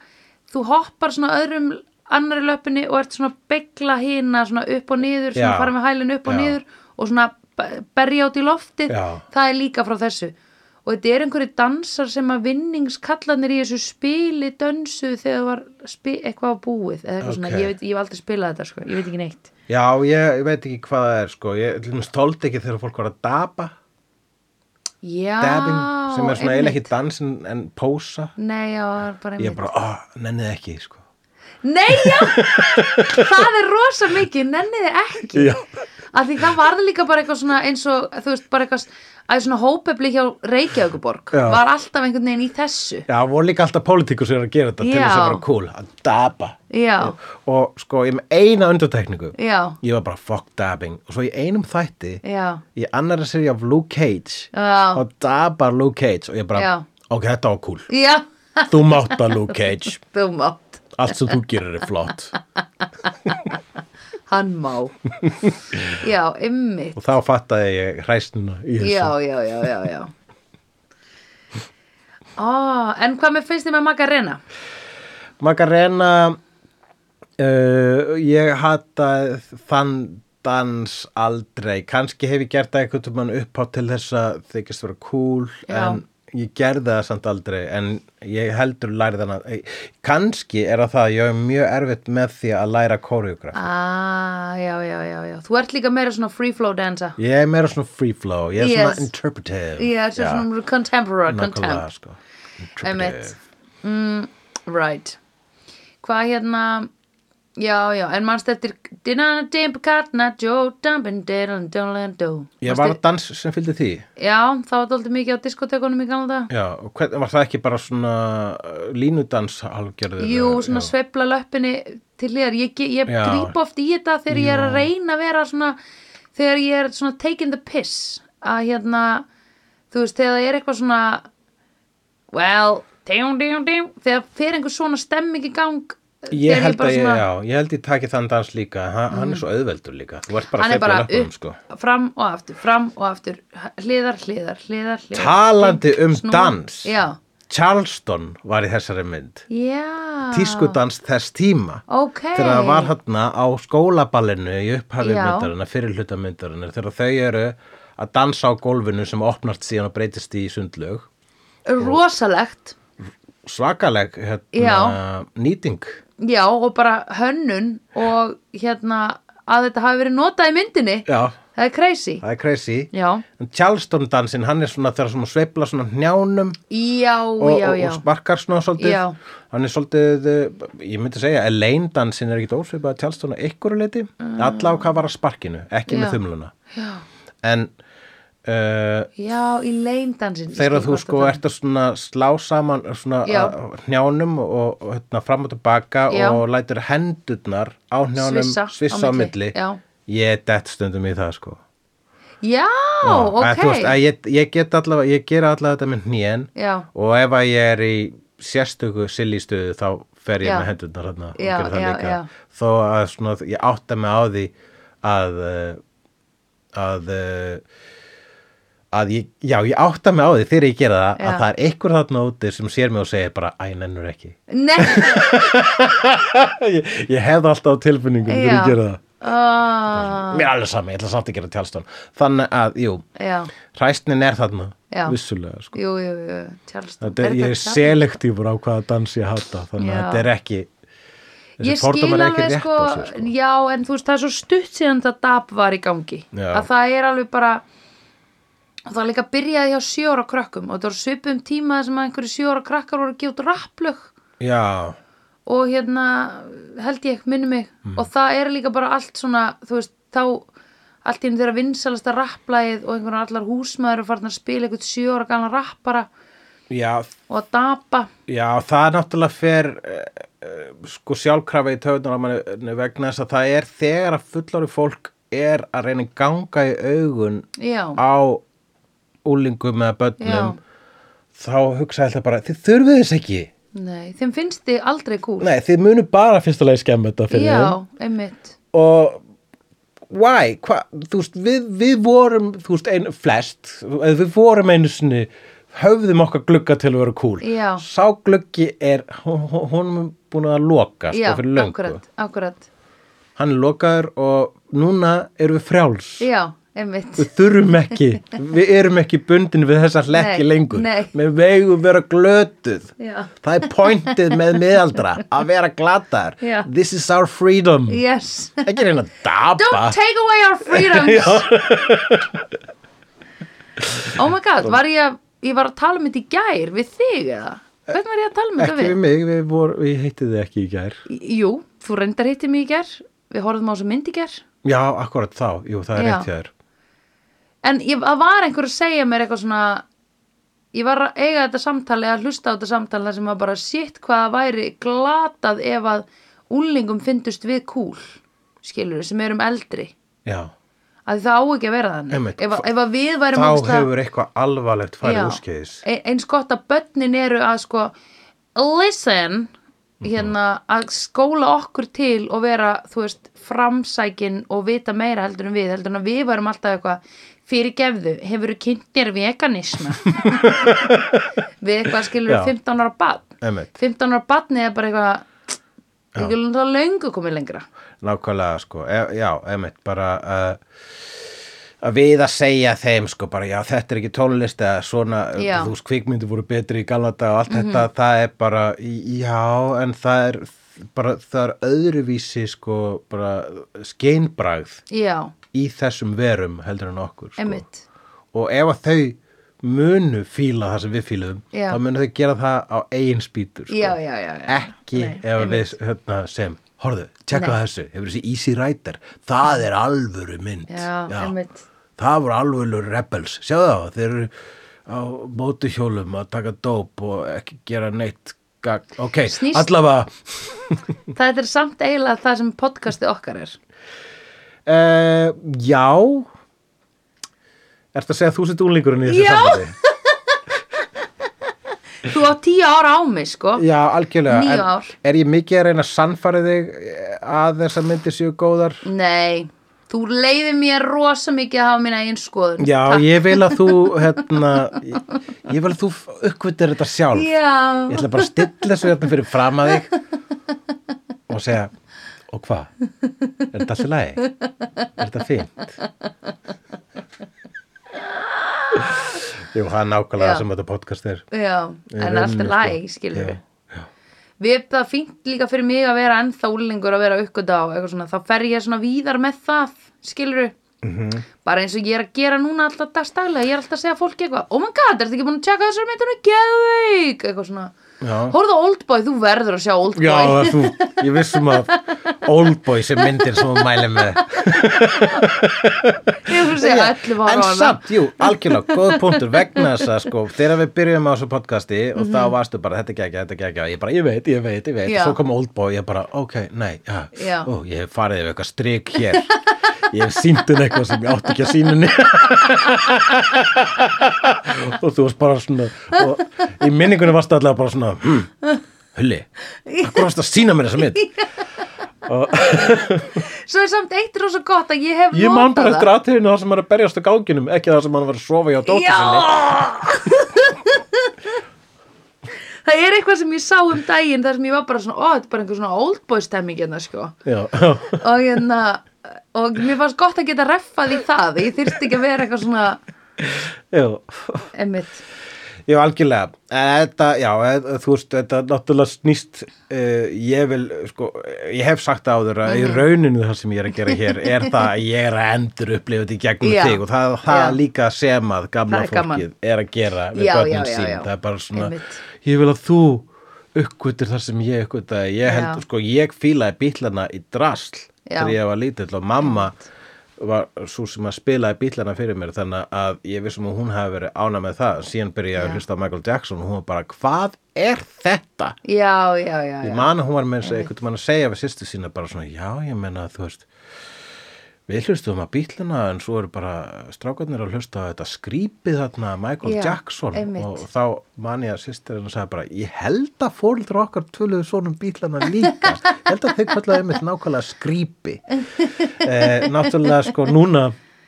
S1: þú hoppar svona öðrum annari löpunni og ert svona að begla hina svona upp og niður, svona
S2: Já.
S1: fara með hælinn upp og
S2: Já.
S1: niður og svona b- berja át í loftið,
S2: Já.
S1: það er líka frá þessu og þetta er einhverju dansar sem að vinningskallanir í þessu spili dönsu þegar var spi, eitthvað á búið eða eitthvað svona,
S2: Ok.
S1: ég veit, ég hef aldrei spilað þetta sko, ég veit ekki neitt
S2: já, ég, ég veit ekki hvað það er sko. ég til dæmis tóldi ekki þegar fólk var að dapa
S1: Já,
S2: dabbing, sem er svona eiginlega
S1: einmitt.
S2: ekki dansin en pósa
S1: Nei, já, það er bara
S2: ég
S1: einmitt.
S2: bara, ah, nennið ekki sko.
S1: Nei, já, það er rosa mikið, nenniði ekki
S2: Já.
S1: Af því það varði líka bara eitthvað svona eins og, þú veist, bara eitthvað að svona hópefli hjá Reykjavíkuborg
S2: Já.
S1: var alltaf einhvern veginn í þessu
S2: já, voru líka alltaf pólitíkur sem er að gera þetta til
S1: Já.
S2: þess að bara cool, að dapa
S1: Já,
S2: og sko, ég er með eina undirtekningu
S1: já,
S2: ég var bara fuck dabbing og svo í einum þætti
S1: já,
S2: í annara seri af Luke Cage
S1: Já.
S2: og dabar Luke Cage og ég bara,
S1: Já.
S2: ok, þetta var cool
S1: já,
S2: þú mátt að Luke Cage,
S1: þú mátt,
S2: allt sem þú gerir er flott
S1: hann má Já, ymmið,
S2: og þá fattaði ég hræsnuna í þessu
S1: já, já, já, já, já Ó, en hvað mér finnst þið með Magarena?
S2: Magarena uh, ég hata þann dans aldrei kannski hef ég gert það einhvern tímann upp á til þess að þykist vera cool
S1: Já.
S2: en ég gerði það samt aldrei en ég heldur lærið hana kannski er það það að ég er mjög erfitt með því að læra koreograf
S1: Ah, já, já, já, já Þú ert líka meira svona free flow dansa
S2: ég er meira svona free flow, ég er
S1: Yes.
S2: svona interpretive
S1: Já, þetta er svona contemporary, Mm,
S2: nákvæmlega,
S1: contempt
S2: sko.
S1: Einmitt.
S2: interpretive
S1: Right. Hvað hérna Já, já, en mannst eftir Dinana Dimp Karna Joe Dumpin Dinan Dolan Do
S2: Ég var að dans sem fylgdi því
S1: Já, það var dóldi mikið á diskotekunum í gamla dag
S2: Já, og hvern, var það ekki bara svona uh, línudans halvgerður?
S1: Jú, svona sveifla löppinni til hliðar Ég, ge- ég
S2: Já.
S1: gríp oft í þetta þegar ég er að reyna að vera svona þegar ég er svona taking the piss að hérna, þú veist, þegar það er eitthvað svona well, djum, djum, djum þegar fer einhver svona stemming í gang eh, þegar
S2: Ég held
S1: bara Mhm.
S2: að ég, já, ég held ég taki þann dans líka, en hann, hann er svo auðveldur líka, þú ert bara
S1: hann er
S2: sveifla
S1: bara
S2: löpunum,
S1: upp,
S2: sko.
S1: fram og aftur, fram og aftur hliðar, hliðar, hliðar, hliðar
S2: Talandi um
S1: Snúa.
S2: dans,
S1: já,
S2: Charleston var í þessari mynd,
S1: já
S2: tískudans þess tíma,
S1: ok,
S2: þegar það var hann á skólaballinu í upphafið
S1: Já.
S2: myndarinnar, fyrir hluta myndarinnar, þegar þau eru að dansa á gólfinu sem opnast síðan og breytist í sundlög,
S1: rosalegt
S2: svakaleg hérna,
S1: Já.
S2: nýting.
S1: já, og bara hönnun og hérna að þetta hafi verið notað í myndinni
S2: Já,
S1: það er crazy,
S2: það er crazy.
S1: já
S2: En Charleston dansinn, hann er svona þegar svona sveifla svona njánum
S1: já,
S2: og,
S1: já,
S2: og,
S1: já
S2: og sparkar svona svolítið
S1: Já.
S2: hann er svolítið, eh, ég myndi segja Elaine dansinn er ekkit ósveipað að Charleston að ykkur leiti, mm. allavega hvað var að sparkinu ekki
S1: Já.
S2: með þumluna en uh,
S1: já, í leindansin
S2: þegar þú sko ert að svona slá saman svona
S1: Já.
S2: að- njánum og, og hérna, fram og tilbaka
S1: Já.
S2: og lætur hendurnar á njánum
S1: Svissa á
S2: á
S1: milli,
S2: milli
S1: já.
S2: ég er dett stundum í það sko
S1: já,
S2: En
S1: ok
S2: þú veist, að ég, ég get allavega, ég gera allavega þetta með hnén
S1: já,
S2: og ef að ég er í sérstöku silly stöðu þá fer ég
S1: Já.
S2: með hendurnar hérna og
S1: Já,
S2: gera það
S1: já,
S2: líka
S1: já.
S2: þó að svona, ég átta mig á því að eh, að eh, að ég, já, ég átta mig á því þegar ég gera það
S1: Já.
S2: að það er einhver þarna úti sem sér mig og segir bara, æ, nennur ekki
S1: nei
S2: ég, ég hef það alltaf á tilfinningum þegar
S1: Já.
S2: ég gera það
S1: Ah,
S2: mér er alveg sami, ég ætla samt að gera tjálstón þannig að, jú,
S1: já,
S2: hræstnin er þarna
S1: Já.
S2: vissulega, sko
S1: jú, jú, jú Charleston
S2: Þetta er, ég er
S1: Charleston?
S2: selektífur á hvaða dans ég hata
S1: Já.
S2: þannig að þetta er ekki þessi
S1: ég skil
S2: fordómar er ekki
S1: alveg
S2: rétt
S1: sko,
S2: á sér sko.
S1: já en þú veist það er svo stutt síðan það DAB var í gangi
S2: Já.
S1: að það er alveg bara og það líka byrjaði hjá sjóra krökkum og það var svipum tíma þar sem að einhverju sjóra krakkar voru að gefa út rapplög
S2: Já,
S1: og hérna held ég minni mig
S2: Mhm.
S1: og það er líka bara allt svona þú veist þá allt í enn þeirra vinsalasta rapplægið og einhverjum allar húsmaður farnar að spila eitthvað sjóra gana rappara
S2: já,
S1: og að dapa
S2: já, það er náttúrulega fer uh, sko sjálfkrafa í töðunar á manni vegna þess að það er þegar að fullári fólk er að reyna að ganga í augun
S1: já,
S2: á úlingum eða
S1: Já.
S2: börnum þá hugsa ég alltaf bara, þið þurfið þess ekki
S1: nei, þeim finnst þið aldrei cool
S2: Nei, þið munu bara fyrst að leið skemmu þetta fyrir þeim
S1: já, einmitt
S2: og why, hva, þú veist við, við vorum, þú veist, ein, flest eða við vorum einu sinni höfðum okkar glugga til að vera cool
S1: Já.
S2: sá gluggi er hún er búin að loka sko,
S1: já,
S2: fyrir löngu,
S1: akkurat, akkurat
S2: hann er lokaður og núna erum við frjáls
S1: Já, einmitt
S2: við þurfum ekki, við erum ekki bundin við þessa hlekki
S1: Nei,
S2: lengur
S1: nei.
S2: við megum vera glötuð
S1: Já.
S2: það er pointið með miðaldra að vera glataðar
S1: Já.
S2: this is our freedom
S1: Yes
S2: ekki reyna að dapa
S1: Don't take away our freedoms Oh my god, var ég að Ég var að tala um þetta í gær við þig eða Hvernig var ég að tala um þetta
S2: ekki við
S1: við?
S2: mig, við, vor, við heittið þið ekki í gær
S1: Jú, þú reyndar hittir mig í gær Við horfðum á þessu mynd í gær
S2: já, akkurat þá, jú, það
S1: Já.
S2: er rétt hjá þér
S1: En ég það var einhver að segja mér eitthvað svona Ég var að eiga þetta samtal eða hlusta á þetta samtal þar sem var bara sitt hvað það væri glatað ef að unglingum fyndust við kúl skilur sem erum eldri
S2: já,
S1: að það á ekki að vera þannig
S2: Einmitt.
S1: ef, að- ef að við værum
S2: þá
S1: ógeðslega-
S2: hefur eitthvað alvarlegt farið
S1: Já.
S2: úrskeiðis
S1: E- eins gott að börnin eru að sko listen
S2: Mhm.
S1: hérna að skóla okkur til og vera þú veist framsækin og vita meira heldur en við heldur en að við værum alltaf eitthvað fyrirgefðu, hefur þú kynnt þér veganisma við eitthvað skilur
S2: Já.
S1: 15 ára badn
S2: Einmitt.
S1: 15 ára badni er bara eitthvað ekki löngu komið lengra
S2: nákvæmlega, sko, e, já, emitt bara uh, að við að segja þeim, sko, bara já, þetta er ekki tónlist eða svona, já.
S1: Já. Mhm.
S2: þú veist, kvikmyndi voru betri í galata og allt þetta, það er bara já, en það er bara, það er öðruvísi, sko bara skeinbragð
S1: já,
S2: í þessum verum heldur en okkur sko.
S1: Einmitt.
S2: og ef að þau munu fíla það sem við fíluðum
S1: Já.
S2: þá munu þau gera það á eigin spýtur sko.
S1: já, já, já, já.
S2: ekki
S1: Nei,
S2: ef við hérna, sem horðu, tjekka
S1: Nei.
S2: þessu, hefur þessi Easy Rider það er alvöru mynd
S1: Já, einmitt.
S2: það voru alvöru rebels sjáðu það, þeir eru á mótuhjólum að taka dóp og ekki gera neitt gag. ok,
S1: Snýst-
S2: allavega
S1: Það er samt eiginlega það sem podcastið okkar er.
S2: Uh, já Ertu að segja að þú sett úlingurinn í þessu
S1: Já.
S2: sambandi?
S1: Þú á tíu ára á mig, sko.
S2: Já, algjörlega
S1: Níu
S2: En
S1: ár.
S2: Er ég mikið að reyna að sannfæri þig eh, að þessar myndir séu góðar?
S1: Nei, þú leiði mér rosa mikið að hafa mína einn skoðun.
S2: Já, ég vil að þú hérna, ég, ég vil að þú uppkvittir þetta sjálf
S1: Já.
S2: Ég ætla bara að stilla þessu hérna fyrir fram að þig og segja og hvað? Er þetta allt í lagi? Er þetta fínt? Jú, það er nákvæmlega
S1: Já.
S2: það sem þetta podcast er
S1: Já, en allt
S2: sko.
S1: er læg, skilur við. Við erum það fínt líka fyrir mig að vera ennþá úlengur að vera uppgöta á eitthvað svona, þá fer ég svona víðar með það, skilur við.
S2: Mhm.
S1: Bara eins og ég er að gera núna alltaf dagstaglega, ég er alltaf að segja fólki eitthvað, oh my god, ertu ekki búin að tjekka þessar myndinu, geðveik, eitthvað svona.
S2: Já.
S1: Horfðu á Oldboy, þú verður að sjá Oldboy.
S2: Já, það þú, ég vissum að Oldboy sem myndir sem hún mæli með
S1: Ég er að segja 11 ára
S2: En
S1: á hana.
S2: samt, jú, algjörlega, góð punktur vegna þess að sko, þegar við byrjum á þessu podcasti og þá varstu bara, þetta gekja, þetta gekja ég bara, ég veit, ég veit, ég veit,
S1: Mhm. Já.
S2: svo kom Oldboy ég bara, ok, nei, já,
S1: Já.
S2: ó, ég hef farið yfir eitthvað strik hér ég hef síndun eitthvað sem ég átti ekki að sýnunni og þú varst bara svona og í minningunni varstu allavega bara svona hm, hulli, hvað varstu að sína mér þessa mynd
S1: Svo er samt eitt rosa gott að ég hef
S2: Ég
S1: notað
S2: man bara
S1: það.
S2: eftir aðtöðinu það sem er að berjast á ganginum, ekki það sem hann var að sofa hjá dóttur sinni.
S1: Já Það er eitthvað sem ég sá um daginn þar sem ég var bara svona, ó, þetta er bara einhver svona oldboy stemming hérna, sko
S2: Já,
S1: og hérna, og mér fannst gott að geta reffað í það, ég þyrfti ekki að vera eitthvað svona,
S2: já,
S1: emmitt
S2: já, algjörlega. En Þetta, já, eh, þú veist, þetta náttúrulega snýst, uh, ég vil, sko, ég hef sagt það áður að
S1: Mhm.
S2: í rauninu það sem ég er að gera hér er það að ég er að endur upplifa þetta í
S1: Já,
S2: gegnum þig og það, það
S1: já.
S2: líka sem að gamla
S1: Það er
S2: fólkið
S1: gaman.
S2: er að gera við
S1: Já, já,
S2: börnin
S1: já,
S2: sín.
S1: já.
S2: Það er bara svona,
S1: Einmitt.
S2: ég vil að þú uppkvittir þar sem ég uppkvittaði. Ég held,
S1: Já.
S2: sko, ég fílaði bílana í drasl
S1: Já.
S2: þegar ég var lítill og mamma var svo sem að spilaði bílana fyrir mér þannig að ég vissum að hún hafi verið ána með það síðan byrjaði ég
S1: Já.
S2: að hlusta á Michael Jackson og hún var bara, hvað er þetta?
S1: Já, já, já, já,
S2: Ég man að hún var með þess að einhvern mann að segja við sýstu sína bara svona, já, ég menna að þú veist við hlustum að bílana en svo eru bara strákarnir að hlusta á þetta skrýpið þarna Michael
S1: Já,
S2: Jackson
S1: einmitt.
S2: og þá man ég að sýstirinn sagði bara ég held að fólður okkar töluðu svonum bílana líka Ég held að þau kallaði einmitt nákvæmlega skrýpi eh, náttúrulega sko núna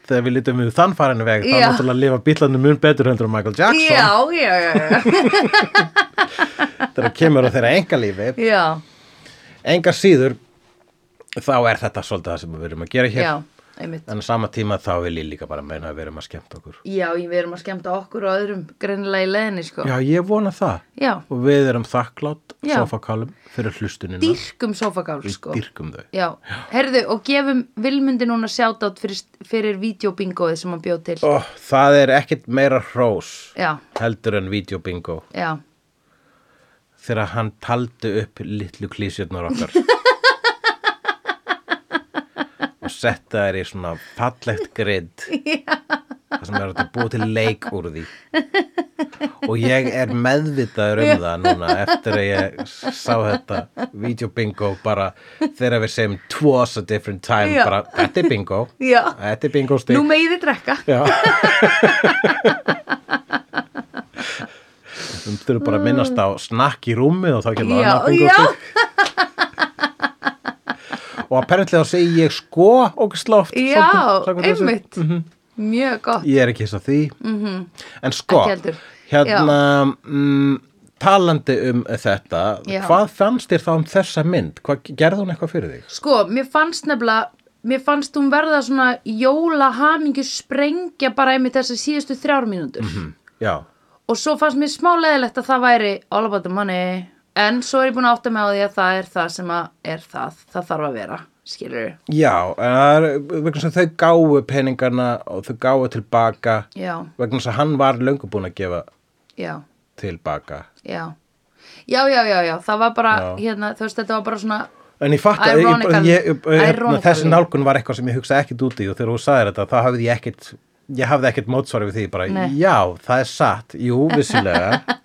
S2: þegar við lítum við þann farinu veg þá
S1: Já.
S2: náttúrulega lifa bílanu mun betur hendur en Michael
S1: já, já,
S2: Jackson
S1: já, já,
S2: þegar kemur á þeirra engalífi
S1: já, já,
S2: engar síður þá er þetta svolítið það sem við erum að gera hér
S1: já, einmitt
S2: en á sama tíma þá vil ég líka bara meina að við erum að skemmta okkur
S1: Já, við erum að skemmta okkur og öðrum greinilega í leðinni, sko
S2: já ég vona það
S1: já.
S2: og við erum þakklátt
S1: Já.
S2: sofakálum fyrir hlustunina
S1: dýrkum sofagál,
S2: við
S1: sko
S2: dýrkum þau
S1: Já, herðu og gefum Vilmundi núna sjátátt fyrir, fyrir videobingoið sem hann bjóð til.
S2: Ó, það er ekkit meira hrós
S1: Já,
S2: heldur en videobingo
S1: já,
S2: þegar hann taldi upp litlu klísjörnar okkar og setta þær í svona fallegt grid það sem er hægt að búa til leik úr því og ég er meðvitaður um það núna eftir að ég sá þetta videobingo bara þegar við segjum twas a different time
S1: Já.
S2: bara þetta er bingo
S1: Já.
S2: þetta er bingo
S1: nú
S2: stig
S1: megiði drekka.
S2: Já Þú þurfum bara að minnast á snakk í rúmið og þá kemur
S1: Já,
S2: annað bingo stig Og apparently þá segi ég sko og slóft
S1: Já, einmitt,
S2: Mhm.
S1: mjög gott.
S2: Ég er ekki þess að því -hmm. En sko,
S1: Ekki heldur.
S2: hérna mm, talandi um þetta
S1: Já.
S2: hvað fannst þér þá um þessa mynd? Hvað, gerði hún eitthvað fyrir þig?
S1: Sko, mér fannst nefnilega, mér fannst hún verða svona jóla hamingi sprengja bara einmitt þessar síðustu þrjár mínútur.
S2: Mhm. Já,
S1: Og svo fannst mér smá leðilegt að það væri all about the money. En svo er ég búin að átta mig á því að það er það sem að er það, það þarf að vera, skilur
S2: Já en það er vegna sem þau gáu peningana og þau gáu tilbaka
S1: Já,
S2: vegna þess að hann var löngu búinn að gefa
S1: já.
S2: tilbaka
S1: Já, já, já, já, já. það var bara,
S2: Já.
S1: hérna, þú veist, þetta var bara svona
S2: en ég fatt að ég,
S1: Ironical-
S2: ég, ég, ég,
S1: ironically.
S2: þessi nálgun var eitthvað sem ég hugsaði ekkit út í og þegar þú sagðir þetta þá hafði ég ekkit ég hafði ekkit mótsvar við því bara
S1: Nei.
S2: já, það er satt, jú, vissilega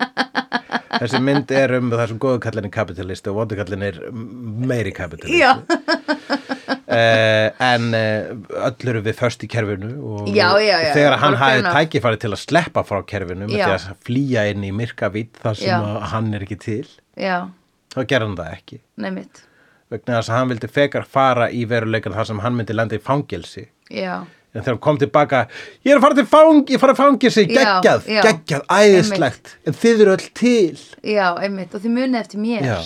S2: þessi mynd er um það sem góðu kallin er kapitalist og vondu kallin er meiri kapitalist
S1: já,
S2: uh, en uh, öll eru við först í kerfinu og
S1: Já, já, já,
S2: þegar
S1: bara
S2: hann
S1: fair
S2: hafði
S1: enough.
S2: tækifæri til að sleppa frá kerfinu með
S1: Já.
S2: því að flýja inn í myrkavít þar sem
S1: Já.
S2: að hann er ekki til
S1: já,
S2: þá gerði hann það ekki
S1: nefnitt
S2: vegna þess að hann vildi fekar fara í veruleikan þar sem hann myndi lenda í fangelsi
S1: já,
S2: en þegar hann kom tilbaka ég er að fara til fang, ég fara að fangelsi
S1: Já,
S2: geggjað,
S1: já.
S2: geggjað, æðislegt en þið eru öll til
S1: já, einmitt og þið munið eftir mér
S2: Já,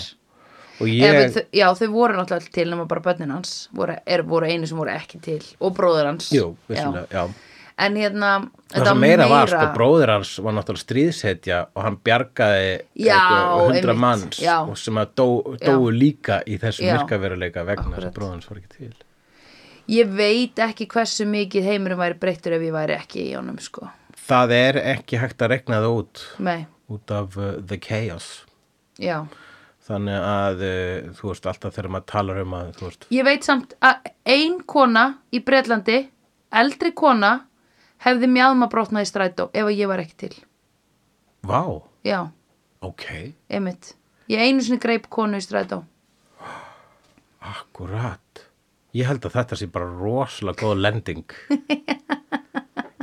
S2: og
S1: Ég...
S2: ég,
S1: þau, já, þau voru náttúrulega öll til nema bara börnin hans voru, er, voru einu sem voru ekki til og bróður hans
S2: jú, vissulega, já,
S1: en hérna
S2: það sem meira var sko, bróðir hans var náttúrulega stríðshetja og hann bjargaði
S1: Já,
S2: hundra
S1: einmitt,
S2: manns
S1: já.
S2: og sem að dó, dóu líka í þessum
S1: Já.
S2: virkaveruleika vegna
S1: Akkúrat.
S2: þess að bróðir hans var ekki til
S1: ég veit ekki hversu mikið heimurum væri breyttur ef ég væri ekki í honum sko.
S2: það er ekki hægt að regna það út
S1: nei,
S2: út af uh, the chaos
S1: já
S2: þannig að uh, þú veist alltaf þegar maður talar um að þú veist
S1: ég veit samt að ein kona í Breitlandi, eldri kona hefði mjáðum að brotna í strætó ef að ég var ekki til
S2: vá,
S1: já,
S2: ok,
S1: einmitt ég einu sinni greip konu í strætó
S2: akkurat ég held að þetta sé bara rosalega góð lending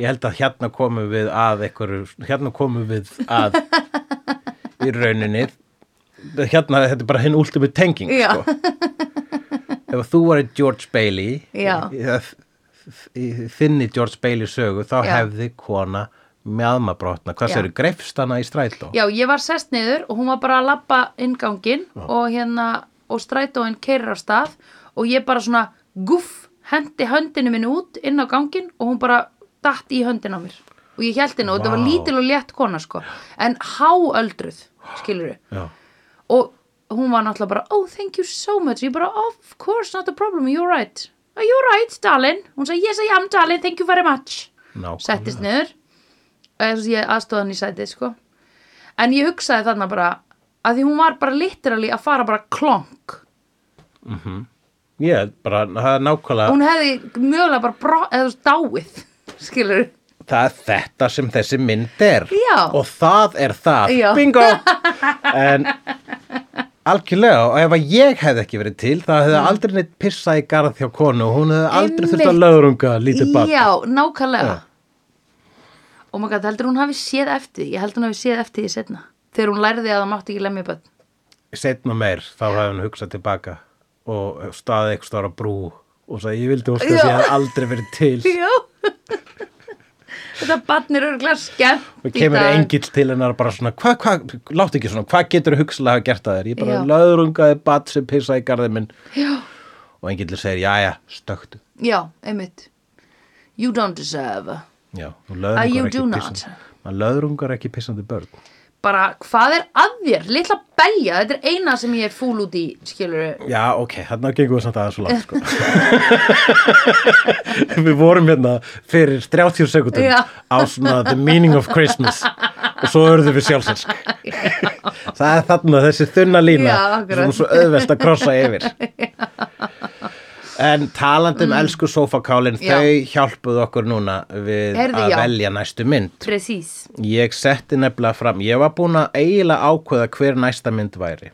S2: ég held að hérna komum við að einhverju, hérna komum við að í rauninni hérna þetta er bara hinn ultimate tenging
S1: Já.
S2: sko. ef að þú væri George Bailey
S1: Já.
S2: eða þ- í þinni George Bailey sögu þá
S1: Já.
S2: hefði kona mjadmabrotna, hvað
S1: Já.
S2: sér, greifst hana í strætó
S1: Já, ég var sest niður og hún var bara að labba ingangin og hérna og strætóin keirir á stað og ég bara svona guff hendi höndinu minni út inn á gangin og hún bara datt í höndin á mér og ég held henni og þetta var
S2: Vá.
S1: lítil og létt kona sko en háöldruð, skilur við
S2: Já.
S1: og hún var náttúrulega bara oh thank you so much, ég bara of course not a problem, you're right are you right darling, hún sagði yes I am darling thank you very much
S2: Nákvæmlega.
S1: settist niður og ég, ég aðstóða hann í sætið sko en ég hugsaði þarna bara að því hún var bara literally að fara bara klonk
S2: Ég held bara, það er nákvæmlega
S1: hún hefði mögulega bara bro, eða þú veist, dáið skilur
S2: það er þetta sem þessi mynd er
S1: Já.
S2: og það er það,
S1: Já.
S2: bingo en algjörlega og ef að ég hefði ekki verið til það hefði aldrei neitt pissað í garð hjá konu og hún hefði aldrei þurft að
S1: Mm. Einmitt.
S2: lögrunga lítið barn
S1: já, nákvæmlega og maður gæti heldur hún hafi séð eftir því. ég held hún hafi séð eftir því setna þegar hún lærði að það mátti ekki lemja bönn
S2: setna meir, þá hefði hann hugsað tilbaka og staðið eitthvað stóra brú og sagði, ég vildi óska
S1: Já.
S2: þess að ég hefði aldrei verið til
S1: já þetta barn er örgulega skemmt
S2: og
S1: í
S2: kemur
S1: dag.
S2: engill til hennar bara svona hvað, hvað, látt ekki svona, hvað getur hugsalega hafa gert að þér, ég bara
S1: Já.
S2: löðrungaði bat sem pissaði í garðið minn
S1: já
S2: og engill segir, jæja, stöktu
S1: Já, einmitt. You don't deserve.
S2: Já, og
S1: Ah, you
S2: löðrungar
S1: do
S2: ekki
S1: not.
S2: pissandi maður löðrungar ekki pissandi börn
S1: Bara, hvað er að þér? Litla belja, þetta er eina sem ég er fúl út í, skilur
S2: Já, ok, þarna gengum við samt aðeins og langt sko. Við vorum hérna fyrir 30 sekundum
S1: Já.
S2: á svona The Meaning of Christmas og svo urðum við sjálfsinsk Það er þarna þessi þunna lína
S1: Já, akkurat.
S2: sem er svo auðvelt að krossa yfir En talandi um elsku sofakálin,
S1: Mm. Já.
S2: þau hjálpuðu okkur núna við
S1: Heyrðu,
S2: að
S1: já.
S2: velja næstu mynd
S1: Precís.
S2: Ég setti nefnilega fram, ég var búin að eiginlega ákveða hver næsta mynd væri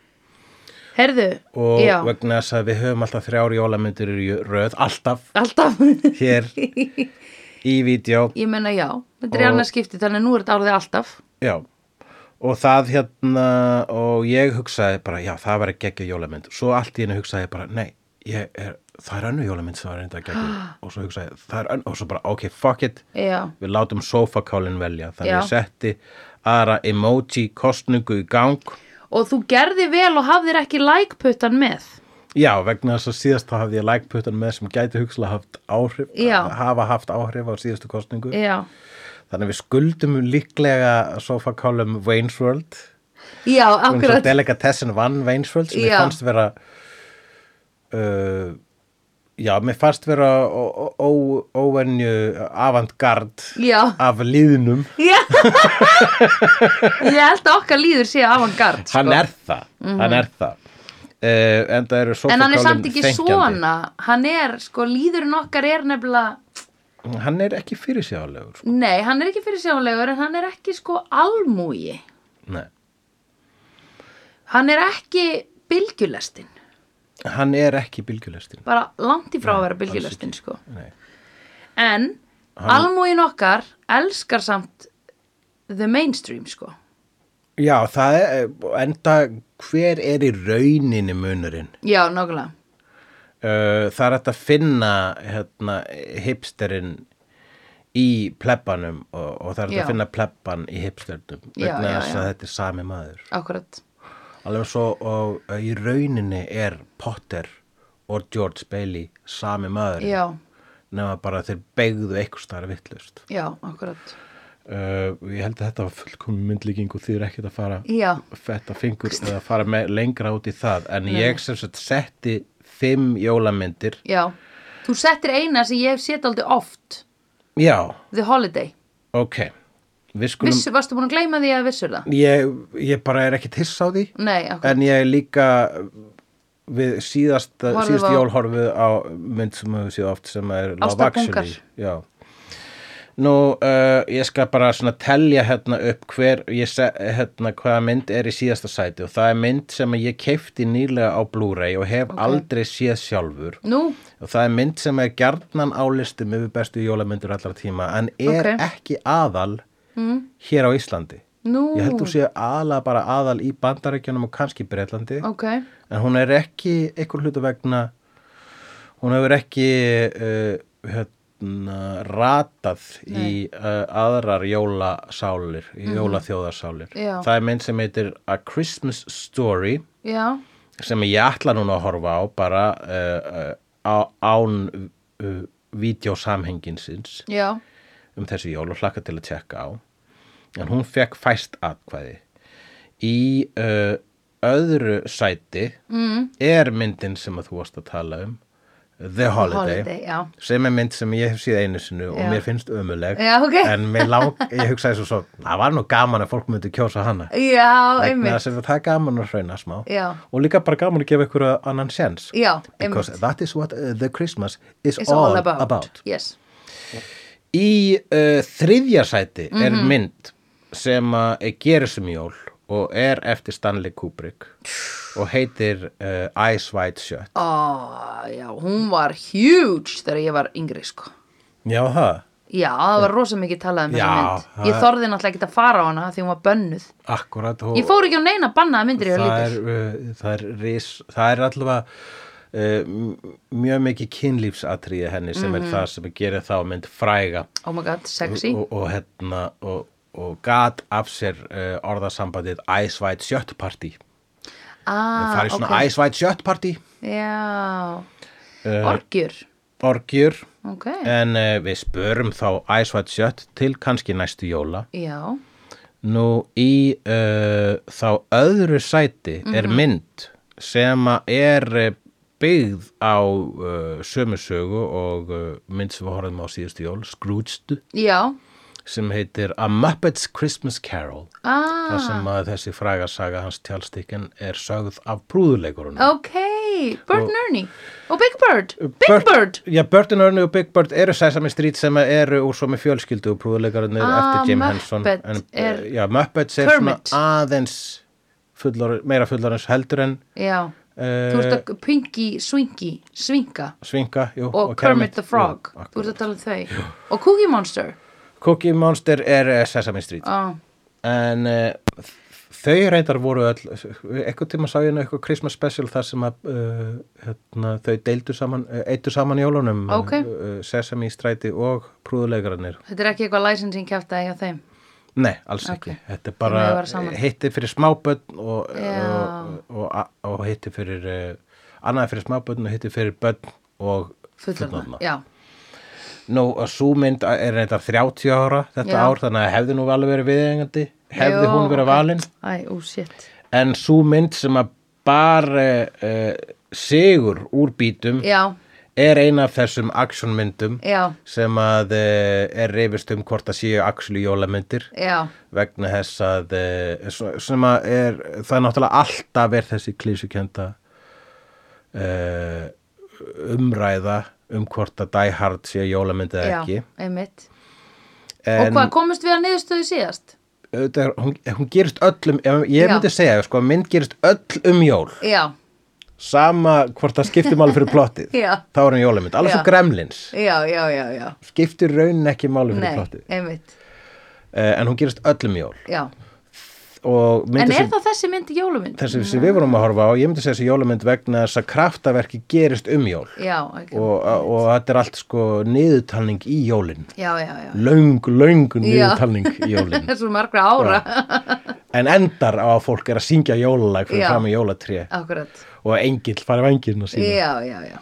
S1: Herðu,
S2: og
S1: já,
S2: vegna þess að við höfum alltaf þrjár jólamyndir í röð, alltaf
S1: alltaf.
S2: hér í vídeo
S1: ég menna já, þetta er í
S2: Og-
S1: annað skipti, þannig að nú er þetta orðið alltaf.
S2: já. og það hérna og ég hugsaði bara, já það var að gegja jólamynd svo allt í henni hugsaði ég bara, nei ég er, það er önnu jólamynd sem var reynda að gegja og svo hugsaði, ég, það er önnu og svo bara, ok, fuck it
S1: Já,
S2: við látum sofakálinn velja
S1: Já.
S2: þannig ég setti aðra emoji kostningu í gang
S1: og þú gerði vel og hafðir ekki lækputtan með.
S2: Já, vegna þess að síðast þá hafði ég lækputan með sem gæti hugslega haft áhrif,
S1: Já. Eh.
S2: hafa haft áhrif á síðustu kostningu.
S1: Já,
S2: Þannig við skuldum líklega sofakálum Wayne's World.
S1: já,
S2: Hún svo
S1: akkurat.
S2: Delicatessen vann Wayne's World sem
S1: Já.
S2: ég fannst vera, uh, já, mér fannst vera ó- ó- ó- óvenju avantgard
S1: Já,
S2: af liðnum.
S1: já. ég held að okkar líður sé avantgard, sko. Mhm.
S2: Hann er það, hann er það. uh, en það eru
S1: en hann er samt
S2: sofakálinn
S1: ekki
S2: þenkjandi
S1: svona hann er, sko, líðurinn okkar er nefnilega
S2: hann er ekki fyrirsjálegur sko.
S1: nei, hann er ekki fyrir sjálegur en hann er ekki sko almúi
S2: Nei.
S1: hann er ekki bylgjulestin
S2: hann er ekki bylgjulestin
S1: bara langt í frá að vera
S2: alls
S1: bylgjulestin sko.
S2: Nei.
S1: en hann... almúin okkar elskar samt the mainstream sko.
S2: já, það er, eh, enda hver er í rauninni munurinn
S1: já, nákvæmlega
S2: uh, það er hægt að finna hérna, hipsterinn í plebbanum og, og það er hægt
S1: Já.
S2: að finna plebban í hipsternum
S1: Já,
S2: vegna
S1: já,
S2: þess
S1: já.
S2: að þetta er sami maður
S1: akkurat
S2: alveg svo og uh, í rauninni er Potter og George Bailey sami maður
S1: já,
S2: nema bara þeir beigðu eitthvað starf vittlust
S1: já, akkurat
S2: uh, ég held að þetta var fullkomin myndlíking og þið er ekkert að fara
S1: já,
S2: fetta fingur eða fara með lengra út í það en ég sem sagt setti fimm jólamyndir
S1: já þú settir eina sem ég hef sett aldrei oft
S2: já,
S1: the holiday
S2: ok við skulum
S1: Vissu, varstu búin að gleyma því að vissur það?
S2: ég, ég bara er ekki tiss á því
S1: Nei, akkurat.
S2: en ég er líka við síðast,
S1: Horfum
S2: síðast
S1: á-
S2: jól horfið á mynd sem höfum síða oft sem er Love
S1: Ástarbungar.
S2: Actually Já. Nú, uh, ég skal bara svona telja hérna upp hver, ég se, hérna hvaða mynd er í síðasta sæti og það er mynd sem ég keifti nýlega á Blu-ray og hef aldrei séð sjálfur
S1: Nú,
S2: og það er mynd sem er gjarnan álistum yfir bestu jólamyndur allra tíma en
S1: Ok.
S2: er
S1: Mm.
S2: ekki aðal hér á Íslandi
S1: nú,
S2: Ég held þú sé aðalega bara aðal í bandarækjunum og kannski Breitlandi
S1: ok,
S2: en hún er ekki einhver hlutu vegna hún hefur ekki uh, hérna, ratað í uh, aðrar jólasálir, í jólaþjóðarsálir
S1: Mhm. Já.
S2: það er mynd sem heitir A Christmas Story
S1: já,
S2: sem ég ætla núna að horfa á bara uh, uh, á, án uh, vídeosamhenginsins
S1: já,
S2: um þessi jól og hlakka til að tjekka á en hún fekk fæst atkvæði í uh, öðru sæti mm. er myndin sem að þú varst að tala um The Holiday,
S1: holiday, já.
S2: sem er mynd sem ég hef síð einu sinu og
S1: Já.
S2: mér finnst ömuleg
S1: Já, ok.
S2: en mér lang, ég hugsaði svo, svo það var nú gaman að fólk myndi kjósa hana
S1: Já,
S2: Vegna
S1: einmitt.
S2: þess að það er gaman að hrauna smá
S1: Já.
S2: og líka bara gaman að gefa ykkur annan sjens
S1: Já,
S2: because
S1: einmitt.
S2: that is what uh, the Christmas is
S1: It's all about. Yes.
S2: Í uh, þriðja sæti er
S1: Mhm.
S2: mynd sem að uh, gerir sem jól og er eftir Stanley Kubrick og heitir uh, Eyes Wide Shut.
S1: Ó, já, hún var huge þegar ég var yngri, sko.
S2: Já, það.
S1: Já, það var rosa mikið talað um þessa
S2: Já,
S1: mynd.
S2: það-
S1: Ég þorði náttúrulega ekki að fara á hana því hún var bönnuð.
S2: Akkurat. Og
S1: Ég fór ekki á neina bannaða myndir ég var
S2: það er,
S1: lítil.
S2: uh, það er ris, það er allavega uh, m- mjög mikið kynlífsatriði henni sem
S1: Mhm.
S2: er það sem gerir þá mynd fræga
S1: Oh my god, sexy.
S2: og, og hérna og, og gat af sér uh, orðasambandið Eyes Wide Shut Party.
S1: Ah,
S2: Það er svona
S1: ok.
S2: Eyes Wide Shut Party.
S1: Já,
S2: Uh,
S1: orgjur.
S2: orgjur
S1: Ok,
S2: en uh, við spörum þá Ice White Shut til kannski næstu jóla
S1: já,
S2: nú í uh, þá öðru sæti er mynd sem að er eh, byggð á uh, sömu sögu og uh, mynd sem við horfum á síðustu jól Scrooged
S1: já.
S2: sem heitir A Muppets Christmas Carol þar
S1: Ah,
S2: sem að þessi frægarsaga hans tjálstikkin er sögð af prúðuleikurunum
S1: ok, Bird and Ernie. Og Big Bird, Big Bird.
S2: Já, Eh, Bird and Ernie og Big Bird eru Sesame Street sem eru úr svo með fjölskyldu og prúðuleikarinn
S1: Ah,
S2: eftir Jim
S1: Muppet
S2: Henson
S1: er-
S2: eh, Já, Muppets er svona
S1: Kermit.
S2: aðeins fullor, meira fullorins heldur en
S1: Já, þú ert
S2: uh,
S1: að Pinky, Swinky, Svinka
S2: Svinka jú,
S1: og, Kermit, the Frog. þú ert að tala um þau. Og Cookie Monster.
S2: Cookie Monster er eh, Sesame Street
S1: Ah,
S2: en uh, þau reyndar voru öll eitthvað tíma sá ég nú eitthvað Christmas special þar sem að uh, hérna, þau deildu saman, uh, eittu saman jólunum
S1: Ok.
S2: uh, Sesame Stræti og prúðuleikarannir
S1: þetta er ekki eitthvað licensing kæftæði hjá þeim.
S2: Nei, alls
S1: Ok.
S2: ekki. Þetta er
S1: mega vera
S2: bara
S1: saman.
S2: hitti fyrir smábönn og,
S1: Já.
S2: og, og, og hitti fyrir uh, annað fyrir smábönn og hitti fyrir bönn og
S1: Fullorðna, já.
S2: Nú, og sú mynd er reyndar 30 ára þetta
S1: Já.
S2: ár, þannig að hefði nú alveg verið viðengandi, hefði
S1: Jó,
S2: hún verið
S1: ok.
S2: valin.
S1: Æ, ó, shit.
S2: En sú mynd sem að bara uh, sigur úr bítum
S1: Já,
S2: er eina af þessum actionmyndum
S1: já,
S2: sem að uh, er reyfist um hvort að séu axlu jólamyndir.
S1: já,
S2: vegna þess að eh, svo- sem að er, það er náttúrulega alltaf er þessi klísukenda uh, umræða um hvort að Die Hard sé jólamyndið
S1: já,
S2: ekki
S1: einmitt
S2: en,
S1: og hvað komist við að niðurstöðu síðast?
S2: auðvitað, er- hún, hún gerist öll um ég, ég
S1: Já.
S2: myndi segja, sko, að mynd gerist öll um jól
S1: Já,
S2: sama hvort það skiptir máli fyrir plottið
S1: Já.
S2: þá er hún jólamynd, alveg
S1: Já.
S2: svo gremlins
S1: já, já, já, já
S2: skiptir raunin ekki máli fyrir
S1: Nei,
S2: plottið
S1: einmitt
S2: uh, en hún gerist öll um jól
S1: já.
S2: og
S1: En
S2: myndi
S1: er
S2: sem,
S1: það þessi mynd í jólumynd?
S2: þessi sem við vorum að horfa á ég myndi segja þessi jólamynd vegna þess að kraftaverki gerist um jól
S1: Já, ekki
S2: og, og þetta er allt sko niðurtalning í jólin
S1: Já, já, já
S2: löng, löng
S1: Já.
S2: niðurtalning í jólin
S1: Svo margra ára
S2: en endar á að fólk er að syngja jólalag fyrir
S1: Já.
S2: fram í jólatré
S1: Akkurat
S2: og að engill fari vengirinn að sína
S1: Já, já, já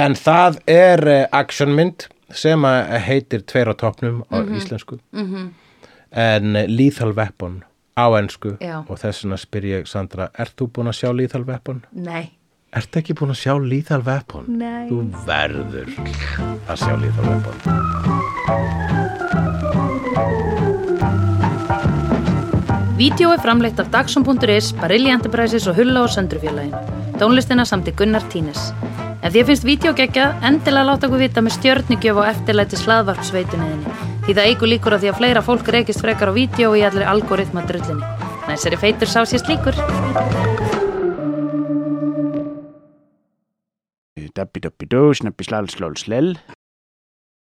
S2: en það er eh, actionmynd sem að heitir Tveir á toppnum á íslensku
S1: Mhm.
S2: en eh, Lethal Weapon á ensku
S1: Já.
S2: og þess vegna spyr ég Sandra, ert þú búin að sjá Lethal Weapon?
S1: Nei
S2: Ertu ekki búin að sjá Lethal Weapon?
S1: Nei.
S2: Þú verður að sjá Lethal Weapon.
S1: Vídeó er framleitt af Dagsum.is, Barilli Enterprises og Hulla og Söndrufjörlægin. Tónlistina samt í Gunnar Tínes. Ef því finnst vídeo geggjað, endilega láta okkur vita með stjörnigjöf og eftirlæti slaðvarpsveitunniðinni. Því það eigur líkur að því að fleira fólk reykist frekar á vídeo í allir algoritma drullinni. Næsari feitur sá sér slíkur.
S3: Dabbi dabbi dó, snabbi slal slal slel.